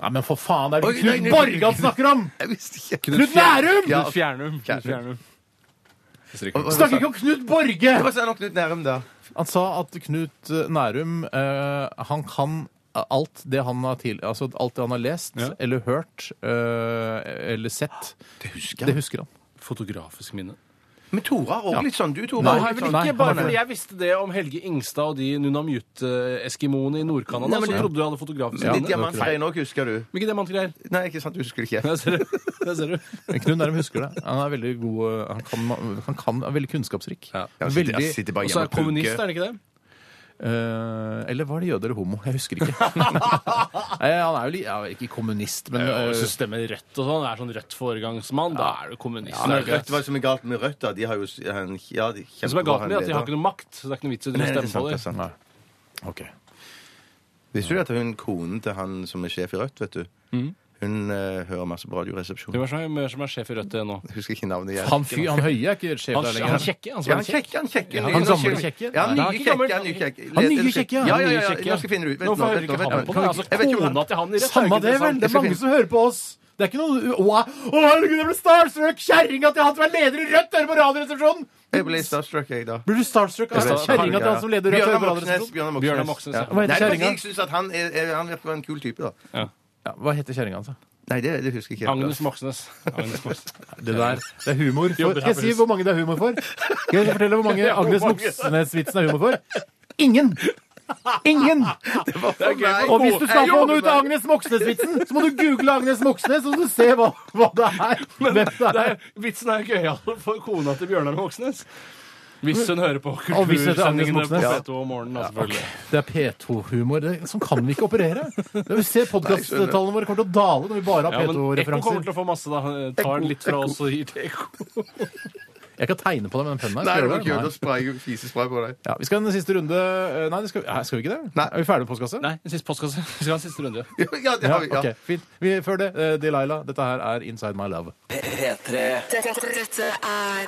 [SPEAKER 3] Nei, men for faen, det er
[SPEAKER 4] Oi,
[SPEAKER 3] det
[SPEAKER 4] nei,
[SPEAKER 3] Knut
[SPEAKER 4] nei,
[SPEAKER 3] Borge han snakker om!
[SPEAKER 4] Jeg visste ikke.
[SPEAKER 3] Knut Nærum!
[SPEAKER 4] Ja.
[SPEAKER 5] Knut Fjernum. Knut Fjernum.
[SPEAKER 4] Hva- hva-
[SPEAKER 3] Snakker ikke om Knut Borge!
[SPEAKER 4] Hva sa han om Knut Nærum, da?
[SPEAKER 3] Han sa at Knut eh, Nærum, eh, han kan alt det han har, til, altså alt det han har lest
[SPEAKER 5] Ja.
[SPEAKER 3] eller hørt eh, eller sett.
[SPEAKER 4] Det husker
[SPEAKER 3] Det husker han.
[SPEAKER 5] Fotografisk minne.
[SPEAKER 4] Men Tore har òg litt sånn. Du, Tore.
[SPEAKER 3] Nei,
[SPEAKER 4] har
[SPEAKER 5] Nei,
[SPEAKER 4] litt
[SPEAKER 5] vel
[SPEAKER 4] sånn.
[SPEAKER 3] nei,
[SPEAKER 5] ikke bare
[SPEAKER 3] nei.
[SPEAKER 5] fordi jeg visste det om Helge Ingstad og de Nunamute-eskimoene i Nord-Canada,
[SPEAKER 4] Nei, men
[SPEAKER 5] så
[SPEAKER 4] det-
[SPEAKER 5] trodde du jeg hadde fotografisk
[SPEAKER 4] Men
[SPEAKER 5] minne.
[SPEAKER 4] de diamantgreiene òg, husker du?
[SPEAKER 5] Men ikke diamantgreier.
[SPEAKER 4] Nei, ikke sant, du husker det ikke.
[SPEAKER 5] Der ser du. Der ser du.
[SPEAKER 3] Men Knut Nærum husker det. Han er veldig god eh, Han kan, han kan er veldig kunnskapsrik.
[SPEAKER 5] Ja.
[SPEAKER 4] Jeg sitter, jeg sitter bare
[SPEAKER 5] Og så
[SPEAKER 4] hjemme og
[SPEAKER 5] er han kommunist,
[SPEAKER 4] pugger.
[SPEAKER 5] er han ikke det?
[SPEAKER 3] Eh, eller var det jøde eller homo? Jeg husker ikke. Eh, han er jo li- ja, ikke kommunist, men eh,
[SPEAKER 5] Hvis du stemmer rødt og sånn, er sånn rødt foregangsmann, da er du kommunist.
[SPEAKER 4] Ja, men Rødt, Hva som er galt med Rødt, da? De har jo s- en, ja, de
[SPEAKER 5] det som er galt med, er at de har ikke noe makt, så det er ikke noe vits i å
[SPEAKER 4] Nei, det er sant, det
[SPEAKER 5] stemme på
[SPEAKER 4] er
[SPEAKER 5] dem.
[SPEAKER 4] sant.
[SPEAKER 3] OK.
[SPEAKER 4] Visste du at hun konen til han som er sjef i Rødt, vet du
[SPEAKER 5] Mm.
[SPEAKER 4] Hun eh, hører masse på Radioresepsjonen.
[SPEAKER 5] Hvem er det som er- som er sjef i Rødt nå?
[SPEAKER 4] Jeg Husker ikke navnet igjen.
[SPEAKER 3] Han, fyr- han høye er ikke sjef
[SPEAKER 5] Han,
[SPEAKER 3] der lenger.
[SPEAKER 5] han kjekke, han
[SPEAKER 4] Ja,
[SPEAKER 5] som er
[SPEAKER 4] han
[SPEAKER 5] kjekk.
[SPEAKER 4] kjekke, han kjekke.
[SPEAKER 3] Ja,
[SPEAKER 4] Ny-
[SPEAKER 3] han
[SPEAKER 4] nå
[SPEAKER 3] samler
[SPEAKER 4] skal-
[SPEAKER 3] kjekke.
[SPEAKER 4] Ja, han
[SPEAKER 5] Nei, han
[SPEAKER 4] nye
[SPEAKER 5] er ikke
[SPEAKER 4] kjekke.
[SPEAKER 5] gammel.
[SPEAKER 4] Han nye kjekke.
[SPEAKER 3] Han nye
[SPEAKER 4] Let- eller-
[SPEAKER 3] kjekke, ja.
[SPEAKER 4] Ja, ja,
[SPEAKER 5] Nye
[SPEAKER 4] ja, ja.
[SPEAKER 5] kjekke,
[SPEAKER 4] Nå skal jeg finne det ut. Vent
[SPEAKER 5] Nå får
[SPEAKER 4] vent
[SPEAKER 5] jeg ikke
[SPEAKER 4] vent
[SPEAKER 5] han
[SPEAKER 4] vent.
[SPEAKER 5] på det. Altså,
[SPEAKER 4] Jeg vet ikke
[SPEAKER 5] kona
[SPEAKER 4] hvordan-
[SPEAKER 5] til han i Rødt. er jo
[SPEAKER 3] Samme
[SPEAKER 5] ikke
[SPEAKER 3] det, vel!
[SPEAKER 5] interessant.
[SPEAKER 3] Det er mange som hører på oss. Det er ikke noe Å, å, herregud, jeg ble starstruck! Kjerringa til han som er leder i Rødt, hører på Radioresepsjonen!
[SPEAKER 4] Jeg ble starstruck, jeg, da.
[SPEAKER 3] Blir du starstruck av
[SPEAKER 5] Jeg ble
[SPEAKER 3] kjerringa til han som leder Rødt, hører på
[SPEAKER 4] Bjørnar Moxnes.
[SPEAKER 3] Radioresepsjonen?
[SPEAKER 5] Bjørnar
[SPEAKER 4] Bjørnar Moxnes.
[SPEAKER 5] Moxnes,
[SPEAKER 4] Ja.
[SPEAKER 5] ja.
[SPEAKER 3] Hva heter
[SPEAKER 4] Nei, fordi
[SPEAKER 3] kjerringa?
[SPEAKER 4] Jeg synes at han, er, er, han virker en kul type, da.
[SPEAKER 3] Ja, hva heter kjerringa hans? da?
[SPEAKER 4] Nei, det, det husker jeg ikke. helt, da.
[SPEAKER 5] Agnes Moxnes. Agnes Moxnes.
[SPEAKER 3] Det der, det er humor. For,
[SPEAKER 5] Jobber
[SPEAKER 3] skal jeg si hvor mange det er humor for? Skal jeg fortelle hvor mange Agnes Moxnes-vitsen er humor for? Ingen! Ingen!
[SPEAKER 4] Nei,
[SPEAKER 3] Og hvis du skal få
[SPEAKER 4] jeg jobber
[SPEAKER 3] noe ut av
[SPEAKER 4] med-
[SPEAKER 3] Agnes Moxnes-vitsen, så må du google Agnes Moxnes, og så se hva, hva det er. Hvem det
[SPEAKER 5] Det
[SPEAKER 3] er.
[SPEAKER 5] er, vitsen er gøyal for kona til Bjørnar Moxnes. Hvis hun hører på
[SPEAKER 3] Og hvis hun heter Agnes
[SPEAKER 5] kultursendingene på
[SPEAKER 3] Moxnes.
[SPEAKER 5] P2 om morgenen, da, selvfølgelig.
[SPEAKER 3] Det er P2-humor. Det- Sånn kan vi ikke operere. Vi ser podkasttallene våre kommer til å dale når vi bare
[SPEAKER 5] Ja,
[SPEAKER 3] har
[SPEAKER 5] men Ekko kommer
[SPEAKER 3] P2-referanser.
[SPEAKER 5] til å få masse, da. Tar litt fra oss og gir til Ekko.
[SPEAKER 3] Jeg kan tegne på deg med den pennen her. Skal
[SPEAKER 4] Nei, det
[SPEAKER 3] jeg
[SPEAKER 4] var
[SPEAKER 3] gjøre det?
[SPEAKER 4] kult å
[SPEAKER 3] Nei.
[SPEAKER 4] spraye fisespray på deg.
[SPEAKER 3] Ja, vi skal ha en siste runde Eh, Nei, det skal, vi- Nei, skal vi ikke det?
[SPEAKER 4] Nei.
[SPEAKER 3] Er vi ferdige med postkasse?
[SPEAKER 5] Nei, en siste postkasse. Vi skal ha en siste runde.
[SPEAKER 4] Ja, det
[SPEAKER 3] Ja,
[SPEAKER 4] har vi. Ja.
[SPEAKER 3] ok, fint. Vi, før det, eh, Delilah, dette her er Inside My Love.
[SPEAKER 2] P3
[SPEAKER 6] Dette, dette er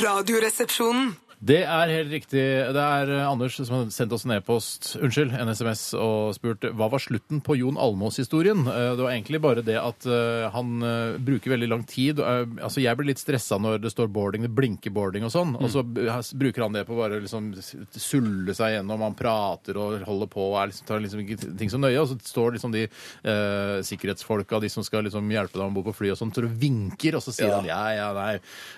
[SPEAKER 6] Radioresepsjonen.
[SPEAKER 3] Det er helt riktig. Det er eh, Anders som har sendt oss en e-post, unnskyld, en SMS, og spurt hva var slutten på Jon Almås-historien. Eh, Det var egentlig bare det at eh, han eh, bruker veldig lang tid. Eh, Altså, jeg blir litt stressa når det står boarding, det blinker boarding og sånn, og så b- has- bruker han det på å bare liksom s- sulle seg gjennom, han prater og holder på og er liksom, tar liksom ikke ting så nøye, og så står liksom de eh, sikkerhetsfolka, de som skal liksom hjelpe deg om bord på fly og sånn, står og vinker, og så sier han ja, ja, nei,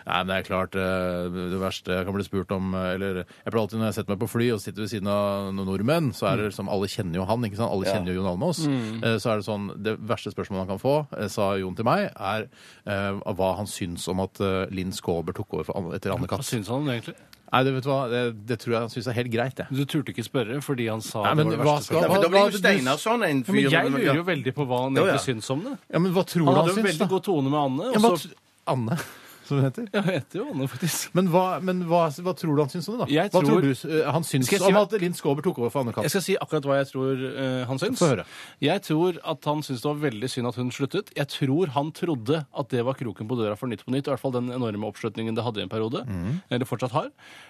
[SPEAKER 3] nei, men det er klart eh, det verste jeg kan bli spurt om, eh, eller jeg pleier alltid når jeg setter meg på fly og sitter ved siden av noen nordmenn, så er det liksom, alle kjenner jo han, ikke sant, alle kjenner jo Jon Almaas, Eh, så er det sånn, det verste spørsmålet han kan få, eh, sa Jon til meg, er eh, hva han syns om at eh, Linn Skåber tok over for, Anne- etter
[SPEAKER 5] Hva
[SPEAKER 3] Anne-Katt.
[SPEAKER 5] syns han om det, egentlig?
[SPEAKER 3] Nei, det, vet du hva, det, det tror jeg han syns er helt greit, det.
[SPEAKER 5] Du turte ikke spørre fordi han sa
[SPEAKER 3] Nei, men
[SPEAKER 5] det var det
[SPEAKER 3] hva
[SPEAKER 5] verste.
[SPEAKER 3] skal-
[SPEAKER 4] Ja, for da
[SPEAKER 3] Hva-
[SPEAKER 4] blir
[SPEAKER 3] hva-
[SPEAKER 4] jo Steinar sånn en
[SPEAKER 5] Ja, men
[SPEAKER 4] fyr.
[SPEAKER 5] jeg lurer jo
[SPEAKER 4] Ja.
[SPEAKER 5] veldig på hva han
[SPEAKER 4] Ja,
[SPEAKER 5] egentlig
[SPEAKER 4] ja.
[SPEAKER 5] syns om det.
[SPEAKER 3] Ja, men hva tror
[SPEAKER 5] Han
[SPEAKER 3] du
[SPEAKER 5] hadde
[SPEAKER 3] han
[SPEAKER 5] jo en
[SPEAKER 3] syns,
[SPEAKER 5] veldig
[SPEAKER 3] da?
[SPEAKER 5] god tone med Anne.
[SPEAKER 3] Ja,
[SPEAKER 5] Og
[SPEAKER 3] men
[SPEAKER 5] så
[SPEAKER 3] t- Anne, som hun heter.
[SPEAKER 5] ja, jeg heter jo Anne, faktisk.
[SPEAKER 3] Men hva, men hva, hva tror du han syns om det, da?
[SPEAKER 5] Jeg
[SPEAKER 3] hva tror
[SPEAKER 5] tror-
[SPEAKER 3] du eh, han syns
[SPEAKER 5] Skal jeg si
[SPEAKER 3] om
[SPEAKER 5] hva-
[SPEAKER 3] at Linn Skåber tok over for Anne
[SPEAKER 5] Jeg
[SPEAKER 3] Katt?
[SPEAKER 5] skal si akkurat hva jeg tror eh, han syns.
[SPEAKER 3] Få høre.
[SPEAKER 5] Jeg tror at han syntes det var veldig synd at hun sluttet. Jeg tror han trodde at det var kroken på døra for Nytt på Nytt. I hvert fall den enorme oppslutningen det hadde i en periode.
[SPEAKER 3] Mhm.
[SPEAKER 5] Eller fortsatt har.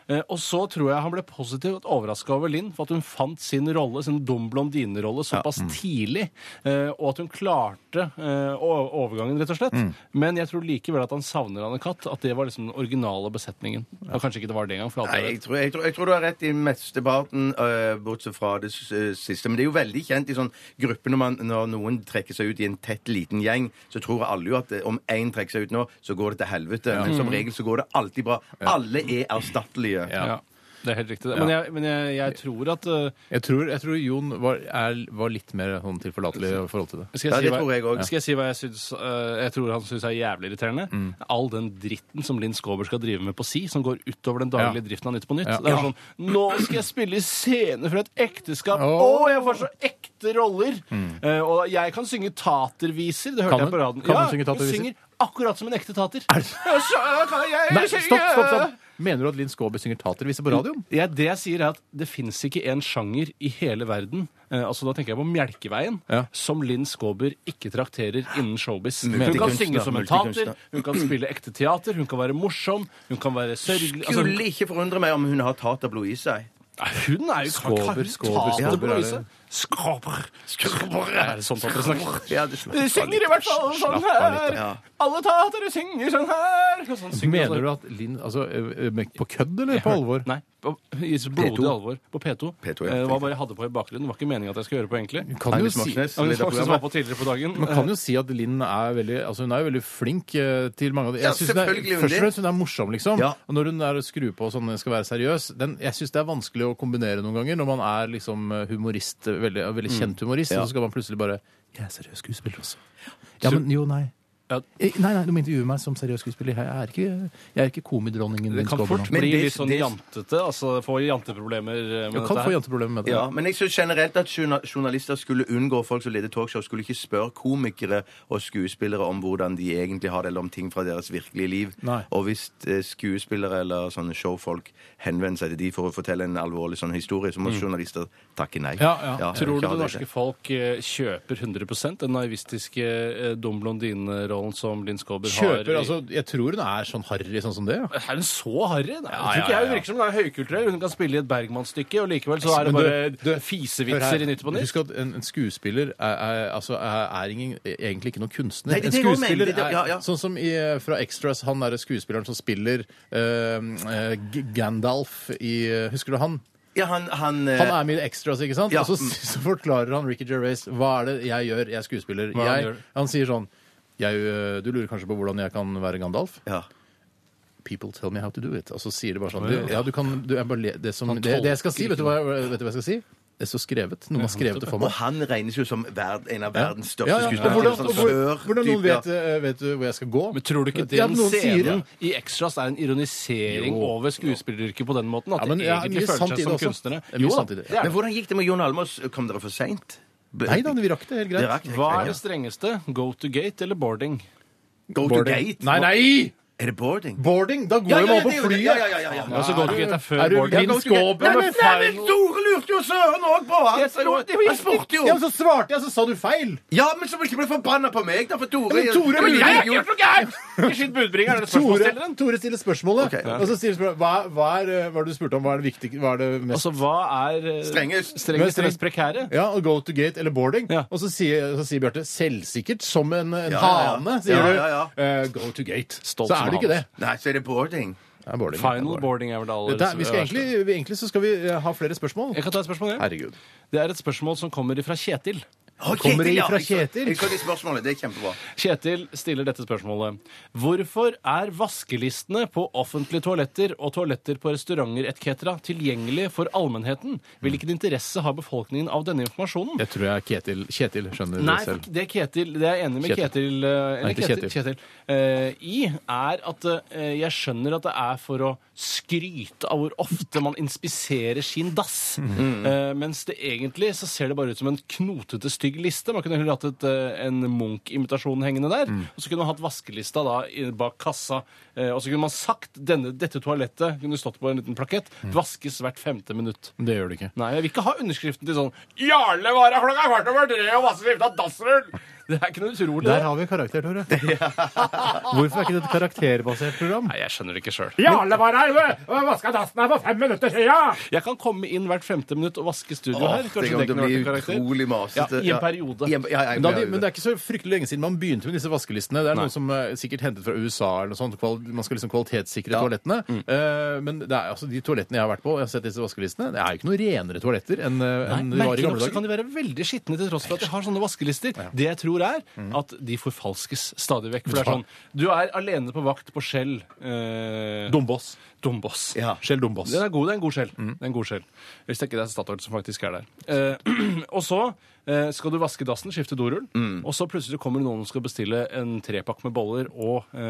[SPEAKER 5] Eh, og så tror jeg han ble positivt overraska over Linn for at hun fant sin rolle, sin dum blondinerolle, såpass
[SPEAKER 3] Mm.
[SPEAKER 5] tidlig. eh, og at hun klarte eh, o- overgangen, rett og slett.
[SPEAKER 3] Mm.
[SPEAKER 5] Men jeg tror likevel at han savner Anne Katt. At det var liksom den originale besetningen. Og kanskje ikke det var det engang. for alt
[SPEAKER 4] Nei,
[SPEAKER 5] jeg vet.
[SPEAKER 4] jeg tror, jeg, tror, jeg tror du har rett i mesteparten, øh, bortsett fra det s- øh, siste. Men det er jo veldig kjent i sånn gruppe når, man, når noen trekker seg ut i en tett, liten gjeng, så tror alle jo at eh, om én trekker seg ut nå, så går det til helvete. Men som regel så går det alltid bra. Alle er erstattelige.
[SPEAKER 5] Ja. Det er helt riktig. det. Men, jeg, men jeg, jeg tror at eh,
[SPEAKER 3] Jeg tror, jeg tror Jon var, er, var litt mer sånn tilforlatelig i forhold til det.
[SPEAKER 5] Skal
[SPEAKER 4] Ja,
[SPEAKER 5] jeg, si
[SPEAKER 4] det
[SPEAKER 5] hva,
[SPEAKER 4] tror jeg også.
[SPEAKER 5] skal jeg si hva jeg syns eh, Jeg tror han syns er jævlig irriterende?
[SPEAKER 3] Mm.
[SPEAKER 5] All den dritten som Linn Skåber skal drive med på si, som går utover den daglige
[SPEAKER 3] Ja.
[SPEAKER 5] driften av Nytt på Nytt.
[SPEAKER 3] Ja.
[SPEAKER 5] Det er sånn Nå skal jeg spille i scene fra et ekteskap! Å,
[SPEAKER 3] Åh. Mm.
[SPEAKER 5] jeg får så ekte roller! Eh, og jeg kan synge taterviser. Det hørte
[SPEAKER 3] Kan
[SPEAKER 5] jeg på
[SPEAKER 3] hun?
[SPEAKER 5] radioen.
[SPEAKER 3] Kan
[SPEAKER 5] ja,
[SPEAKER 3] hun synge taterviser?
[SPEAKER 5] Hun synger akkurat som en ekte tater. Er det? Jeg, jeg, jeg,
[SPEAKER 3] Nei, stopp, stopp, stopp! Mener du at Linn Skåber synger tatervise på radioen?
[SPEAKER 5] Ja, det jeg sier er at det fins ikke en sjanger i hele verden, eh, altså da tenker jeg på Melkeveien,
[SPEAKER 3] Ja.
[SPEAKER 5] som Linn Skåber ikke trakterer innen showbiz. Hun kan
[SPEAKER 4] Multikunstner,
[SPEAKER 5] synge som en
[SPEAKER 4] multikunstner.
[SPEAKER 5] tater, hun kan spille ekte teater, hun kan være morsom, hun kan være sørgelig altså,
[SPEAKER 4] Skulle ikke forundre meg om hun har taterblod i seg.
[SPEAKER 5] Nei, Hun er jo
[SPEAKER 3] Skåber, Skåber, Skåber,
[SPEAKER 5] taterblod i
[SPEAKER 3] er det-
[SPEAKER 5] seg. Skraper. Er det sånn papper snakker?
[SPEAKER 4] Ja, det snakker
[SPEAKER 5] Du synger i hvert fall sånn her!
[SPEAKER 4] ja.
[SPEAKER 5] Alle tatere synger sånn her! Og Sånn synger
[SPEAKER 3] Mener du at Linn altså, ø- ø- men På kødd eller på alvor?
[SPEAKER 5] Nei. På, I så blodig
[SPEAKER 4] P2.
[SPEAKER 5] alvor. På P2.
[SPEAKER 4] P2, ja.
[SPEAKER 5] Eh, Det var bare jeg hadde på i bakgrunnen. Det var ikke meningen at jeg skulle gjøre på, egentlig.
[SPEAKER 3] Kan jo
[SPEAKER 4] Agnes
[SPEAKER 3] si,
[SPEAKER 4] Moxnes,
[SPEAKER 5] Agnes
[SPEAKER 4] leder av
[SPEAKER 5] Moxnes var på
[SPEAKER 4] programmet.
[SPEAKER 5] tidligere på dagen.
[SPEAKER 3] man kan jo si at Linn er veldig altså hun er jo veldig flink eh, til mange av de.
[SPEAKER 4] Ja,
[SPEAKER 3] Jeg synes hun er,
[SPEAKER 4] selvfølgelig hun
[SPEAKER 3] først
[SPEAKER 4] det.
[SPEAKER 3] og fremst hun er morsom, liksom.
[SPEAKER 4] Ja.
[SPEAKER 3] Og når hun er og skrur på sånn skal være seriøs den, Jeg syns det er vanskelig å kombinere noen ganger når man er liksom humorist, veldig, eh, veldig
[SPEAKER 5] Mm.
[SPEAKER 3] kjent humorist, og så skal man plutselig bare Jeg er seriøs skuespiller også. Ja, men jo, nei.
[SPEAKER 5] Ja.
[SPEAKER 3] Eh, Nei, nei, du må intervjue meg som seriøs skuespiller. Jeg er ikke, jeg er ikke komidronningen.
[SPEAKER 5] Det
[SPEAKER 3] din
[SPEAKER 5] kan
[SPEAKER 3] Skåber
[SPEAKER 5] fort
[SPEAKER 3] nå.
[SPEAKER 4] Men
[SPEAKER 5] bli
[SPEAKER 4] det-
[SPEAKER 5] litt sånn
[SPEAKER 4] det-
[SPEAKER 5] jantete. altså Få janteproblemer eh,
[SPEAKER 3] Jeg
[SPEAKER 5] med
[SPEAKER 3] kan
[SPEAKER 5] dette
[SPEAKER 3] få
[SPEAKER 5] her.
[SPEAKER 3] janteproblemer med det.
[SPEAKER 4] Ja, men jeg syns generelt at journa- journalister skulle unngå folk som leder talkshow, skulle ikke spørre komikere og skuespillere om hvordan de egentlig har det, eller om ting fra deres virkelige liv.
[SPEAKER 3] Nei.
[SPEAKER 4] Og hvis eh, skuespillere eller sånne showfolk henvender seg til de for å fortelle en alvorlig sånn historie, så må journalister takke nei.
[SPEAKER 3] Mm. Ja, ja.
[SPEAKER 4] jeg vil ikke
[SPEAKER 5] Tror du
[SPEAKER 4] ha det.
[SPEAKER 5] det norske folk eh, kjøper 100 den naivistiske eh, dum blondine-rollen som Linn Skåber har?
[SPEAKER 3] Kjøper,
[SPEAKER 5] i-
[SPEAKER 3] altså, Jeg tror hun er sånn harry sånn som det. Ja.
[SPEAKER 5] Er hun så harry?
[SPEAKER 3] Ja,
[SPEAKER 5] Nei, jeg
[SPEAKER 3] ja,
[SPEAKER 5] tror ikke jeg
[SPEAKER 3] ja.
[SPEAKER 5] hun virker som hun er høykulturell. Hun kan spille i et Bergman-stykke, og likevel så er det
[SPEAKER 3] Men du-
[SPEAKER 5] bare
[SPEAKER 3] du- Hør her.
[SPEAKER 5] fisevitser i Nytt på Nytt.
[SPEAKER 3] Husk at en, en skuespiller er, er, altså, er, er ingen, egentlig ikke noen kunstner.
[SPEAKER 4] Nei, det er det
[SPEAKER 3] en
[SPEAKER 4] jeg også
[SPEAKER 3] skuespiller
[SPEAKER 4] mener. Det- ja, ja.
[SPEAKER 3] er sånn som i, eh, fra Extras, han derre skuespilleren som spiller eh, eh, G- Gandalf i eh, Husker du han?
[SPEAKER 4] Ja, han, han, eh,
[SPEAKER 3] Han er med i Extras, ikke sant?
[SPEAKER 4] Ja.
[SPEAKER 3] Og så, så forklarer han Ricky Gervais hva er det jeg gjør, jeg er skuespiller.
[SPEAKER 5] Hva han
[SPEAKER 3] Jeg,
[SPEAKER 5] gjør?
[SPEAKER 3] han sier sånn jeg, eh, Du lurer kanskje på hvordan jeg kan være Gandalf?
[SPEAKER 4] ja.
[SPEAKER 3] People tell me how to do it. Og så sier de bare sånn du, Ja, du kan du, jeg bare, le- det, som, det, det jeg skal si, vet du, hva, jeg- vet du hva jeg skal si? Det står skrevet. Noen har skrevet det for
[SPEAKER 4] Og
[SPEAKER 3] meg.
[SPEAKER 4] han regnes jo som verd, en av verdens største
[SPEAKER 3] Ja, ja. Og
[SPEAKER 4] skuespillere.
[SPEAKER 3] Hvordan,
[SPEAKER 4] sånn
[SPEAKER 3] og hvor,
[SPEAKER 4] sør-
[SPEAKER 3] hvordan noen
[SPEAKER 4] type, ja.
[SPEAKER 3] vet, eh, vet du hvor jeg skal gå?
[SPEAKER 5] Men tror du ikke
[SPEAKER 3] Ja,
[SPEAKER 5] den
[SPEAKER 3] noen sier
[SPEAKER 5] scenen
[SPEAKER 3] det.
[SPEAKER 5] i Extras er en ironisering
[SPEAKER 3] Jo.
[SPEAKER 5] over skuespilleryrket på den måten? At
[SPEAKER 3] Ja, men
[SPEAKER 5] de
[SPEAKER 3] ja,
[SPEAKER 5] egentlig
[SPEAKER 3] mye sant
[SPEAKER 5] føler
[SPEAKER 3] i
[SPEAKER 5] seg
[SPEAKER 3] det
[SPEAKER 5] som
[SPEAKER 3] også.
[SPEAKER 5] kunstnere?
[SPEAKER 3] Det er mye
[SPEAKER 5] Jo da,
[SPEAKER 3] sant i det.
[SPEAKER 5] det er
[SPEAKER 4] Men hvordan gikk det med Jon Almaas? Kom dere for seint?
[SPEAKER 3] Nei da, vi rakk det helt greit.
[SPEAKER 5] det. Hva er det strengeste? Go to gate eller boarding?
[SPEAKER 4] Go to gate?
[SPEAKER 3] Nei, nei!
[SPEAKER 4] Er det boarding?
[SPEAKER 3] Boarding! Da går
[SPEAKER 4] Ja, ja,
[SPEAKER 3] jo man
[SPEAKER 4] ja,
[SPEAKER 3] på
[SPEAKER 4] det er jo det.
[SPEAKER 3] flyet.
[SPEAKER 4] Ja, ja, ja, ja.
[SPEAKER 5] Ja, så go to gate er før
[SPEAKER 3] Er du
[SPEAKER 5] boarding.
[SPEAKER 3] Linn Skåber
[SPEAKER 4] Nei,
[SPEAKER 3] med
[SPEAKER 4] men, nei, men
[SPEAKER 3] feil?
[SPEAKER 4] Tore lurte jo søren òg på! Han,
[SPEAKER 5] Jeg
[SPEAKER 4] sa jo-
[SPEAKER 5] tror- det var
[SPEAKER 4] han spurte jo!
[SPEAKER 3] Ja, men så svarte jeg, så sa du feil!
[SPEAKER 4] Ja, men så må du ikke bli forbanna på meg, da, for
[SPEAKER 3] Ja,
[SPEAKER 4] Tore
[SPEAKER 3] men Tore
[SPEAKER 4] Ja, men
[SPEAKER 3] lurer
[SPEAKER 4] jeg
[SPEAKER 3] jo.
[SPEAKER 4] har ikke gjort noe gærent!
[SPEAKER 5] Ikke skyt budbringeren, er det
[SPEAKER 3] Tore,
[SPEAKER 5] spørsmålsstilleren?
[SPEAKER 3] Tore stiller spørsmålet,
[SPEAKER 4] Ok, ja.
[SPEAKER 3] og så stiller spørsmålet hva, hva, er, eh, hva er det du spurte om? Hva er det viktige? Hva er det mest
[SPEAKER 5] Altså, hva er eh,
[SPEAKER 4] Strengest.
[SPEAKER 5] strengest mest prekære?
[SPEAKER 3] Ja, og go to gate eller boarding.
[SPEAKER 5] Ja.
[SPEAKER 3] Og så sier, så sier Bjarte selvsikkert som en, en
[SPEAKER 4] Ja, ja, ja.
[SPEAKER 3] hane, sier
[SPEAKER 4] Ja,
[SPEAKER 3] du.
[SPEAKER 4] ja,
[SPEAKER 3] eh, go to gate.
[SPEAKER 5] Stolt
[SPEAKER 3] så
[SPEAKER 5] som
[SPEAKER 3] er det ikke det.
[SPEAKER 5] hane.
[SPEAKER 4] Nei, så er det boarding.
[SPEAKER 3] Det er boarding. Det er
[SPEAKER 5] Final
[SPEAKER 3] boarding.
[SPEAKER 5] boarding er vel det aller
[SPEAKER 3] Dette er- vi skal
[SPEAKER 5] verste.
[SPEAKER 3] egentlig, vi, egentlig så skal vi eh, ha flere spørsmål.
[SPEAKER 5] Jeg kan ta et spørsmål, ja.
[SPEAKER 3] Herregud.
[SPEAKER 5] Det er et spørsmål som kommer fra Kjetil.
[SPEAKER 4] Å,
[SPEAKER 3] Kommer det
[SPEAKER 4] ja,
[SPEAKER 3] fra
[SPEAKER 4] jeg så-
[SPEAKER 3] Kjetil?
[SPEAKER 4] Jeg så det spørsmålet. Det er kjempebra.
[SPEAKER 5] Kjetil stiller dette spørsmålet. Hvorfor er vaskelistene på offentlige toaletter og toaletter på restauranter etc. tilgjengelige for allmennheten? Hvilken interesse har befolkningen av denne informasjonen?
[SPEAKER 3] Jeg tror jeg Kjetil, Kjetil skjønner
[SPEAKER 5] Nei,
[SPEAKER 3] det selv.
[SPEAKER 5] det er Kjetil, det er jeg enig med
[SPEAKER 3] Kjetil.
[SPEAKER 5] Kjetil, eh,
[SPEAKER 3] Nei,
[SPEAKER 5] eller
[SPEAKER 3] ikke
[SPEAKER 5] Kjetil, Kjetil. eh, i, er at eh, jeg skjønner at det er for å skryte av hvor ofte man inspiserer sin dass.
[SPEAKER 3] Mm.
[SPEAKER 5] Eh, mens det egentlig så ser det bare ut som en knotete, stygg liste. Man kunne heller hatt et, eh, en Munch-invitasjon hengende der.
[SPEAKER 3] Mm.
[SPEAKER 5] Og så kunne man hatt vaskelista da i- bak kassa. Eh, og så kunne man sagt denne, dette toalettet kunne stått på en liten plakett.
[SPEAKER 3] Mm.
[SPEAKER 5] Vaskes hvert femte minutt.
[SPEAKER 3] Det gjør det ikke.
[SPEAKER 5] Nei, jeg vil ikke ha underskriften til sånn Jarle var her klokka kvart over tre og masse skrift av dassrull! Det er ikke noe utrolig. det.
[SPEAKER 3] Der har vi karakter, Tore. Hvorfor er ikke det et karakterbasert program?
[SPEAKER 5] Nei, jeg skjønner det ikke sjøl.
[SPEAKER 3] Jarle var her og vaska dassen her for fem minutter siden!
[SPEAKER 5] Jeg kan komme inn hvert femte minutt og vaske studio
[SPEAKER 4] Åh,
[SPEAKER 5] her.
[SPEAKER 4] det
[SPEAKER 5] Kanskje
[SPEAKER 4] kommer
[SPEAKER 5] det
[SPEAKER 4] til å
[SPEAKER 5] kunne vært
[SPEAKER 4] bli
[SPEAKER 5] en karakter.
[SPEAKER 4] utrolig masete.
[SPEAKER 5] Ja, i en periode.
[SPEAKER 4] I en- Ja, ja,
[SPEAKER 3] Men, da,
[SPEAKER 4] ja,
[SPEAKER 3] vi- men det er ikke så fryktelig lenge siden man begynte med disse vaskelistene. Det er
[SPEAKER 5] Nei.
[SPEAKER 3] noe som er sikkert hentet fra USA eller noe sånt. Kval man skal liksom kvalitetssikre
[SPEAKER 4] Ja.
[SPEAKER 3] toalettene. Eh, men det er, altså, de toalettene jeg har vært på, og jeg har sett disse vaskelistene, det er jo ikke noe renere toaletter enn eh, enn det var i
[SPEAKER 5] Merkelig nok
[SPEAKER 3] gamle
[SPEAKER 5] så kan
[SPEAKER 3] dager.
[SPEAKER 5] de være veldig skitne til tross for at de har sånne vaskelister. Det jeg tror er at de forfalskes stadig vekk. For det er sånn Du er alene på vakt på Skjell. Eh,
[SPEAKER 3] Dombås.
[SPEAKER 5] Dombås.
[SPEAKER 4] Ja.
[SPEAKER 3] Skjell Dombås. Mm.
[SPEAKER 5] Den er god, det er en god skjell. Det er en god skjell. Hvis det ikke er Statoil som faktisk er der. Eh, og så eh, skal du vaske dassen, skifte dorull,
[SPEAKER 3] Mm.
[SPEAKER 5] og så plutselig kommer det noen som skal bestille en trepakk med boller og eh,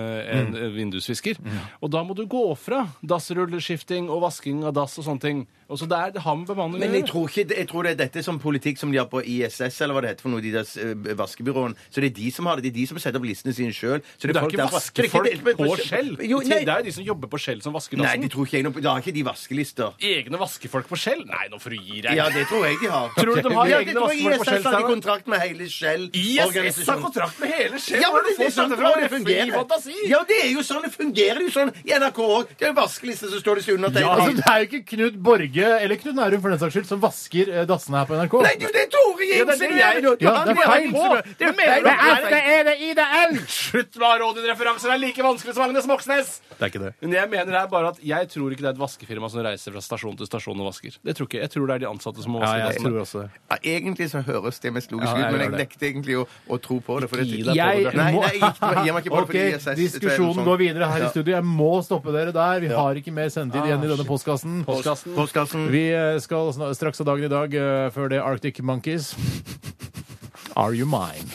[SPEAKER 5] en eh,
[SPEAKER 3] Mm.
[SPEAKER 5] vindusvisker. Og da må du gå fra dassrulleskifting og vasking av dass og sånne ting. Og så det, er, det har med bemanning
[SPEAKER 4] Men
[SPEAKER 5] å
[SPEAKER 4] jeg
[SPEAKER 5] gjøre.
[SPEAKER 4] tror, ikke, jeg tror det er dette som politikk som de har på ISS, eller hva det heter for noe, de der eh, vaskebyråene. Så det er de som har det. Det er de som setter opp listene sine sjøl.
[SPEAKER 5] Det er ikke vaskefolk på Skjell.
[SPEAKER 4] Jo, nei,
[SPEAKER 5] Det er jo de som jobber på Skjell, som vasker
[SPEAKER 4] nei,
[SPEAKER 5] dassen.
[SPEAKER 4] de tror ikke jeg noe på. Da har ikke de vaskelister.
[SPEAKER 5] Egne vaskefolk på Skjell? Nei, nå får du gi deg.
[SPEAKER 4] Ja, det tror jeg de har.
[SPEAKER 5] Tror du de har
[SPEAKER 4] Ja, det
[SPEAKER 5] egne
[SPEAKER 4] tror jeg
[SPEAKER 5] vaskefolk på Shell
[SPEAKER 4] Texas har
[SPEAKER 5] Tower.
[SPEAKER 4] de kontrakt med hele
[SPEAKER 5] ISS har
[SPEAKER 4] Shell-organisasjonen.
[SPEAKER 5] kontrakt med hele Shell!
[SPEAKER 4] Ja,
[SPEAKER 5] Hvor
[SPEAKER 4] men det, det
[SPEAKER 5] har du
[SPEAKER 4] er
[SPEAKER 5] fått
[SPEAKER 4] sånn
[SPEAKER 5] dette
[SPEAKER 4] det
[SPEAKER 5] fra? Det er fri
[SPEAKER 4] fungerer.
[SPEAKER 5] fantasi!
[SPEAKER 4] Ja, det er jo sånn det fungerer jo sånn i NRK òg. Det er en vaskeliste, så står det
[SPEAKER 3] Altså,
[SPEAKER 4] undertegnet.
[SPEAKER 3] det er jo ikke Knut Borge eller Knut Nærum for den saks skyld som vasker eh, dassene her på NRK.
[SPEAKER 4] Nei, du, det er Tore Jensen!
[SPEAKER 5] Ja, det er det jeg-
[SPEAKER 4] du- du-
[SPEAKER 3] Ja,
[SPEAKER 4] han
[SPEAKER 3] det er
[SPEAKER 4] blir
[SPEAKER 3] feil.
[SPEAKER 4] helt-
[SPEAKER 3] Det
[SPEAKER 4] Det mener du er feil.
[SPEAKER 3] er det ideelt!
[SPEAKER 5] Slutt med å ha Rådin-referanser! Det er like vanskelig som Agnes Moxnes!
[SPEAKER 3] Det er ikke det.
[SPEAKER 5] Men jeg mener her bare at jeg tror ikke det er et vaskefirma som reiser fra stasjon til stasjon og vasker. Det tror ikke Jeg Jeg tror det er de ansatte som må
[SPEAKER 3] Ja,
[SPEAKER 5] vaske.
[SPEAKER 3] jeg
[SPEAKER 5] dassene.
[SPEAKER 3] tror også det.
[SPEAKER 4] Ja, egentlig så høres det mest logisk
[SPEAKER 3] Ja, jeg
[SPEAKER 4] ut, men
[SPEAKER 3] gjør
[SPEAKER 4] jeg
[SPEAKER 3] det.
[SPEAKER 4] nekter egentlig å, å tro på det. For det
[SPEAKER 5] Gi deg på
[SPEAKER 4] nei,
[SPEAKER 5] det.
[SPEAKER 4] nei, jeg gikk, jeg gir meg ikke på det.
[SPEAKER 3] Ok,
[SPEAKER 4] fordi ISS
[SPEAKER 3] Diskusjonen
[SPEAKER 4] sånn-
[SPEAKER 3] går videre her i studio. Jeg må stoppe dere der. Vi har ikke mer sendetid igjen i denne Ah, postkassen.
[SPEAKER 5] Postkassen.
[SPEAKER 4] Postkassen.
[SPEAKER 3] Vi eh, skal sna- straks av dagen i dag, eh, før det Arctic Monkeys. Are you mine?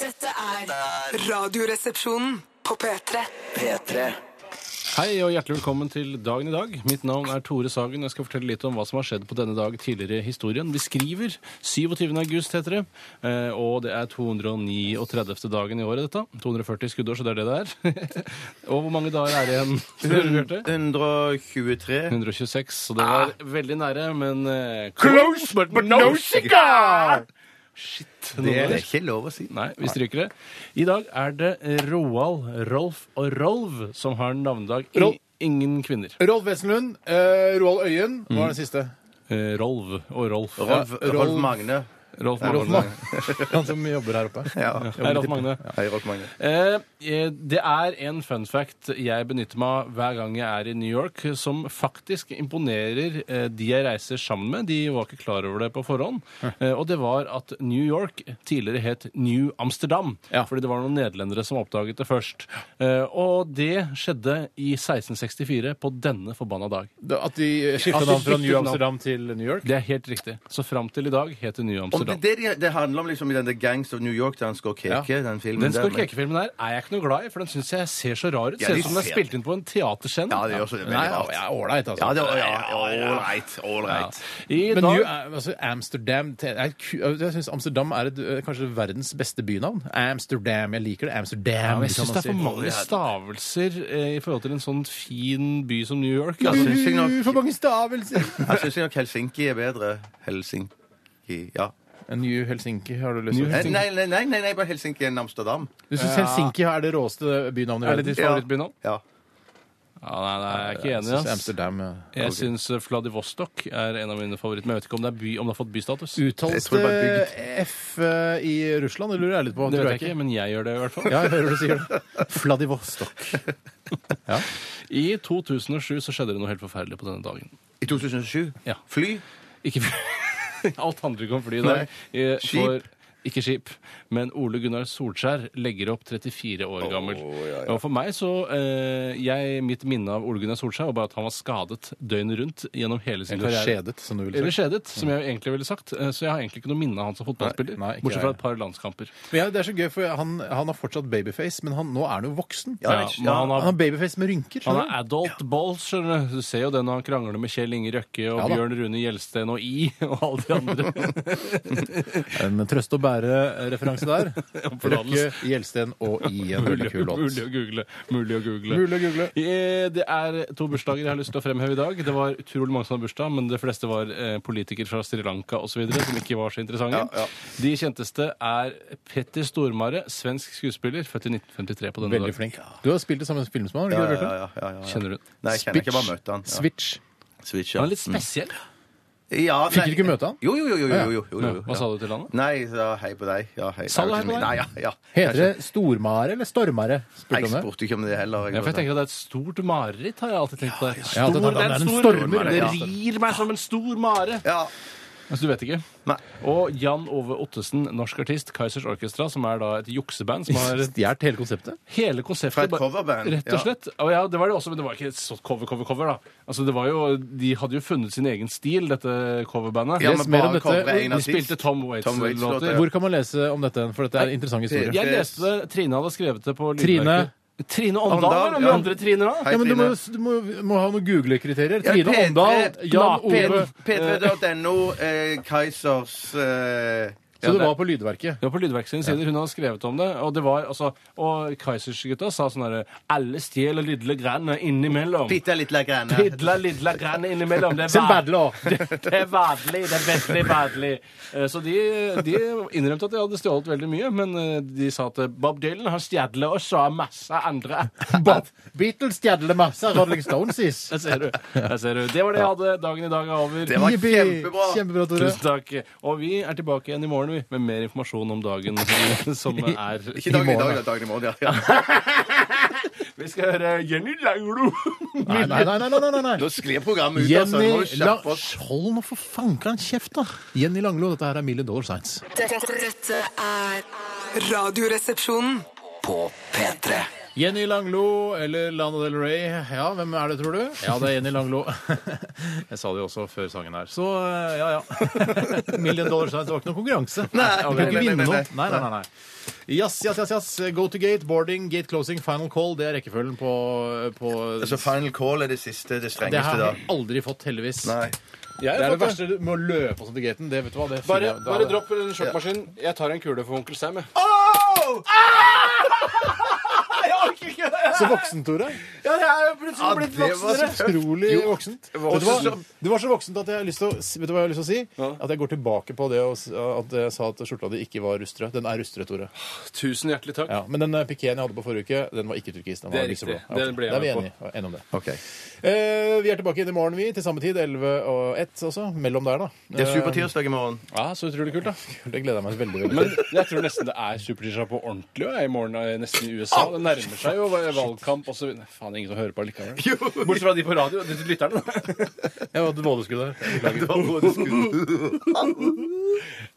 [SPEAKER 6] Dette er Radioresepsjonen på P3.
[SPEAKER 2] P3
[SPEAKER 5] Hei og hjertelig velkommen til dagen i dag. Mitt navn er Tore Sagen. Jeg skal fortelle litt om hva som har skjedd på denne dag tidligere i historien. Vi skriver 27. august, heter det. Eh, Og det er 239. dagen i året, dette. 240 skuddår, så det er det det er. og hvor mange dager er det igjen? Bjarte?
[SPEAKER 4] 123
[SPEAKER 5] 126, så det var veldig nære, men eh,
[SPEAKER 4] Ah. Close, but no cigar!
[SPEAKER 5] Shit.
[SPEAKER 4] Det
[SPEAKER 5] noen
[SPEAKER 4] er
[SPEAKER 5] dager.
[SPEAKER 4] ikke lov å si.
[SPEAKER 5] Nei, vi stryker det. I dag er det Roald, Rolf og Rolv som har navnedag. I-
[SPEAKER 3] Rolf.
[SPEAKER 5] Ingen kvinner.
[SPEAKER 3] Rolf Wesenlund, eh, Roald Øyen, hva var den siste?
[SPEAKER 5] Eh, Rolv og
[SPEAKER 4] Rolf,
[SPEAKER 5] Rolf.
[SPEAKER 3] Ja, Rolf-
[SPEAKER 4] Rolf Magne.
[SPEAKER 5] Rolf
[SPEAKER 4] Nei,
[SPEAKER 5] Magne.
[SPEAKER 3] Rolf Magne. Han som jobber her oppe.
[SPEAKER 4] Ja.
[SPEAKER 5] Hei, Rolf Magne.
[SPEAKER 4] Hei, Rolf Magne.
[SPEAKER 5] Eh, eh, det er en fun fact jeg benytter meg av hver gang jeg er i New York, som faktisk imponerer eh, de jeg reiser sammen med. De var ikke klar over det på forhånd. Eh, og det var at New York tidligere het New Amsterdam,
[SPEAKER 3] Ja.
[SPEAKER 5] fordi det var noen nederlendere som oppdaget det først. Eh, og det skjedde i 1664 på denne forbanna dag.
[SPEAKER 3] Da- At de skifta
[SPEAKER 5] At de
[SPEAKER 3] navn fra
[SPEAKER 5] skiftet
[SPEAKER 3] New
[SPEAKER 5] navn.
[SPEAKER 3] Amsterdam til New York?
[SPEAKER 5] Det er helt riktig. Så fram til i dag het det New
[SPEAKER 4] Om det,
[SPEAKER 5] Amsterdam.
[SPEAKER 4] det, de- det handler om liksom i den The Gangs of New York, der han skal keke, den filmen
[SPEAKER 5] Den
[SPEAKER 4] der. men-
[SPEAKER 5] skorkekefilmen der er jeg ikke noe glad i, for den syns jeg ser så rar ut.
[SPEAKER 4] Ja,
[SPEAKER 5] ser
[SPEAKER 4] de
[SPEAKER 5] ut som den er
[SPEAKER 4] ser-
[SPEAKER 5] spilt inn på en teaterscene.
[SPEAKER 4] Ja, det gjør så det er
[SPEAKER 3] Nei,
[SPEAKER 4] veldig rart.
[SPEAKER 3] ja, ålreit, altså.
[SPEAKER 4] Ja, det var ja, ålreit.
[SPEAKER 5] Ja.
[SPEAKER 4] Ålreit.
[SPEAKER 5] I
[SPEAKER 3] Men
[SPEAKER 5] dag-
[SPEAKER 3] New, altså Amsterdam te- er, et ku- altså, Jeg syns Amsterdam er et, eh, kanskje verdens beste bynavn. Amsterdam. Jeg liker det.
[SPEAKER 5] Ja,
[SPEAKER 3] Amsterdam. liksom, altså.
[SPEAKER 5] men jeg syns det er for mange stavelser eh, i forhold til en sånn fin by som New York. Altså,
[SPEAKER 4] Syns jeg nok-
[SPEAKER 3] Uh, for mange stavelser!
[SPEAKER 4] Jeg syns nok Helsinki er bedre. Helsinki, ja.
[SPEAKER 3] New Helsinki, har du lyst til
[SPEAKER 5] New
[SPEAKER 3] å
[SPEAKER 4] Nei,
[SPEAKER 5] Helsinki.
[SPEAKER 3] si?
[SPEAKER 4] nei, nei, nei, nei, bare Helsinki enn Amsterdam.
[SPEAKER 3] Du syns Helsinki er det råeste bynavnet i
[SPEAKER 5] er det ditt
[SPEAKER 3] verden?
[SPEAKER 4] Ja.
[SPEAKER 5] favorittby nå?
[SPEAKER 4] Ja.
[SPEAKER 5] Ja, nei, nei, jeg er
[SPEAKER 3] Jeg
[SPEAKER 5] ikke
[SPEAKER 3] syns
[SPEAKER 5] enig. ass.
[SPEAKER 3] Amsterdam ja.
[SPEAKER 5] Jeg syns eh, Vladivostok er en av mine favoritter, men jeg vet ikke om det, er by, om det har fått bystatus.
[SPEAKER 4] Jeg
[SPEAKER 3] Uttales
[SPEAKER 4] tror det var
[SPEAKER 3] det F eh, i Russland? Det lurer jeg litt på.
[SPEAKER 5] Det
[SPEAKER 3] Tror
[SPEAKER 5] vet jeg ikke, men jeg gjør det i hvert fall.
[SPEAKER 3] Ja, jeg hører du sier det. Vladivostok.
[SPEAKER 5] I 2007 så skjedde det noe helt forferdelig på denne dagen.
[SPEAKER 4] I 2007?
[SPEAKER 5] Ja.
[SPEAKER 4] Fly?
[SPEAKER 5] Ikke Alt handler ikke om fly i dag. Eh,
[SPEAKER 4] Skip.
[SPEAKER 5] For, ikke skip, men Ole Gunnar Solskjær legger opp 34 år gammel. Og for meg så eh, jeg, Mitt minne av Ole Gunnar Solskjær var bare at han var skadet døgnet rundt gjennom hele sin
[SPEAKER 3] Eller
[SPEAKER 5] karriere.
[SPEAKER 3] skjedet, som du ville sagt.
[SPEAKER 5] Eller
[SPEAKER 3] Mm.
[SPEAKER 5] skjedet, som jeg egentlig ville sagt. Eh, Så jeg har egentlig ikke noe minne av han som fotballspiller.
[SPEAKER 3] Nei, nei, ikke
[SPEAKER 5] bortsett fra
[SPEAKER 3] jeg.
[SPEAKER 5] et par landskamper.
[SPEAKER 3] Men ja, det er så gøy, for han, han har fortsatt babyface, men han, nå er han jo voksen.
[SPEAKER 5] Ja,
[SPEAKER 4] ja,
[SPEAKER 5] men han,
[SPEAKER 3] Han
[SPEAKER 5] har,
[SPEAKER 3] har babyface med rynker.
[SPEAKER 5] han
[SPEAKER 3] skjønner
[SPEAKER 5] er
[SPEAKER 3] du?
[SPEAKER 5] adult balls, skjønner du. Du ser jo det når han krangler med Kjell Inge Røkke og
[SPEAKER 3] Ja da.
[SPEAKER 5] Bjørn Rune Gjelsten og I og alle de andre.
[SPEAKER 3] En trøst og bære-referanse der. Røkke,
[SPEAKER 5] forlatelse.
[SPEAKER 3] Gjelsten og I. En veldig kul låt.
[SPEAKER 5] Mulig å google. Mulig å google.
[SPEAKER 3] Mulig å google.
[SPEAKER 5] Eh, Det er to bursdager jeg har lyst til å fremheve i dag. Det var utrolig mange som hadde bursdag, men de fleste var eh, politikere fra Sri Lanka osv. som ikke var så interessante. De kjenteste er Petter Stormare, svensk skuespiller, født i 1953 på denne
[SPEAKER 3] Veldig
[SPEAKER 5] dag.
[SPEAKER 3] flink. Du har spilt i samme film som han?
[SPEAKER 4] Ja,
[SPEAKER 3] har du
[SPEAKER 4] ja,
[SPEAKER 3] ikke det,
[SPEAKER 4] ja,
[SPEAKER 3] Bjarte?
[SPEAKER 4] ja, ja, ja.
[SPEAKER 5] Kjenner du den?
[SPEAKER 4] Nei, jeg kjenner ikke, jeg bare møtte han. Ja.
[SPEAKER 3] Switch.
[SPEAKER 4] Switch, ja.
[SPEAKER 5] Han er litt spesiell.
[SPEAKER 4] Ja, nei.
[SPEAKER 3] Fikk du ikke møte han?
[SPEAKER 4] Jo, jo, jo. jo, jo, jo, jo, jo, jo.
[SPEAKER 5] Hva sa du til han? da?
[SPEAKER 4] Nei, sa hei på deg. Ja, hei.
[SPEAKER 5] Sa du hei på deg?
[SPEAKER 4] Nei, ja, ja.
[SPEAKER 3] Heter det Stormare eller Stormare? Spurte
[SPEAKER 4] Nei, Jeg
[SPEAKER 3] om det.
[SPEAKER 4] spurte ikke om det heller.
[SPEAKER 5] Ja, for jeg tenker at Det er et stort mareritt, har jeg alltid tenkt på. det.
[SPEAKER 3] jeg har alltid
[SPEAKER 5] Stor-
[SPEAKER 3] tenkt at
[SPEAKER 5] det er en
[SPEAKER 3] stormer,
[SPEAKER 5] stor-
[SPEAKER 4] det er
[SPEAKER 5] Det
[SPEAKER 4] en
[SPEAKER 5] rir meg som en stor mare.
[SPEAKER 4] ja.
[SPEAKER 5] Altså, du vet ikke.
[SPEAKER 4] Nei.
[SPEAKER 5] Og Jan Ove Ottesen, norsk artist, Kaizers Orchestra, som er da et jukseband som har
[SPEAKER 3] Stjålet hele konseptet?
[SPEAKER 5] hele konseptet.
[SPEAKER 4] Fra et
[SPEAKER 5] bare-
[SPEAKER 4] coverband,
[SPEAKER 5] Rett
[SPEAKER 4] ja.
[SPEAKER 5] og slett. Og ja, det var det også, men det var ikke et sånt cover, cover, cover, da. Altså, det var jo, de hadde jo funnet sin egen stil, dette coverbandet.
[SPEAKER 4] Ja,
[SPEAKER 3] Yes,
[SPEAKER 4] men
[SPEAKER 3] mer om
[SPEAKER 4] bare
[SPEAKER 3] dette.
[SPEAKER 4] cover
[SPEAKER 3] De
[SPEAKER 4] en
[SPEAKER 5] de
[SPEAKER 4] artist.
[SPEAKER 5] spilte Tom
[SPEAKER 4] Tom Waits låter.
[SPEAKER 5] Waits-låter.
[SPEAKER 4] Ja.
[SPEAKER 3] Hvor kan man lese om dette? For dette er en interessant historie.
[SPEAKER 5] Jeg leste det. Trine hadde skrevet det på
[SPEAKER 3] Trine.
[SPEAKER 5] lydmerket. Trine Åndal,
[SPEAKER 4] Åndal,
[SPEAKER 5] var det
[SPEAKER 4] ja.
[SPEAKER 5] den andre Trine da?
[SPEAKER 4] Hei,
[SPEAKER 3] Ja, men du må,
[SPEAKER 4] Trine.
[SPEAKER 3] du må, må ha noen Google-kriterier.
[SPEAKER 4] Ja,
[SPEAKER 3] Trine
[SPEAKER 4] P3,
[SPEAKER 3] Åndal, Jan
[SPEAKER 4] Ah, P-
[SPEAKER 3] Ove
[SPEAKER 4] P3.no, eh, Kaizers eh,
[SPEAKER 3] Så
[SPEAKER 5] Ja,
[SPEAKER 3] det
[SPEAKER 5] det-
[SPEAKER 3] var på Lydverket.
[SPEAKER 5] Det var på Lydverk sine sider. Hun har skrevet om det. Og det var, altså, og Keisersgutta sa sånn herre Alle stjeler lille grann innimellom.
[SPEAKER 4] Bitte litt greiene.
[SPEAKER 5] Pidla lille grann innimellom. Det er
[SPEAKER 3] Sin
[SPEAKER 5] verd-
[SPEAKER 3] badler.
[SPEAKER 5] det, det er vanlig. Det er veldig vanlig. Eh, Så de, de innrømte at de hadde stjålet veldig mye, men eh, de sa at Bob Dylan har stjålet og så har masse andre.
[SPEAKER 3] Bob- Beatles stjadler masse av Rolling Stones, is.
[SPEAKER 5] Der ser, du. Der ser du. Det var det jeg hadde. Dagen i dag er over.
[SPEAKER 4] Det var
[SPEAKER 3] Jippi.
[SPEAKER 4] kjempebra.
[SPEAKER 3] Kjempebra, Tore.
[SPEAKER 5] Tusen takk. Og vi er tilbake igjen i morgen vi, med mer informasjon om dagen som- som er
[SPEAKER 4] Ikke dagen i
[SPEAKER 3] morgen,
[SPEAKER 4] dag, da. Dagen i morgen, ja. ja.
[SPEAKER 5] Vi skal høre Jenny Lauro.
[SPEAKER 3] Nei, nei, nei. nei, nei, nei, nei.
[SPEAKER 4] Nå sklir programmet ut, altså. Nå må vi
[SPEAKER 3] Jenny La...
[SPEAKER 4] skjerpe oss.
[SPEAKER 3] Hold nå for fanken kjeft, da! Jenny Langlo, dette her er Million Dollar Science.
[SPEAKER 6] Dette, dette er Radioresepsjonen.
[SPEAKER 2] På P3.
[SPEAKER 3] Jenny Langlo eller Lana Del Rey. Ja, hvem er det, tror du? Ja, det er Jenny Langlo. Jeg sa det jo også før sangen her. Så eh, ja, ja. Million Dollar Science, det var ikke noen konkurranse.
[SPEAKER 4] Nei,
[SPEAKER 3] Du kan ikke
[SPEAKER 4] nei, nei,
[SPEAKER 3] vinne noe.
[SPEAKER 4] nei,
[SPEAKER 3] Nei, nei, nei. Yes, yes, yes, yes. Go to gate, boarding, gate closing, final call. Det er rekkefølgen på, på
[SPEAKER 4] Altså, final call er det siste, det
[SPEAKER 3] Det
[SPEAKER 4] strengeste,
[SPEAKER 3] her
[SPEAKER 4] da.
[SPEAKER 3] har jeg aldri fått, heldigvis.
[SPEAKER 4] Nei.
[SPEAKER 5] Jeg
[SPEAKER 3] Det er det
[SPEAKER 5] har fått det.
[SPEAKER 3] verste du- med å løpe og sånn til gaten. Det vet du hva, det
[SPEAKER 5] Bare,
[SPEAKER 3] finner jeg-
[SPEAKER 5] bare dropp en sjokkmaskin. Jeg tar en kule for onkel Sam. jeg.
[SPEAKER 3] Så voksen, Tore.
[SPEAKER 5] Ja, jeg er jo plutselig
[SPEAKER 4] Ja,
[SPEAKER 5] blitt
[SPEAKER 4] det var
[SPEAKER 5] voksnere.
[SPEAKER 3] Utrolig voksent.
[SPEAKER 5] var
[SPEAKER 3] Og det, var,
[SPEAKER 5] voksent.
[SPEAKER 3] det var så voksent at jeg har lyst til å, si- vet du hva jeg har lyst til å si? At jeg går tilbake på det å s- at jeg sa at skjorta di ikke var rustrød. Den er rustrød, Tore.
[SPEAKER 5] Tusen hjertelig takk.
[SPEAKER 3] Ja, men den eh, pikéen jeg hadde på forrige uke, den var ikke turkis. Den
[SPEAKER 5] Det er
[SPEAKER 3] var lyseblå.
[SPEAKER 5] riktig.
[SPEAKER 3] Ja, ok.
[SPEAKER 5] Den ble
[SPEAKER 3] da
[SPEAKER 5] jeg
[SPEAKER 3] er vi
[SPEAKER 5] med
[SPEAKER 3] enige, enige om det.
[SPEAKER 4] Ok.
[SPEAKER 3] Eh, vi er tilbake inn i morgen, vi. Til samme tid. 11 og 1 også. Mellom der, da.
[SPEAKER 4] Det er supertirsdag i morgen.
[SPEAKER 5] Ja, Så utrolig kult, da.
[SPEAKER 3] Eh, Det gleder jeg meg veldig veldig
[SPEAKER 5] Men
[SPEAKER 3] til.
[SPEAKER 5] jeg tror nesten det er supertirsdag på ordentlig og jeg er i morgen er jeg nesten i USA. Det nærmer seg jo valgkamp og så videre. Faen, ingen som hører på likevel. Bortsett fra de på radio. De lytterne.
[SPEAKER 3] Jeg var et vådeskudd der. Beklager.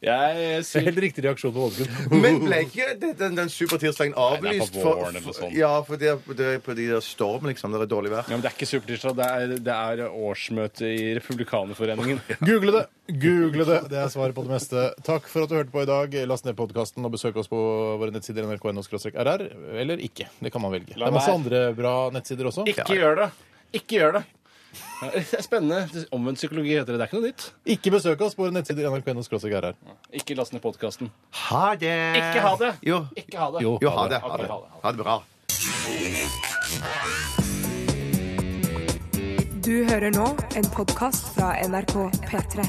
[SPEAKER 5] Jeg
[SPEAKER 3] Det er
[SPEAKER 5] sier
[SPEAKER 3] Helt riktig reaksjon på vådeskudd.
[SPEAKER 4] Men ble ikke det- den, den supertirsdagen avlyst?
[SPEAKER 5] på våren eller noe sånt.
[SPEAKER 4] ja, for det, er- det er på de der storm, liksom. Det er dårlig vær.
[SPEAKER 5] ja, men Det er ikke supertirsdag, det er, det er årsmøte i Republikanerforeningen.
[SPEAKER 3] Google det! Google det! Det er svaret på det meste. Takk for at du hørte på i dag. Last ned podkasten og besøk oss på våre nettsider nrk.no-rr, eller ikke. Det kan man velge. Det
[SPEAKER 5] La
[SPEAKER 3] er masse
[SPEAKER 5] være.
[SPEAKER 3] andre bra nettsider også.
[SPEAKER 5] Ikke gjør det! Ikke gjør det! Ja, Det er spennende. Omvendt psykologi heter det. Det er ikke noe nytt.
[SPEAKER 3] Ikke besøk oss på våre nettsider nrk.no-rr.
[SPEAKER 5] Ikke last ned podkasten.
[SPEAKER 4] Ha det!
[SPEAKER 5] Ikke ha det!
[SPEAKER 4] Jo.
[SPEAKER 5] Ikke ha det.
[SPEAKER 3] Jo.
[SPEAKER 4] Jo, ha det. Ha
[SPEAKER 5] Ok,
[SPEAKER 4] det,
[SPEAKER 5] ha det, ha det.
[SPEAKER 4] ha det bra.
[SPEAKER 1] Du hører nå en podkast fra NRK P3.